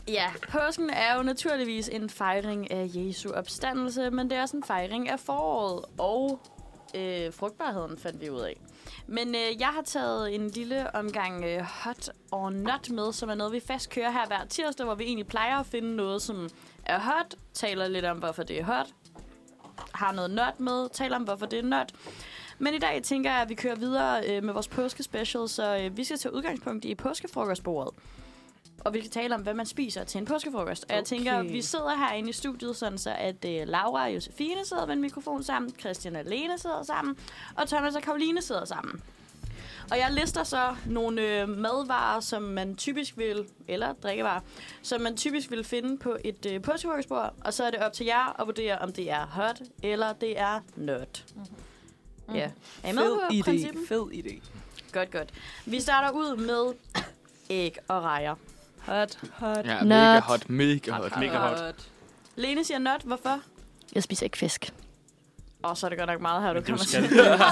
Speaker 5: Ja, påsken er jo naturligvis en fejring af Jesu opstandelse, men det er også en fejring af foråret og øh, frugtbarheden, fandt vi ud af. Men øh, jeg har taget en lille omgang øh, hot or not med, som er noget, vi fast kører her hver tirsdag, hvor vi egentlig plejer at finde noget, som er hot, taler lidt om, hvorfor det er hot, har noget not med, taler om, hvorfor det er not. Men i dag tænker jeg, at vi kører videre øh, med vores påskespecial, så øh, vi skal tage udgangspunkt i påskefrokostbordet. Og vi skal tale om, hvad man spiser til en påskefrokost. Okay. Og jeg tænker, vi sidder herinde i studiet, sådan så at øh, Laura og Josefine sidder med en mikrofon sammen, Christian og Lene sidder sammen, og Thomas og Karoline sidder sammen. Og jeg lister så nogle øh, madvarer, som man typisk vil, eller drikkevarer, som man typisk vil finde på et øh, påskefrokostbord, og så er det op til jer at vurdere, om det er hot, eller det er not. Mm-hmm. Ja. Er I med på
Speaker 8: Fed idé.
Speaker 5: princippet?
Speaker 8: Fed idé.
Speaker 5: Godt, godt. Vi starter ud med æg og rejer.
Speaker 6: Hot, hot.
Speaker 4: Ja,
Speaker 1: Not.
Speaker 4: mega hot, mega hot.
Speaker 2: Mega hot.
Speaker 5: Lene siger not. Hvorfor?
Speaker 1: Jeg spiser ikke fisk.
Speaker 5: Åh, oh, så er det godt nok meget her, du
Speaker 2: Men det er jo
Speaker 5: kommer til.
Speaker 2: skalddyr.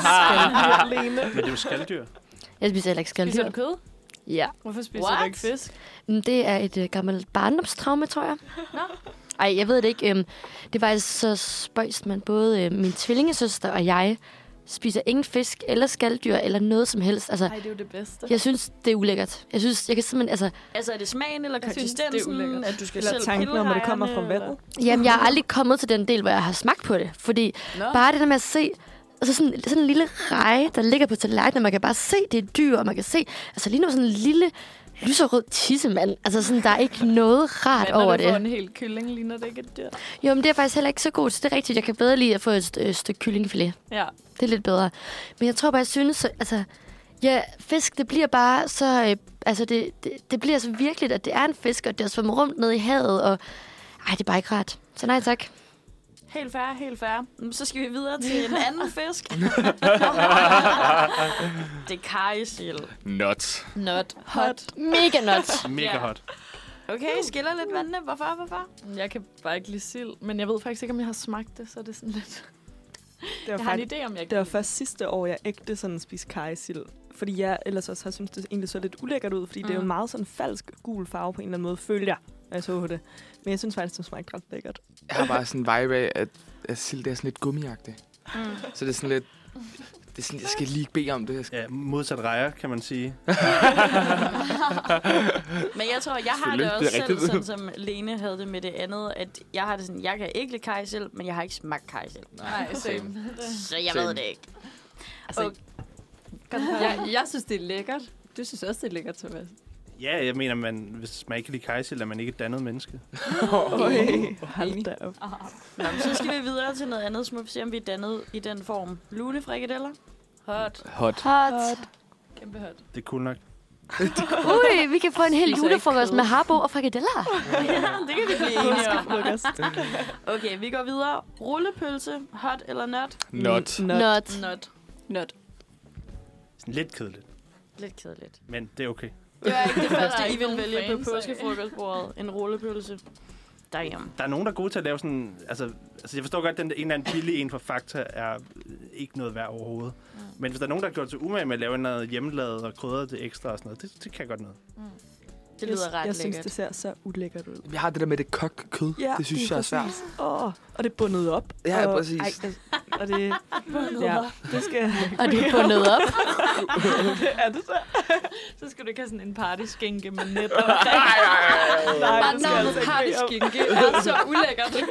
Speaker 6: Lene.
Speaker 2: Men det er jo skalddyr.
Speaker 1: Jeg spiser heller ikke
Speaker 7: Spiser
Speaker 1: skalddyr.
Speaker 7: du kød?
Speaker 1: Ja.
Speaker 7: Hvorfor spiser du
Speaker 5: What?
Speaker 7: ikke fisk?
Speaker 1: Mm, Det er et øh, gammelt barndomstraume, tror jeg. Ej, jeg ved det ikke. Øhm, det var faktisk så spøjst, men både øh, min tvillingesøster og jeg spiser ingen fisk eller skalddyr eller noget som helst. Altså,
Speaker 7: Nej, det er jo det bedste.
Speaker 1: jeg synes, det er ulækkert. Jeg synes, jeg kan simpelthen, altså...
Speaker 5: Altså, er det smagen eller
Speaker 7: Jeg synes, det er
Speaker 5: konsistensen?
Speaker 7: ulækkert.
Speaker 5: At du skal
Speaker 6: Eller
Speaker 5: selv
Speaker 6: tanken
Speaker 5: pille
Speaker 6: om, at det kommer fra
Speaker 5: rejerne,
Speaker 6: vandet.
Speaker 1: Jamen, jeg har aldrig kommet til den del, hvor jeg har smagt på det. Fordi Nå. bare det der med at se... Altså sådan, sådan en lille reje, der ligger på tallerkenen, og man kan bare se, det er et dyr, og man kan se... Altså lige nu sådan en lille lyserød tissemand. Altså sådan, der er ikke noget rart
Speaker 7: Men når
Speaker 1: over
Speaker 7: du
Speaker 1: det.
Speaker 7: får en hel kylling, ligner det ikke et dyr.
Speaker 1: Jo, men det er jeg faktisk heller ikke så god til. Det er rigtigt. Jeg kan bedre lide at få et st- øh, stykke kyllingfilet.
Speaker 7: Ja.
Speaker 1: Det er lidt bedre. Men jeg tror bare, jeg synes... så- Altså, ja, fisk, det bliver bare så... Øh, altså, det, det, det bliver så virkeligt, at det er en fisk, og det er svømme rundt ned i havet, og... Ej, det er bare ikke rart. Så nej tak.
Speaker 5: Helt fair, helt fair. Mm, Så skal vi videre til en anden fisk. det er kajesild.
Speaker 4: Not.
Speaker 5: Not.
Speaker 7: Hot.
Speaker 1: Mega nuts.
Speaker 2: Mega
Speaker 5: Ja.
Speaker 2: hot.
Speaker 6: Uh.
Speaker 5: Okay, I skiller lidt vandene. Hvorfor, hvorfor?
Speaker 7: Jeg kan bare ikke lide sild, men jeg ved faktisk ikke, om jeg har smagt det, så er det sådan lidt...
Speaker 6: Det var,
Speaker 7: Jeg har en
Speaker 6: faktisk,
Speaker 7: idé, om jeg
Speaker 6: det
Speaker 7: kan
Speaker 6: var først sidste år, jeg ægte sådan spiste kajsild. Fordi jeg ellers også har syntes, det egentlig så lidt ulækkert ud, fordi mm. det er jo
Speaker 7: Mm.
Speaker 6: en meget sådan falsk gul farve på en eller anden måde, følger jeg, når jeg så det. Men jeg synes faktisk, det smagte ret lækkert.
Speaker 4: Jeg har bare sådan en vibe af, at, at sild det er sådan lidt gummiagtigt.
Speaker 5: Mm.
Speaker 4: Så det er sådan lidt... Det er sådan, jeg skal lige bede om det. Jeg skal...
Speaker 2: Ja, modsat rejer, kan man sige.
Speaker 5: Men jeg tror, jeg har det
Speaker 4: Selvfølgelig,
Speaker 5: også
Speaker 4: det er
Speaker 5: selv,
Speaker 4: rigtigt.
Speaker 5: sådan som Lene havde det med det andet, at jeg har det sådan, jeg kan ikke lide kajsild, men jeg har ikke smagt kajsild.
Speaker 7: Nej, same.
Speaker 5: Så jeg
Speaker 4: Same.
Speaker 5: ved det ikke.
Speaker 3: Altså,
Speaker 5: Okay.
Speaker 3: jeg, jeg synes, det er lækkert. Du synes også, det er lækkert, Thomas.
Speaker 2: Ja, jeg mener, man, hvis man ikke kan lide kajsild, er man ikke et dannet menneske.
Speaker 6: Okay.
Speaker 3: Enig.
Speaker 6: Hold da op.
Speaker 5: Nå, men så skal vi videre til noget andet, så må vi se, om vi er dannet i den form. Lunefrikadeller?
Speaker 7: Hot.
Speaker 4: Hot.
Speaker 1: Hot.
Speaker 7: Kæmpe hot.
Speaker 2: Det er cool nok.
Speaker 1: Ui, vi kan få en hel
Speaker 7: Spiser
Speaker 1: julefrokost
Speaker 7: ikke kød.
Speaker 1: med harbo og frikadeller.
Speaker 5: ja, det kan vi blive enige om.
Speaker 6: Påskefrokost.
Speaker 5: Okay, vi går videre. Rullepølse, hot eller not?
Speaker 4: Not.
Speaker 6: Not.
Speaker 1: Not.
Speaker 7: Not.
Speaker 3: Not.
Speaker 2: Sådan lidt kedeligt,
Speaker 5: Lidt kedeligt.
Speaker 2: men det er okay.
Speaker 5: Det var ikke det
Speaker 7: Der er
Speaker 5: første, I
Speaker 7: ikke
Speaker 5: ville
Speaker 7: nogen
Speaker 5: vælge på
Speaker 7: fans af.
Speaker 5: påskefrokostbordet. En rullepølse. Damn.
Speaker 2: Der er nogen, der er gode til at lave sådan... Altså, altså jeg forstår godt, at den der en eller anden billig en fra Fakta er øh, ikke noget værd overhovedet. Mm. Men hvis der er nogen, der har gjort sig umage med at lave noget hjemmelavet og krydret til ekstra og sådan noget, det, det kan jeg godt noget.
Speaker 5: Det lyder
Speaker 6: jeg,
Speaker 5: ret
Speaker 6: jeg synes,
Speaker 5: lækkert.
Speaker 6: det ser så ulækkert ud.
Speaker 4: Jeg har det der med det kogt kød. det synes
Speaker 6: lige
Speaker 4: jeg er svært.
Speaker 6: præcis. Åh, og det er bundet op.
Speaker 4: Ja,
Speaker 6: og,
Speaker 4: præcis.
Speaker 6: Ej, altså, og det, ja, det skal
Speaker 1: Og det er bundet op.
Speaker 6: er det så?
Speaker 7: Så skal du ikke have sådan en partyskænke med net og
Speaker 6: Nej,
Speaker 3: Bare
Speaker 6: det skal jeg
Speaker 3: navnet
Speaker 6: altså ikke bede om.
Speaker 3: partyskinke er så ulækkert.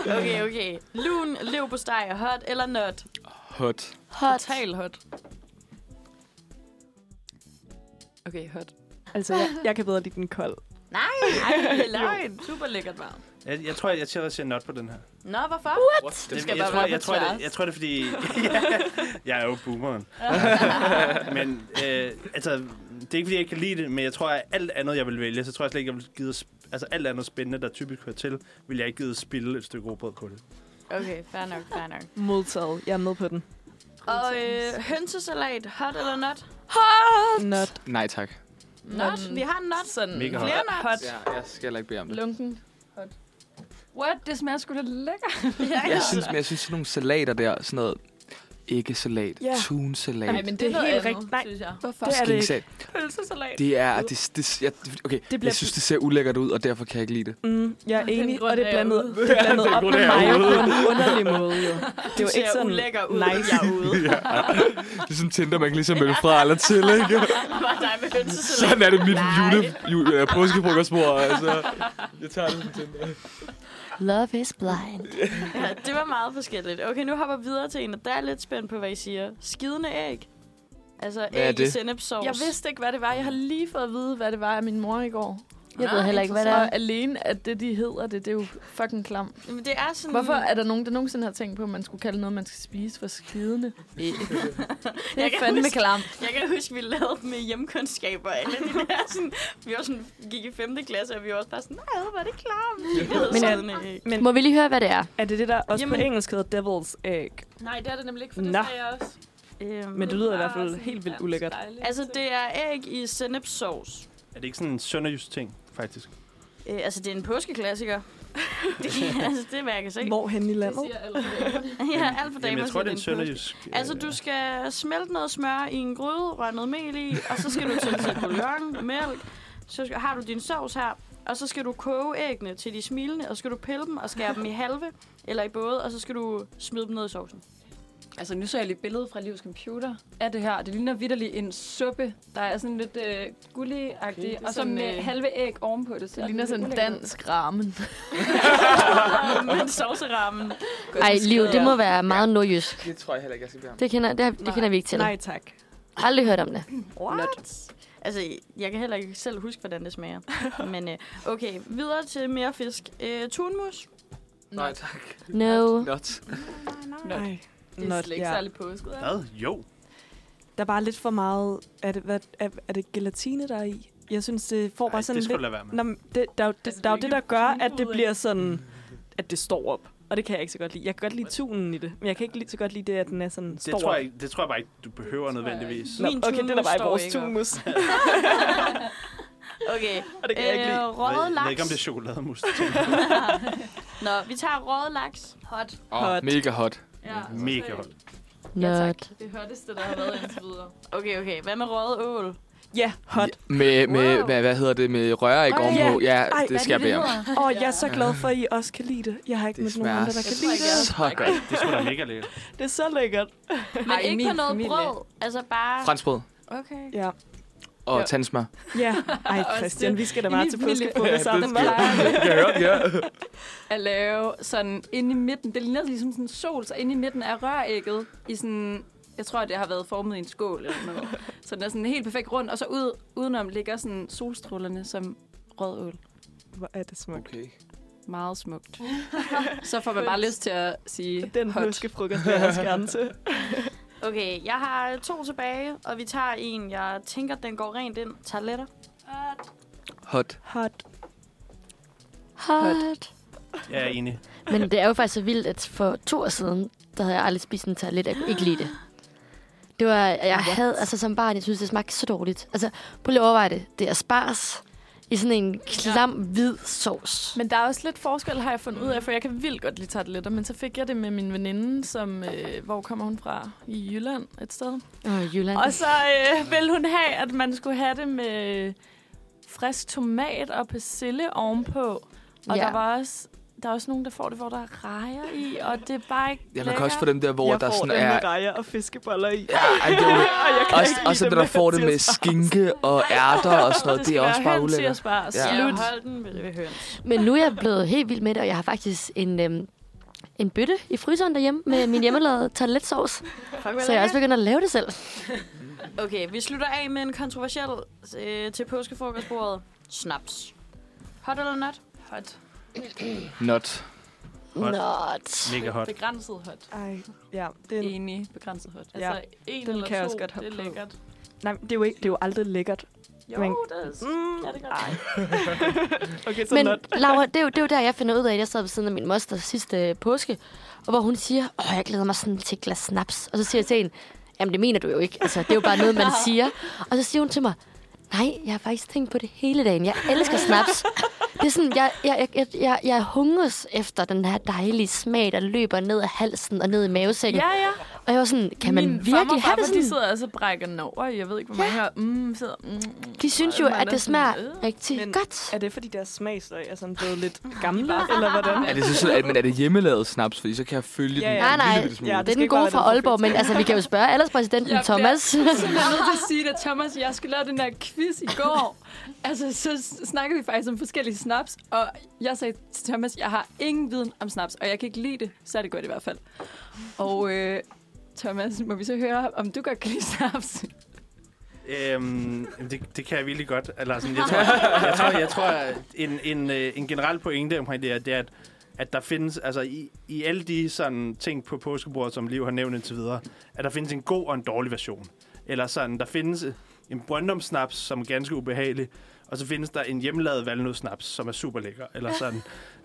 Speaker 5: Okay, okay. Lun, lev på steg, hot eller not?
Speaker 4: Hot.
Speaker 1: Hot.
Speaker 7: total hot.
Speaker 3: Okay, hot.
Speaker 6: Altså, jeg, jeg kan bedre lide den kold.
Speaker 5: Nej,
Speaker 7: det er
Speaker 5: ej, løgn.
Speaker 7: løgn. Super lækkert varmt.
Speaker 2: Jeg, jeg tror, jeg, jeg, siger, jeg siger not på den her.
Speaker 5: Nå, hvorfor?
Speaker 4: What?
Speaker 2: Det,
Speaker 4: Det,
Speaker 3: skal
Speaker 2: jeg,
Speaker 3: bare
Speaker 2: tror,
Speaker 3: være på
Speaker 2: jeg, tror, det,
Speaker 3: tværs.
Speaker 2: jeg tror, det er fordi... jeg er jo boomeren. men øh, altså, det er ikke, fordi jeg ikke kan lide det, men jeg tror, at alt andet, jeg vil vælge, så tror jeg slet ikke, jeg vil give... Altså alt andet spændende, der typisk hører til, vil jeg ikke give spille et stykke råbrød på det.
Speaker 5: Okay, fair nok, fair nok.
Speaker 6: Modtaget. Jeg er med på den.
Speaker 5: Og øh, hønsesalat, hot eller not?
Speaker 6: Not.
Speaker 4: Nej, tak.
Speaker 5: Not. Vi har en not.
Speaker 7: Sådan
Speaker 2: Mega hot.
Speaker 5: Flere not.
Speaker 7: hot.
Speaker 4: Ja, jeg skal heller ikke bede om det.
Speaker 7: Lunken.
Speaker 3: What? Det smager sgu da lækkert.
Speaker 5: Ja,
Speaker 4: Jeg synes, men jeg synes sådan nogle salater der, sådan noget æggesalat,
Speaker 6: Ja.
Speaker 4: tunsalat.
Speaker 7: Nej, men det,
Speaker 6: Det er
Speaker 7: er
Speaker 6: helt
Speaker 7: helt
Speaker 6: rigtigt. Nej.
Speaker 7: rigtigt, synes jeg.
Speaker 6: Hvorfor?
Speaker 4: det
Speaker 6: Det er det ikke.
Speaker 4: Skinsalat.
Speaker 6: Pølsesalat.
Speaker 4: Det er... Det, det, jeg, okay, det
Speaker 6: bliver-
Speaker 4: jeg synes, det ser ulækkert ud, og derfor kan jeg ikke lide det.
Speaker 6: Mm, jeg er
Speaker 7: den
Speaker 6: enig,
Speaker 7: grund
Speaker 6: og det
Speaker 7: er
Speaker 6: er
Speaker 7: jeg
Speaker 6: blandet,
Speaker 7: ude.
Speaker 6: det er blandet
Speaker 2: den
Speaker 6: op
Speaker 2: grund
Speaker 6: med
Speaker 2: er jeg
Speaker 6: mig
Speaker 2: ude.
Speaker 6: på en underlig måde, jo. Det er jo ikke sådan
Speaker 5: ulækker ud,
Speaker 6: nice.
Speaker 5: jeg er ude.
Speaker 4: Ligesom Tinder, man kan ligesom melde fra eller til, ikke?
Speaker 5: Bare dig med hønsesalat.
Speaker 4: Sådan er det mit jule, jule, uh, påskefrokostbord, altså. Jeg tager det som Tinder.
Speaker 1: Love is blind.
Speaker 5: Ja, det var meget forskelligt. Okay, nu hopper vi videre til en, og der er lidt spændt på, hvad I siger. Skidende æg. Altså
Speaker 4: er
Speaker 5: æg i
Speaker 4: det?
Speaker 5: sennepsovs.
Speaker 7: Jeg vidste ikke, hvad det var. Jeg har lige fået at vide, hvad det var af min mor i går.
Speaker 1: Jeg ved heller ikke, hvad det er.
Speaker 7: Og alene, at det, de hedder det, det er jo fucking klam.
Speaker 5: Men det er sådan...
Speaker 7: Hvorfor er der nogen, der nogensinde har tænkt på, at man skulle kalde noget, man skal spise for skidende? Det
Speaker 5: Jeg
Speaker 7: er
Speaker 5: kan
Speaker 7: fandme
Speaker 5: huske-
Speaker 7: klam.
Speaker 5: Jeg kan huske, vi lavede dem i hjemkundskaber. Alle de der, sådan, vi var sådan, gik i 5. klasse, og vi var også bare sådan, nej, hvor er det klamt. Det hedder
Speaker 1: Men-
Speaker 5: sådan æg.
Speaker 6: Men øh,
Speaker 1: Må vi lige høre, hvad det er?
Speaker 6: er det det, der også
Speaker 5: Jamen-
Speaker 6: på engelsk hedder devil's egg?
Speaker 7: Nej, det er det nemlig ikke,
Speaker 6: for det Nå. sagde
Speaker 7: jeg også.
Speaker 5: Øhm,
Speaker 6: Men det lyder i hvert fald helt vildt ulækkert.
Speaker 5: Altså, det er æg i sennepsovs.
Speaker 2: Er det ikke sådan en sønderjysk ting, faktisk?
Speaker 5: Øh, altså, det er en påskeklassiker. det, altså, det er, hvad jeg kan se.
Speaker 6: Hvorhen i landet?
Speaker 5: ja, alt for
Speaker 2: Jamen,
Speaker 5: damer
Speaker 2: jeg tror, det er en
Speaker 5: siger, påske-
Speaker 2: sønderjysk... øh,
Speaker 5: Altså, du skal smelte noget smør i en gryde, røre noget mel i, og så skal du tilsætte bouillon, mælk. Så skal, har du din sovs her, og så skal du koge æggene til de smilende, og så skal du pille dem og skære dem i halve eller i både, og så skal du smide dem ned i sovsen.
Speaker 3: Altså, nu så jeg lige billedet fra Livs computer af det her. Det ligner vidderligt en suppe, der er sådan lidt øh, gullig okay, og så
Speaker 7: sådan,
Speaker 3: med
Speaker 7: øh,
Speaker 3: halve æg ovenpå det.
Speaker 7: Det ligner sådan en dansk ramen.
Speaker 5: Men sovserammen.
Speaker 1: Ej, Liv, det må være meget nordjysk.
Speaker 4: Det tror jeg heller ikke, jeg skal blive ham.
Speaker 1: Det kender, det, har- det
Speaker 5: Nej.
Speaker 1: kender vi ikke til.
Speaker 6: Nej, tak.
Speaker 1: Aldrig hørt om det.
Speaker 5: What? Altså, jeg kan heller ikke selv huske, hvordan det smager. Men øh, okay, videre til mere fisk. Øh, tunmus.
Speaker 4: Nej, tak.
Speaker 1: No.
Speaker 4: Not.
Speaker 3: Not.
Speaker 6: Mm, Nej.
Speaker 7: Det er
Speaker 6: Not,
Speaker 7: slet ikke
Speaker 6: ja.
Speaker 7: særlig påsket. er det?
Speaker 2: Hvad? Jo.
Speaker 6: Der er bare lidt for meget... Er det, hvad, er, er det gelatine, der er i? Jeg synes, det får bare
Speaker 2: Ej,
Speaker 6: sådan
Speaker 2: det skulle
Speaker 6: lidt...
Speaker 2: du lade være med.
Speaker 6: Nå, men det, der, er jo- det,
Speaker 7: Altså,
Speaker 6: der er jo
Speaker 7: det er
Speaker 6: det, der
Speaker 7: ikke
Speaker 6: gør, at det
Speaker 7: tunbud,
Speaker 6: bliver sådan... At det står op. Og det kan jeg ikke så godt lide. Jeg kan godt lide tunen i det, men jeg kan ikke lige så godt lide det, at den er sådan
Speaker 2: det,
Speaker 6: står
Speaker 2: tror
Speaker 6: op.
Speaker 2: jeg, ikke- det tror jeg bare ikke, du behøver
Speaker 3: tror jeg
Speaker 2: nødvendigvis.
Speaker 6: Nå,
Speaker 5: Min
Speaker 6: okay, det er der
Speaker 5: tunmus
Speaker 6: bare i
Speaker 5: står
Speaker 6: vores
Speaker 5: ikke op.
Speaker 6: tunmus.
Speaker 5: Okay.
Speaker 6: Og det kan jeg ikke lide.
Speaker 5: røget
Speaker 2: Jeg ved ikke, om det er
Speaker 5: laks.
Speaker 2: chokolademus.
Speaker 5: Nå, vi tager røget laks. Hot.
Speaker 4: Oh,
Speaker 6: Hot.
Speaker 4: Mega hot.
Speaker 7: Ja,
Speaker 2: Mega hot.
Speaker 1: Not.
Speaker 7: Det hotteste, der har været indtil videre.
Speaker 5: Okay, okay. Hvad med røget ål?
Speaker 6: Ja, hot.
Speaker 4: Med, med,
Speaker 5: Wow.
Speaker 4: med, hvad hedder det, med røræg
Speaker 7: Ej,
Speaker 4: ovenpå? Ja,
Speaker 6: Ej,
Speaker 4: det skal jeg bede om.
Speaker 6: Og jeg er så glad for, at I også kan lide det. Jeg har ikke
Speaker 4: Det
Speaker 6: mødt nogen
Speaker 4: smager
Speaker 6: andre, der kan lide det.
Speaker 4: så godt.
Speaker 2: Det skulle da mega lækkert.
Speaker 6: Det er så lækkert.
Speaker 5: Men Ej, ikke på noget familie. brød. Altså bare...
Speaker 4: Franskbrød
Speaker 5: Okay.
Speaker 6: Ja.
Speaker 4: og
Speaker 7: Ja.
Speaker 4: tandsmør.
Speaker 6: Ja. Ej, Christian, vi skal da bare
Speaker 3: min
Speaker 6: til
Speaker 3: familie-
Speaker 6: påskefrokost sammen.
Speaker 4: Jeg hørte, ja.
Speaker 3: at lave sådan inde i midten. Det ligner ligesom sådan en sol, så inde i midten er rørægget i sådan... Jeg tror, det har været formet i en skål eller noget. Så den er sådan helt perfekt rund, og så ud, udenom ligger sådan solstrålerne som rød ål.
Speaker 6: Hvor er det smukt.
Speaker 4: Okay.
Speaker 3: Meget smukt. Så får man bare lyst til at sige
Speaker 6: Den
Speaker 3: hot.
Speaker 6: påskefrokost vil jeg også gerne til.
Speaker 5: Okay, jeg har to tilbage, og vi tager en, jeg tænker, den går rent ind. Tarletter.
Speaker 4: Hot.
Speaker 6: Hot.
Speaker 1: Hot.
Speaker 2: Jeg er enig.
Speaker 1: Men det er jo faktisk så vildt, at for to år siden, der havde jeg aldrig spist en tarlet. Jeg kunne ikke lide det. Det var, jeg havde, altså som barn, jeg synes, det smagte så dårligt. Altså, prøv lige at overveje det. Det er spars i sådan en klam, hvid sovs.
Speaker 7: Men der er også lidt forskel, har jeg fundet ud af, for jeg kan vildt godt lide tarteletter, men så fik jeg det med min veninde, som, øh, hvor kommer hun fra? I Jylland et sted.
Speaker 1: Åh, Jylland.
Speaker 7: Og så øh, ville hun have, at man skulle have det med frisk tomat og persille ovenpå.
Speaker 1: Ja.
Speaker 7: Og ja. der var også... Der er også nogen, der får det, hvor der er rejer i, og det er bare ikke
Speaker 4: Ja, man kan også få dem der, hvor
Speaker 6: jeg
Speaker 4: der
Speaker 6: får
Speaker 4: sådan
Speaker 6: den
Speaker 4: er...
Speaker 6: med rejer og fiskeboller i.
Speaker 4: Ja, ej, det er jo-
Speaker 6: Og jeg kan
Speaker 4: Også,
Speaker 6: ikke
Speaker 4: også
Speaker 6: lide
Speaker 4: dem, der får det med
Speaker 6: til spars.
Speaker 4: skinke og ærter og sådan noget. Det er også bare ulækkert.
Speaker 7: ulækkert.
Speaker 4: Ja.
Speaker 7: Ja.
Speaker 5: Ja,
Speaker 7: Slut.
Speaker 5: hold den ved, ved høns.
Speaker 1: Men nu er jeg blevet helt vild med det, og jeg har faktisk en, øhm, en bøtte i fryseren derhjemme med min hjemmelavede tartletsovs.
Speaker 5: Fuck, hvad
Speaker 1: Så jeg er også
Speaker 5: lækkert.
Speaker 1: begyndt at lave det selv.
Speaker 5: Okay, vi slutter af med en kontroversiel øh, til påskefrokostbordet. Snaps. Hot eller not?
Speaker 7: Hot.
Speaker 4: Not.
Speaker 2: Hot.
Speaker 1: Not.
Speaker 2: Mega hot.
Speaker 7: Begrænset hot.
Speaker 6: Ej, ja. Det er,
Speaker 3: Enig begrænset hot.
Speaker 6: ja.
Speaker 7: Altså, en
Speaker 6: Den
Speaker 7: eller
Speaker 6: kan jeg
Speaker 7: to,
Speaker 6: også godt
Speaker 7: det er
Speaker 6: hoppe på.
Speaker 7: lækkert.
Speaker 6: Nej, det er, jo ikke, det er jo aldrig lækkert.
Speaker 7: Jo,
Speaker 6: Men-
Speaker 7: det er
Speaker 6: Mm,
Speaker 7: Ja, det gør det.
Speaker 6: okay, så
Speaker 1: Men
Speaker 6: not.
Speaker 1: Laura, det er, jo, det er jo der, jeg finder ud af, at jeg sad ved siden af min moster sidste øh, påske, og hvor hun siger, åh, jeg glæder mig sådan til et glas snaps. Og så siger jeg til hende, jamen det mener du jo ikke, altså det er jo bare noget, man siger. Og så siger hun til mig, nej, jeg har faktisk tænkt på det hele dagen, jeg elsker snaps. Det er sådan, jeg, jeg, jeg, jeg, jeg, jeg hunges efter den her dejlige smag, der løber ned af halsen og ned i mavesækken.
Speaker 7: Ja, ja.
Speaker 1: Og jeg var sådan, kan man
Speaker 7: Min farmor
Speaker 1: virkelig have
Speaker 7: og farfar,
Speaker 1: det
Speaker 7: de
Speaker 1: sådan?
Speaker 7: sidder også og brækker den over. Jeg ved ikke, hvor mange ja. mm, sidder... Mm, mm.
Speaker 1: De synes jo,
Speaker 7: Og man
Speaker 1: at
Speaker 7: er
Speaker 1: det
Speaker 7: sådan,
Speaker 1: smager
Speaker 7: øh.
Speaker 1: rigtig
Speaker 6: Men-
Speaker 1: godt.
Speaker 6: Er det, fordi deres smagsløg er sådan blevet lidt gamle, eller hvordan?
Speaker 4: Er det så sådan, at, men er det hjemmelavet snaps? Fordi så kan jeg følge
Speaker 6: Ja,
Speaker 4: den
Speaker 6: ja.
Speaker 1: Nej,
Speaker 4: en
Speaker 1: nej.
Speaker 4: lille bitte smule.
Speaker 6: Ja,
Speaker 1: Det er
Speaker 6: skal
Speaker 1: den
Speaker 6: ikke bare
Speaker 1: gode fra
Speaker 6: være den
Speaker 1: Aalborg, men altså, vi kan jo spørge alderspræsidenten
Speaker 3: Jeg bliver-
Speaker 1: Thomas.
Speaker 3: Så er jeg nødt til at sige det, Thomas. Jeg skulle lave den der quiz i går. Altså, så s- snakkede vi faktisk om forskellige snaps, og jeg sagde til Thomas, jeg har ingen viden om snaps, og jeg kan ikke lide det. Så er det godt i hvert fald. Og øh, Thomas, må vi så høre, om du godt kan lide snaps?
Speaker 2: Øhm, jamen, det, det kan jeg virkelig godt. Eller sådan, jeg tror, jeg tror, jeg tror at en, en, øh, en generel pointe omkring det her, det er, at, at der findes, altså i, i alle de sådan ting på påskebordet, som Liv har nævnt indtil videre, at der findes en god og en dårlig version. Eller sådan, der findes øh, en brøndomsnaps, som er ganske ubehagelig, og så findes der en hjemmelavet valnødsnaps, som er super lækker. Eller sådan.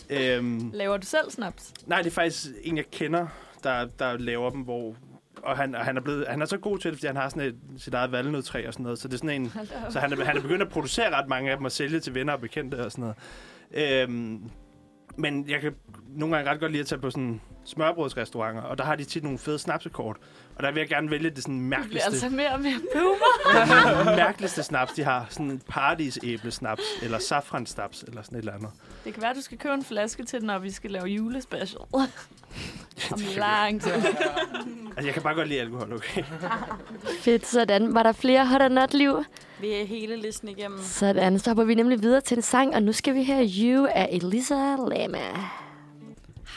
Speaker 2: øhm,
Speaker 7: Laver du selv snaps?
Speaker 2: Nej, det er faktisk en, jeg kender, der, der laver dem, hvor... Og han, og han, er blevet, han er så god til det, fordi han har sådan et, sit eget valnødtræ og sådan noget. Så, det er sådan en, så han, er, han er begyndt at producere ret mange af dem og sælge til venner og bekendte og sådan noget. Øhm, men jeg kan nogle gange ret godt lide at tage på sådan smørbrødsrestauranter, og der har de tit nogle fede snapsekort. Og der vil jeg gerne vælge det sådan
Speaker 7: Du bliver
Speaker 2: mærkeligste,
Speaker 7: altså mere og mere
Speaker 2: det mærkeligste snaps, de har. Sådan en paradisæblesnaps, eller safransnaps, eller sådan et eller andet.
Speaker 7: Det kan være, du skal købe en flaske til, når vi skal lave julespecial. Om lang tid.
Speaker 2: Altså, jeg kan bare godt lide alkohol, okay?
Speaker 1: Fedt, sådan. Var der flere hot or not, Liv?
Speaker 5: Vi er hele listen igennem.
Speaker 1: Sådan, så hopper vi nemlig videre til en sang, og nu skal vi høre You af Elisa Lama.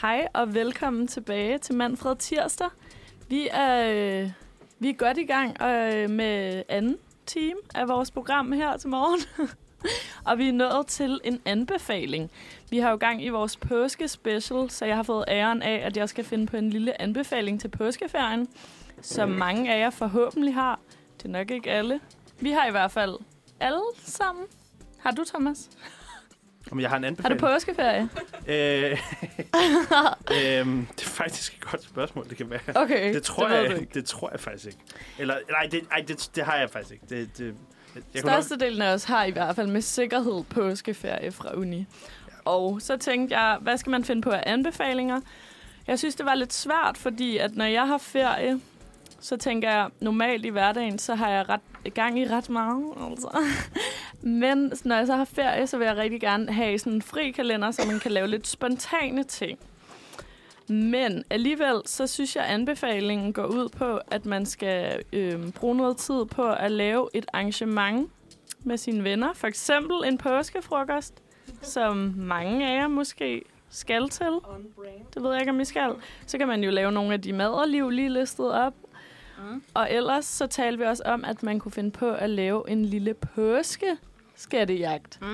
Speaker 7: Hej og velkommen tilbage til Manfred Tirsdag. Vi er, øh, vi er godt i gang øh, med anden time af vores program her til morgen. og vi er nået til en anbefaling. Vi har jo gang i vores påskespecial, så jeg har fået æren af, at jeg skal finde på en lille anbefaling til påskeferien,
Speaker 2: Mm.
Speaker 7: som mange af jer forhåbentlig har. Det er nok ikke alle. Vi har i hvert fald alle sammen. Har du, Thomas?
Speaker 2: Om jeg har en
Speaker 7: Har du
Speaker 2: anbefaling.
Speaker 7: påskeferie?
Speaker 2: Øh, øhm, det er faktisk et godt spørgsmål, det kan være.
Speaker 7: Okay,
Speaker 2: Det tror,
Speaker 7: det ved
Speaker 2: det
Speaker 7: du
Speaker 2: jeg,
Speaker 7: ikke.
Speaker 2: ikke. det tror jeg faktisk ikke. Eller, nej, det, ej, det, det har jeg faktisk ikke. Det, det, jeg kunne nok,
Speaker 7: Størstedelen af os har i hvert fald med sikkerhed påskeferie fra uni. Og så tænkte jeg, hvad skal man finde på af anbefalinger? Jeg synes, det var lidt svært, fordi at når jeg har ferie, så tænker jeg, normalt i hverdagen, så har jeg ret, gang i ret meget. Altså. Men når jeg så har ferie, så vil jeg rigtig gerne have sådan en fri kalender, så man kan lave lidt spontane ting. Men alligevel, så synes jeg, at anbefalingen går ud på, at man skal øh, bruge noget tid på at lave et arrangement med sine venner. For eksempel en påskefrokost, som mange af jer måske skal til. Det ved jeg ikke, om I skal. Så kan man jo lave nogle af de maderliv lige listet op.
Speaker 5: Mm.
Speaker 7: Og ellers så talte vi også om, at man kunne finde på at lave en lille påskeskattejagt
Speaker 5: Mm.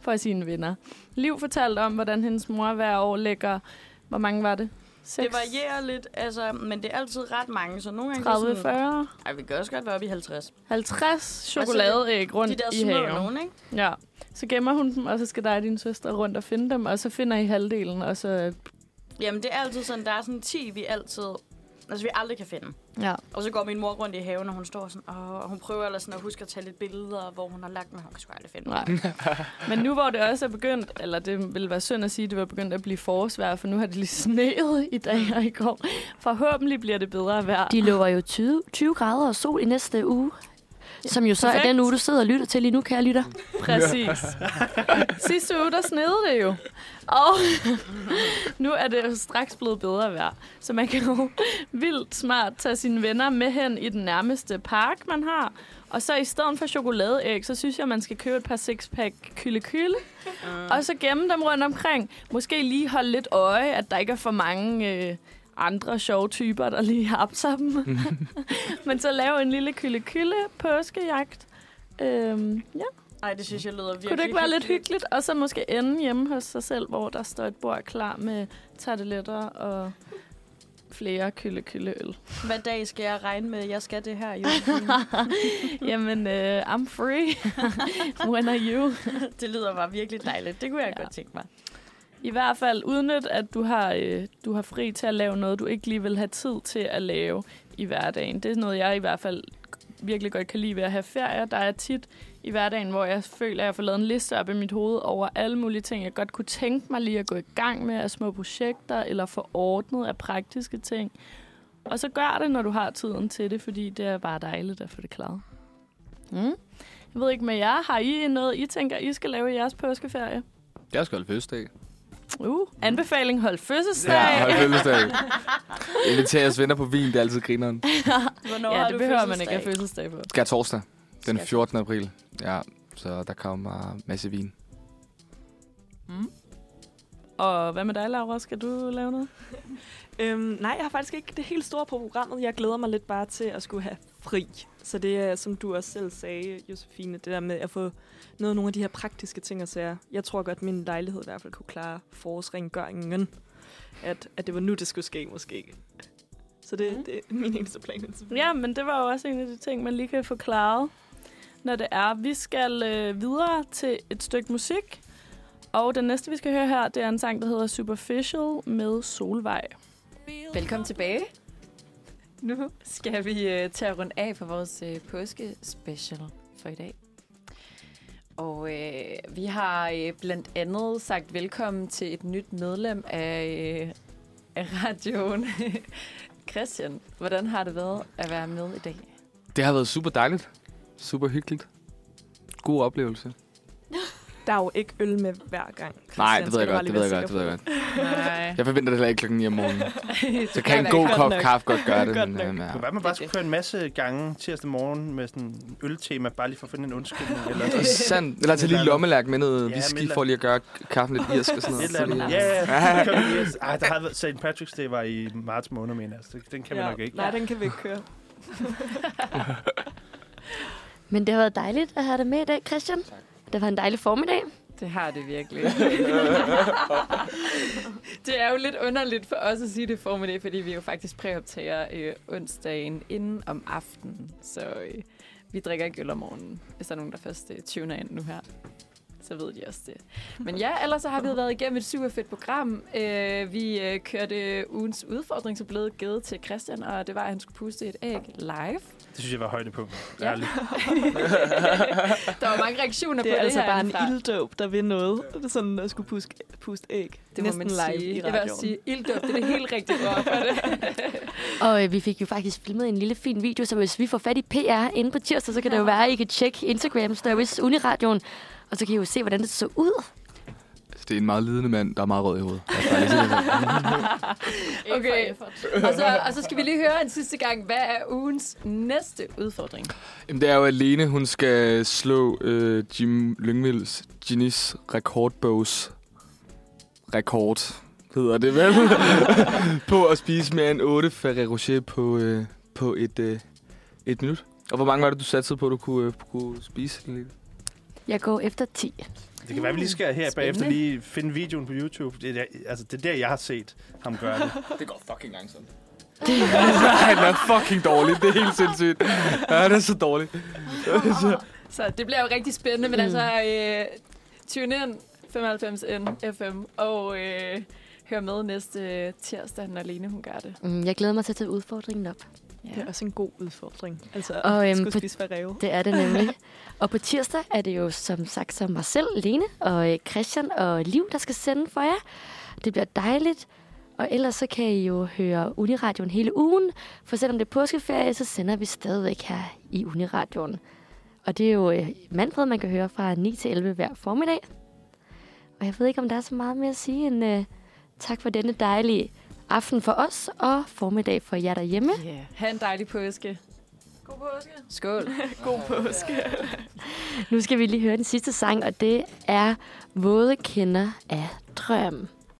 Speaker 7: for sine venner. Liv fortalte om, hvordan hendes mor hver år lægger... Hvor mange var det?
Speaker 5: Det varierer lidt, altså, men det er altid ret mange, så nogle gange... er det sådan-
Speaker 7: 30, 40,
Speaker 5: Ej, vi kan også godt være oppe i 50.
Speaker 7: 50
Speaker 5: det-
Speaker 7: chokoladeæg rundt
Speaker 5: Altså, De der
Speaker 7: i haven.
Speaker 5: små nogen, ikke?
Speaker 7: Ja. Så gemmer hun dem, og så skal dig og din søster rundt og finde dem, og så finder I halvdelen, og så...
Speaker 5: Jamen, det er altid sådan, der er sådan 10, vi altid... Altså, vi aldrig kan finde.
Speaker 7: Ja.
Speaker 5: Og så går min mor rundt i haven, og hun står sådan, Åh, og hun prøver ellers sådan at huske at tage lidt billeder, hvor hun har lagt dem, og hun kan sgu aldrig finde dem.
Speaker 7: Nej. Men nu hvor det også er begyndt, eller det vil være synd at sige, at det var begyndt at blive forårsvejr, for nu har det lige sneet i dag og i går. Forhåbentlig bliver det bedre vejr.
Speaker 1: De lover jo 20, 20 grader og sol i næste uge. Som jo så er
Speaker 7: perfekt.
Speaker 1: den uge, du sidder og lytter til lige nu, kære lytter.
Speaker 7: Præcis. Sidste uge, der snede det jo. Og nu er det jo straks blevet bedre vejr. Så man kan jo vildt smart tage sine venner med hen i den nærmeste park, man har. Og så i stedet for chokoladeæg, så synes jeg, man skal købe et par sixpack kylde
Speaker 5: Mm.
Speaker 7: Og så gemme dem rundt omkring. Måske lige holde lidt øje, at der ikke er for mange... Øh, andre sjove typer, der lige har dem. Men så lave en lille kylde påskejagt. Øhm, ja.
Speaker 5: Nej, det synes jeg lyder virkelig
Speaker 7: Kunne det ikke være lidt hyggeligt? Og så måske ende hjemme hos sig selv, hvor der står et bord klar med tarteletter og flere kylde kylde øl.
Speaker 5: Hvad dag skal jeg regne med, jeg skal det her i
Speaker 7: Jamen, uh, I'm free. When are you?
Speaker 5: Det lyder bare virkelig dejligt. Det kunne jeg
Speaker 7: Ja.
Speaker 5: ja. godt tænke mig.
Speaker 7: I hvert fald udnyt, at du har, øh, du har fri til at lave noget, du ikke lige vil have tid til at lave i hverdagen. Det er noget, jeg i hvert fald virkelig godt kan lide ved at have ferie. Der er tit i hverdagen, hvor jeg føler, at jeg får lavet en liste op i mit hoved over alle mulige ting, jeg godt kunne tænke mig lige at gå i gang med af små projekter, eller få ordnet af praktiske ting. Og så gør det, når du har tiden til det, fordi det er bare dejligt at få det klaret. Mm. Jeg ved ikke med jer, har I noget, I tænker, I skal lave i jeres påskeferie?
Speaker 4: Jeg skal holde fødselsdag.
Speaker 7: Uh, anbefaling, hold fødselsdag.
Speaker 4: Ja, holde fødselsdag. Inviter jeres venner på vin, det er altid grineren.
Speaker 7: Hvornår ja, det behøver man ikke at have fødselsdag på.
Speaker 4: Skal jeg torsdag, den
Speaker 7: Skal-
Speaker 4: 14. april. Ja, så der kommer masse vin.
Speaker 7: Og hvad med dig, Laura? Skal du lave noget?
Speaker 6: Øhm, nej, jeg har faktisk ikke det helt store på programmet. Jeg glæder mig lidt bare til at skulle have fri. Så det er, som du også selv sagde, Josefine, det der med at få noget af nogle af de her praktiske ting og sager. Jeg tror godt, min lejlighed i hvert fald kunne klare forårsrengøringen. At, at det var nu, det skulle ske, måske. Så det,
Speaker 1: Mhm.
Speaker 7: Mm.
Speaker 6: det er min eneste plan. indtil videre.
Speaker 7: Ja, men det var jo også en af de ting, man lige kan få klaret, når det er. Vi skal øh, videre til et stykke musik, og den næste, vi skal høre her, det er en sang, der hedder Superficial med Solvej.
Speaker 3: Velkommen tilbage. Nu skal vi øh, tage rundt af for vores øh, påskespecial for i dag. Og øh, vi har øh, blandt andet sagt velkommen til et nyt medlem af, øh, af radioen. Christian, hvordan har det været at være med i dag?
Speaker 4: Det har været super dejligt. Super hyggeligt. God oplevelse.
Speaker 6: Der er jo ikke øl med hver gang. Christian,
Speaker 4: Nej, det
Speaker 6: skal
Speaker 4: ved jeg
Speaker 6: du
Speaker 4: godt,
Speaker 6: bare lige
Speaker 4: det ved jeg
Speaker 6: være
Speaker 4: godt, det ved jeg
Speaker 6: sikker
Speaker 4: godt.
Speaker 3: Nej.
Speaker 4: Jeg forventer det heller ikke klokken 9 om morgenen. Så
Speaker 3: Det
Speaker 4: kan en
Speaker 3: være
Speaker 4: god
Speaker 3: godt
Speaker 4: kop
Speaker 3: nok.
Speaker 4: kaffe godt gøre det.
Speaker 6: Godt
Speaker 4: men,
Speaker 6: nok.
Speaker 4: øhm, ja.
Speaker 2: Kunne være, man bare skulle køre en masse gange tirsdag morgen med sådan en øltema, bare lige for at finde en undskyldning eller sådan noget.
Speaker 4: Sandt. Eller tage lige lommelærk med noget
Speaker 2: Ja, med et
Speaker 4: whisky,
Speaker 2: eller
Speaker 4: for lige at gøre kaffen lidt irsk og sådan
Speaker 2: Et
Speaker 4: noget.
Speaker 2: eller andet.
Speaker 4: fordi-
Speaker 2: Ja, ja, ja. Så kører vi lige- Ej, der har været St. Patrick's Day var i marts måned, mener jeg. Så den kan vi
Speaker 6: Ja,
Speaker 2: nok ikke.
Speaker 6: Nej, den kan vi ikke køre.
Speaker 1: Men det har været dejligt at have dig med i dag, Christian. Tak. Det var en dejlig formiddag.
Speaker 3: Det har det virkelig. det er jo lidt underligt for os at sige det formiddag, fordi vi jo faktisk præoptager øh, onsdagen inden om aftenen. Så øh, vi drikker ikke øl om morgenen. Hvis der er nogen, der først øh, tuner ind nu her, så ved de også det. Men ja, ellers så har vi jo været igennem et super fedt program. Øh, vi øh, kørte ugens udfordring, som blev givet til Christian, og det var, at han skulle puste et æg live.
Speaker 2: Det synes jeg var højdepunkt.
Speaker 3: Ja.
Speaker 2: Ærligt.
Speaker 3: Der var mange reaktioner
Speaker 6: Det
Speaker 3: på
Speaker 6: er altså
Speaker 3: det
Speaker 6: bare en
Speaker 3: herindefra.
Speaker 6: ilddåb, der vil noget. Det er sådan at skulle puske, puste æg.
Speaker 3: Det må
Speaker 6: Næsten
Speaker 3: man
Speaker 6: live
Speaker 3: sige.
Speaker 6: i
Speaker 3: Jeg vil
Speaker 6: radioen.
Speaker 3: også sige, ilddåb, det er det helt rigtige ord for det.
Speaker 1: Og øh, vi fik jo faktisk filmet en lille fin video, så hvis vi får fat i PR inde på tirsdag, så kan det jo være, at I kan tjekke Instagram Stories Uniradioen. Og så kan I jo se, hvordan det så ud.
Speaker 4: Det er en meget lidende mand, der er meget rød i hovedet. Lad os bare lige sige det.
Speaker 3: Okay, og så, og så skal vi lige høre en sidste gang, hvad er ugens næste udfordring?
Speaker 4: Jamen, det er jo alene, hun skal slå øh, Jim Lyngvilds Ginny's rekordbogs rekord, hedder det vel, på at spise mere end 8 Ferrero Rocher på, øh, på et, øh, et minut. Og hvor mange var det, du satte på, du kunne, øh, kunne spise? Lille?
Speaker 1: Jeg går efter 10.
Speaker 2: Det kan være, vi lige skal her bagefter
Speaker 3: Spændende.
Speaker 2: lige finde videoen på YouTube. Det er, der- altså, det er der, jeg har set ham gøre det.
Speaker 4: Det går fucking langsomt. Nej, den er fucking dårlig. Det er helt sindssygt. Ja, det er så dårligt.
Speaker 3: Så det bliver jo rigtig spændende, men altså, øh, tune ind 95 N FM og øh, hør med næste øh, tirsdag, når Lene hun gør det.
Speaker 1: Mm, Jeg glæder mig til at tage udfordringen op.
Speaker 6: Det er også en god udfordring. Altså,
Speaker 1: Og,
Speaker 6: og,
Speaker 1: øhm,
Speaker 6: øhm, skulle
Speaker 1: på-
Speaker 6: spise Ferrero.
Speaker 1: Det er det nemlig. og på tirsdag er det jo som sagt som mig selv, Lene og øh, Christian og Liv, der skal sende for jer. Det bliver dejligt. Og ellers så kan I jo høre Uniradioen hele ugen. For selvom det er påskeferie, så sender vi stadigvæk her i Uniradioen. Og det er jo øh, Manfred, man kan høre fra 9 til 11 hver formiddag. Og jeg ved ikke, om der er så meget mere at sige end øh, tak for denne dejlige aften for os og formiddag for jer derhjemme.
Speaker 3: Yeah. Ha' en dejlig påske. God påske. Skål.
Speaker 6: God påske.
Speaker 1: Nu skal vi lige høre den sidste sang, og det er Våde kender af drøm.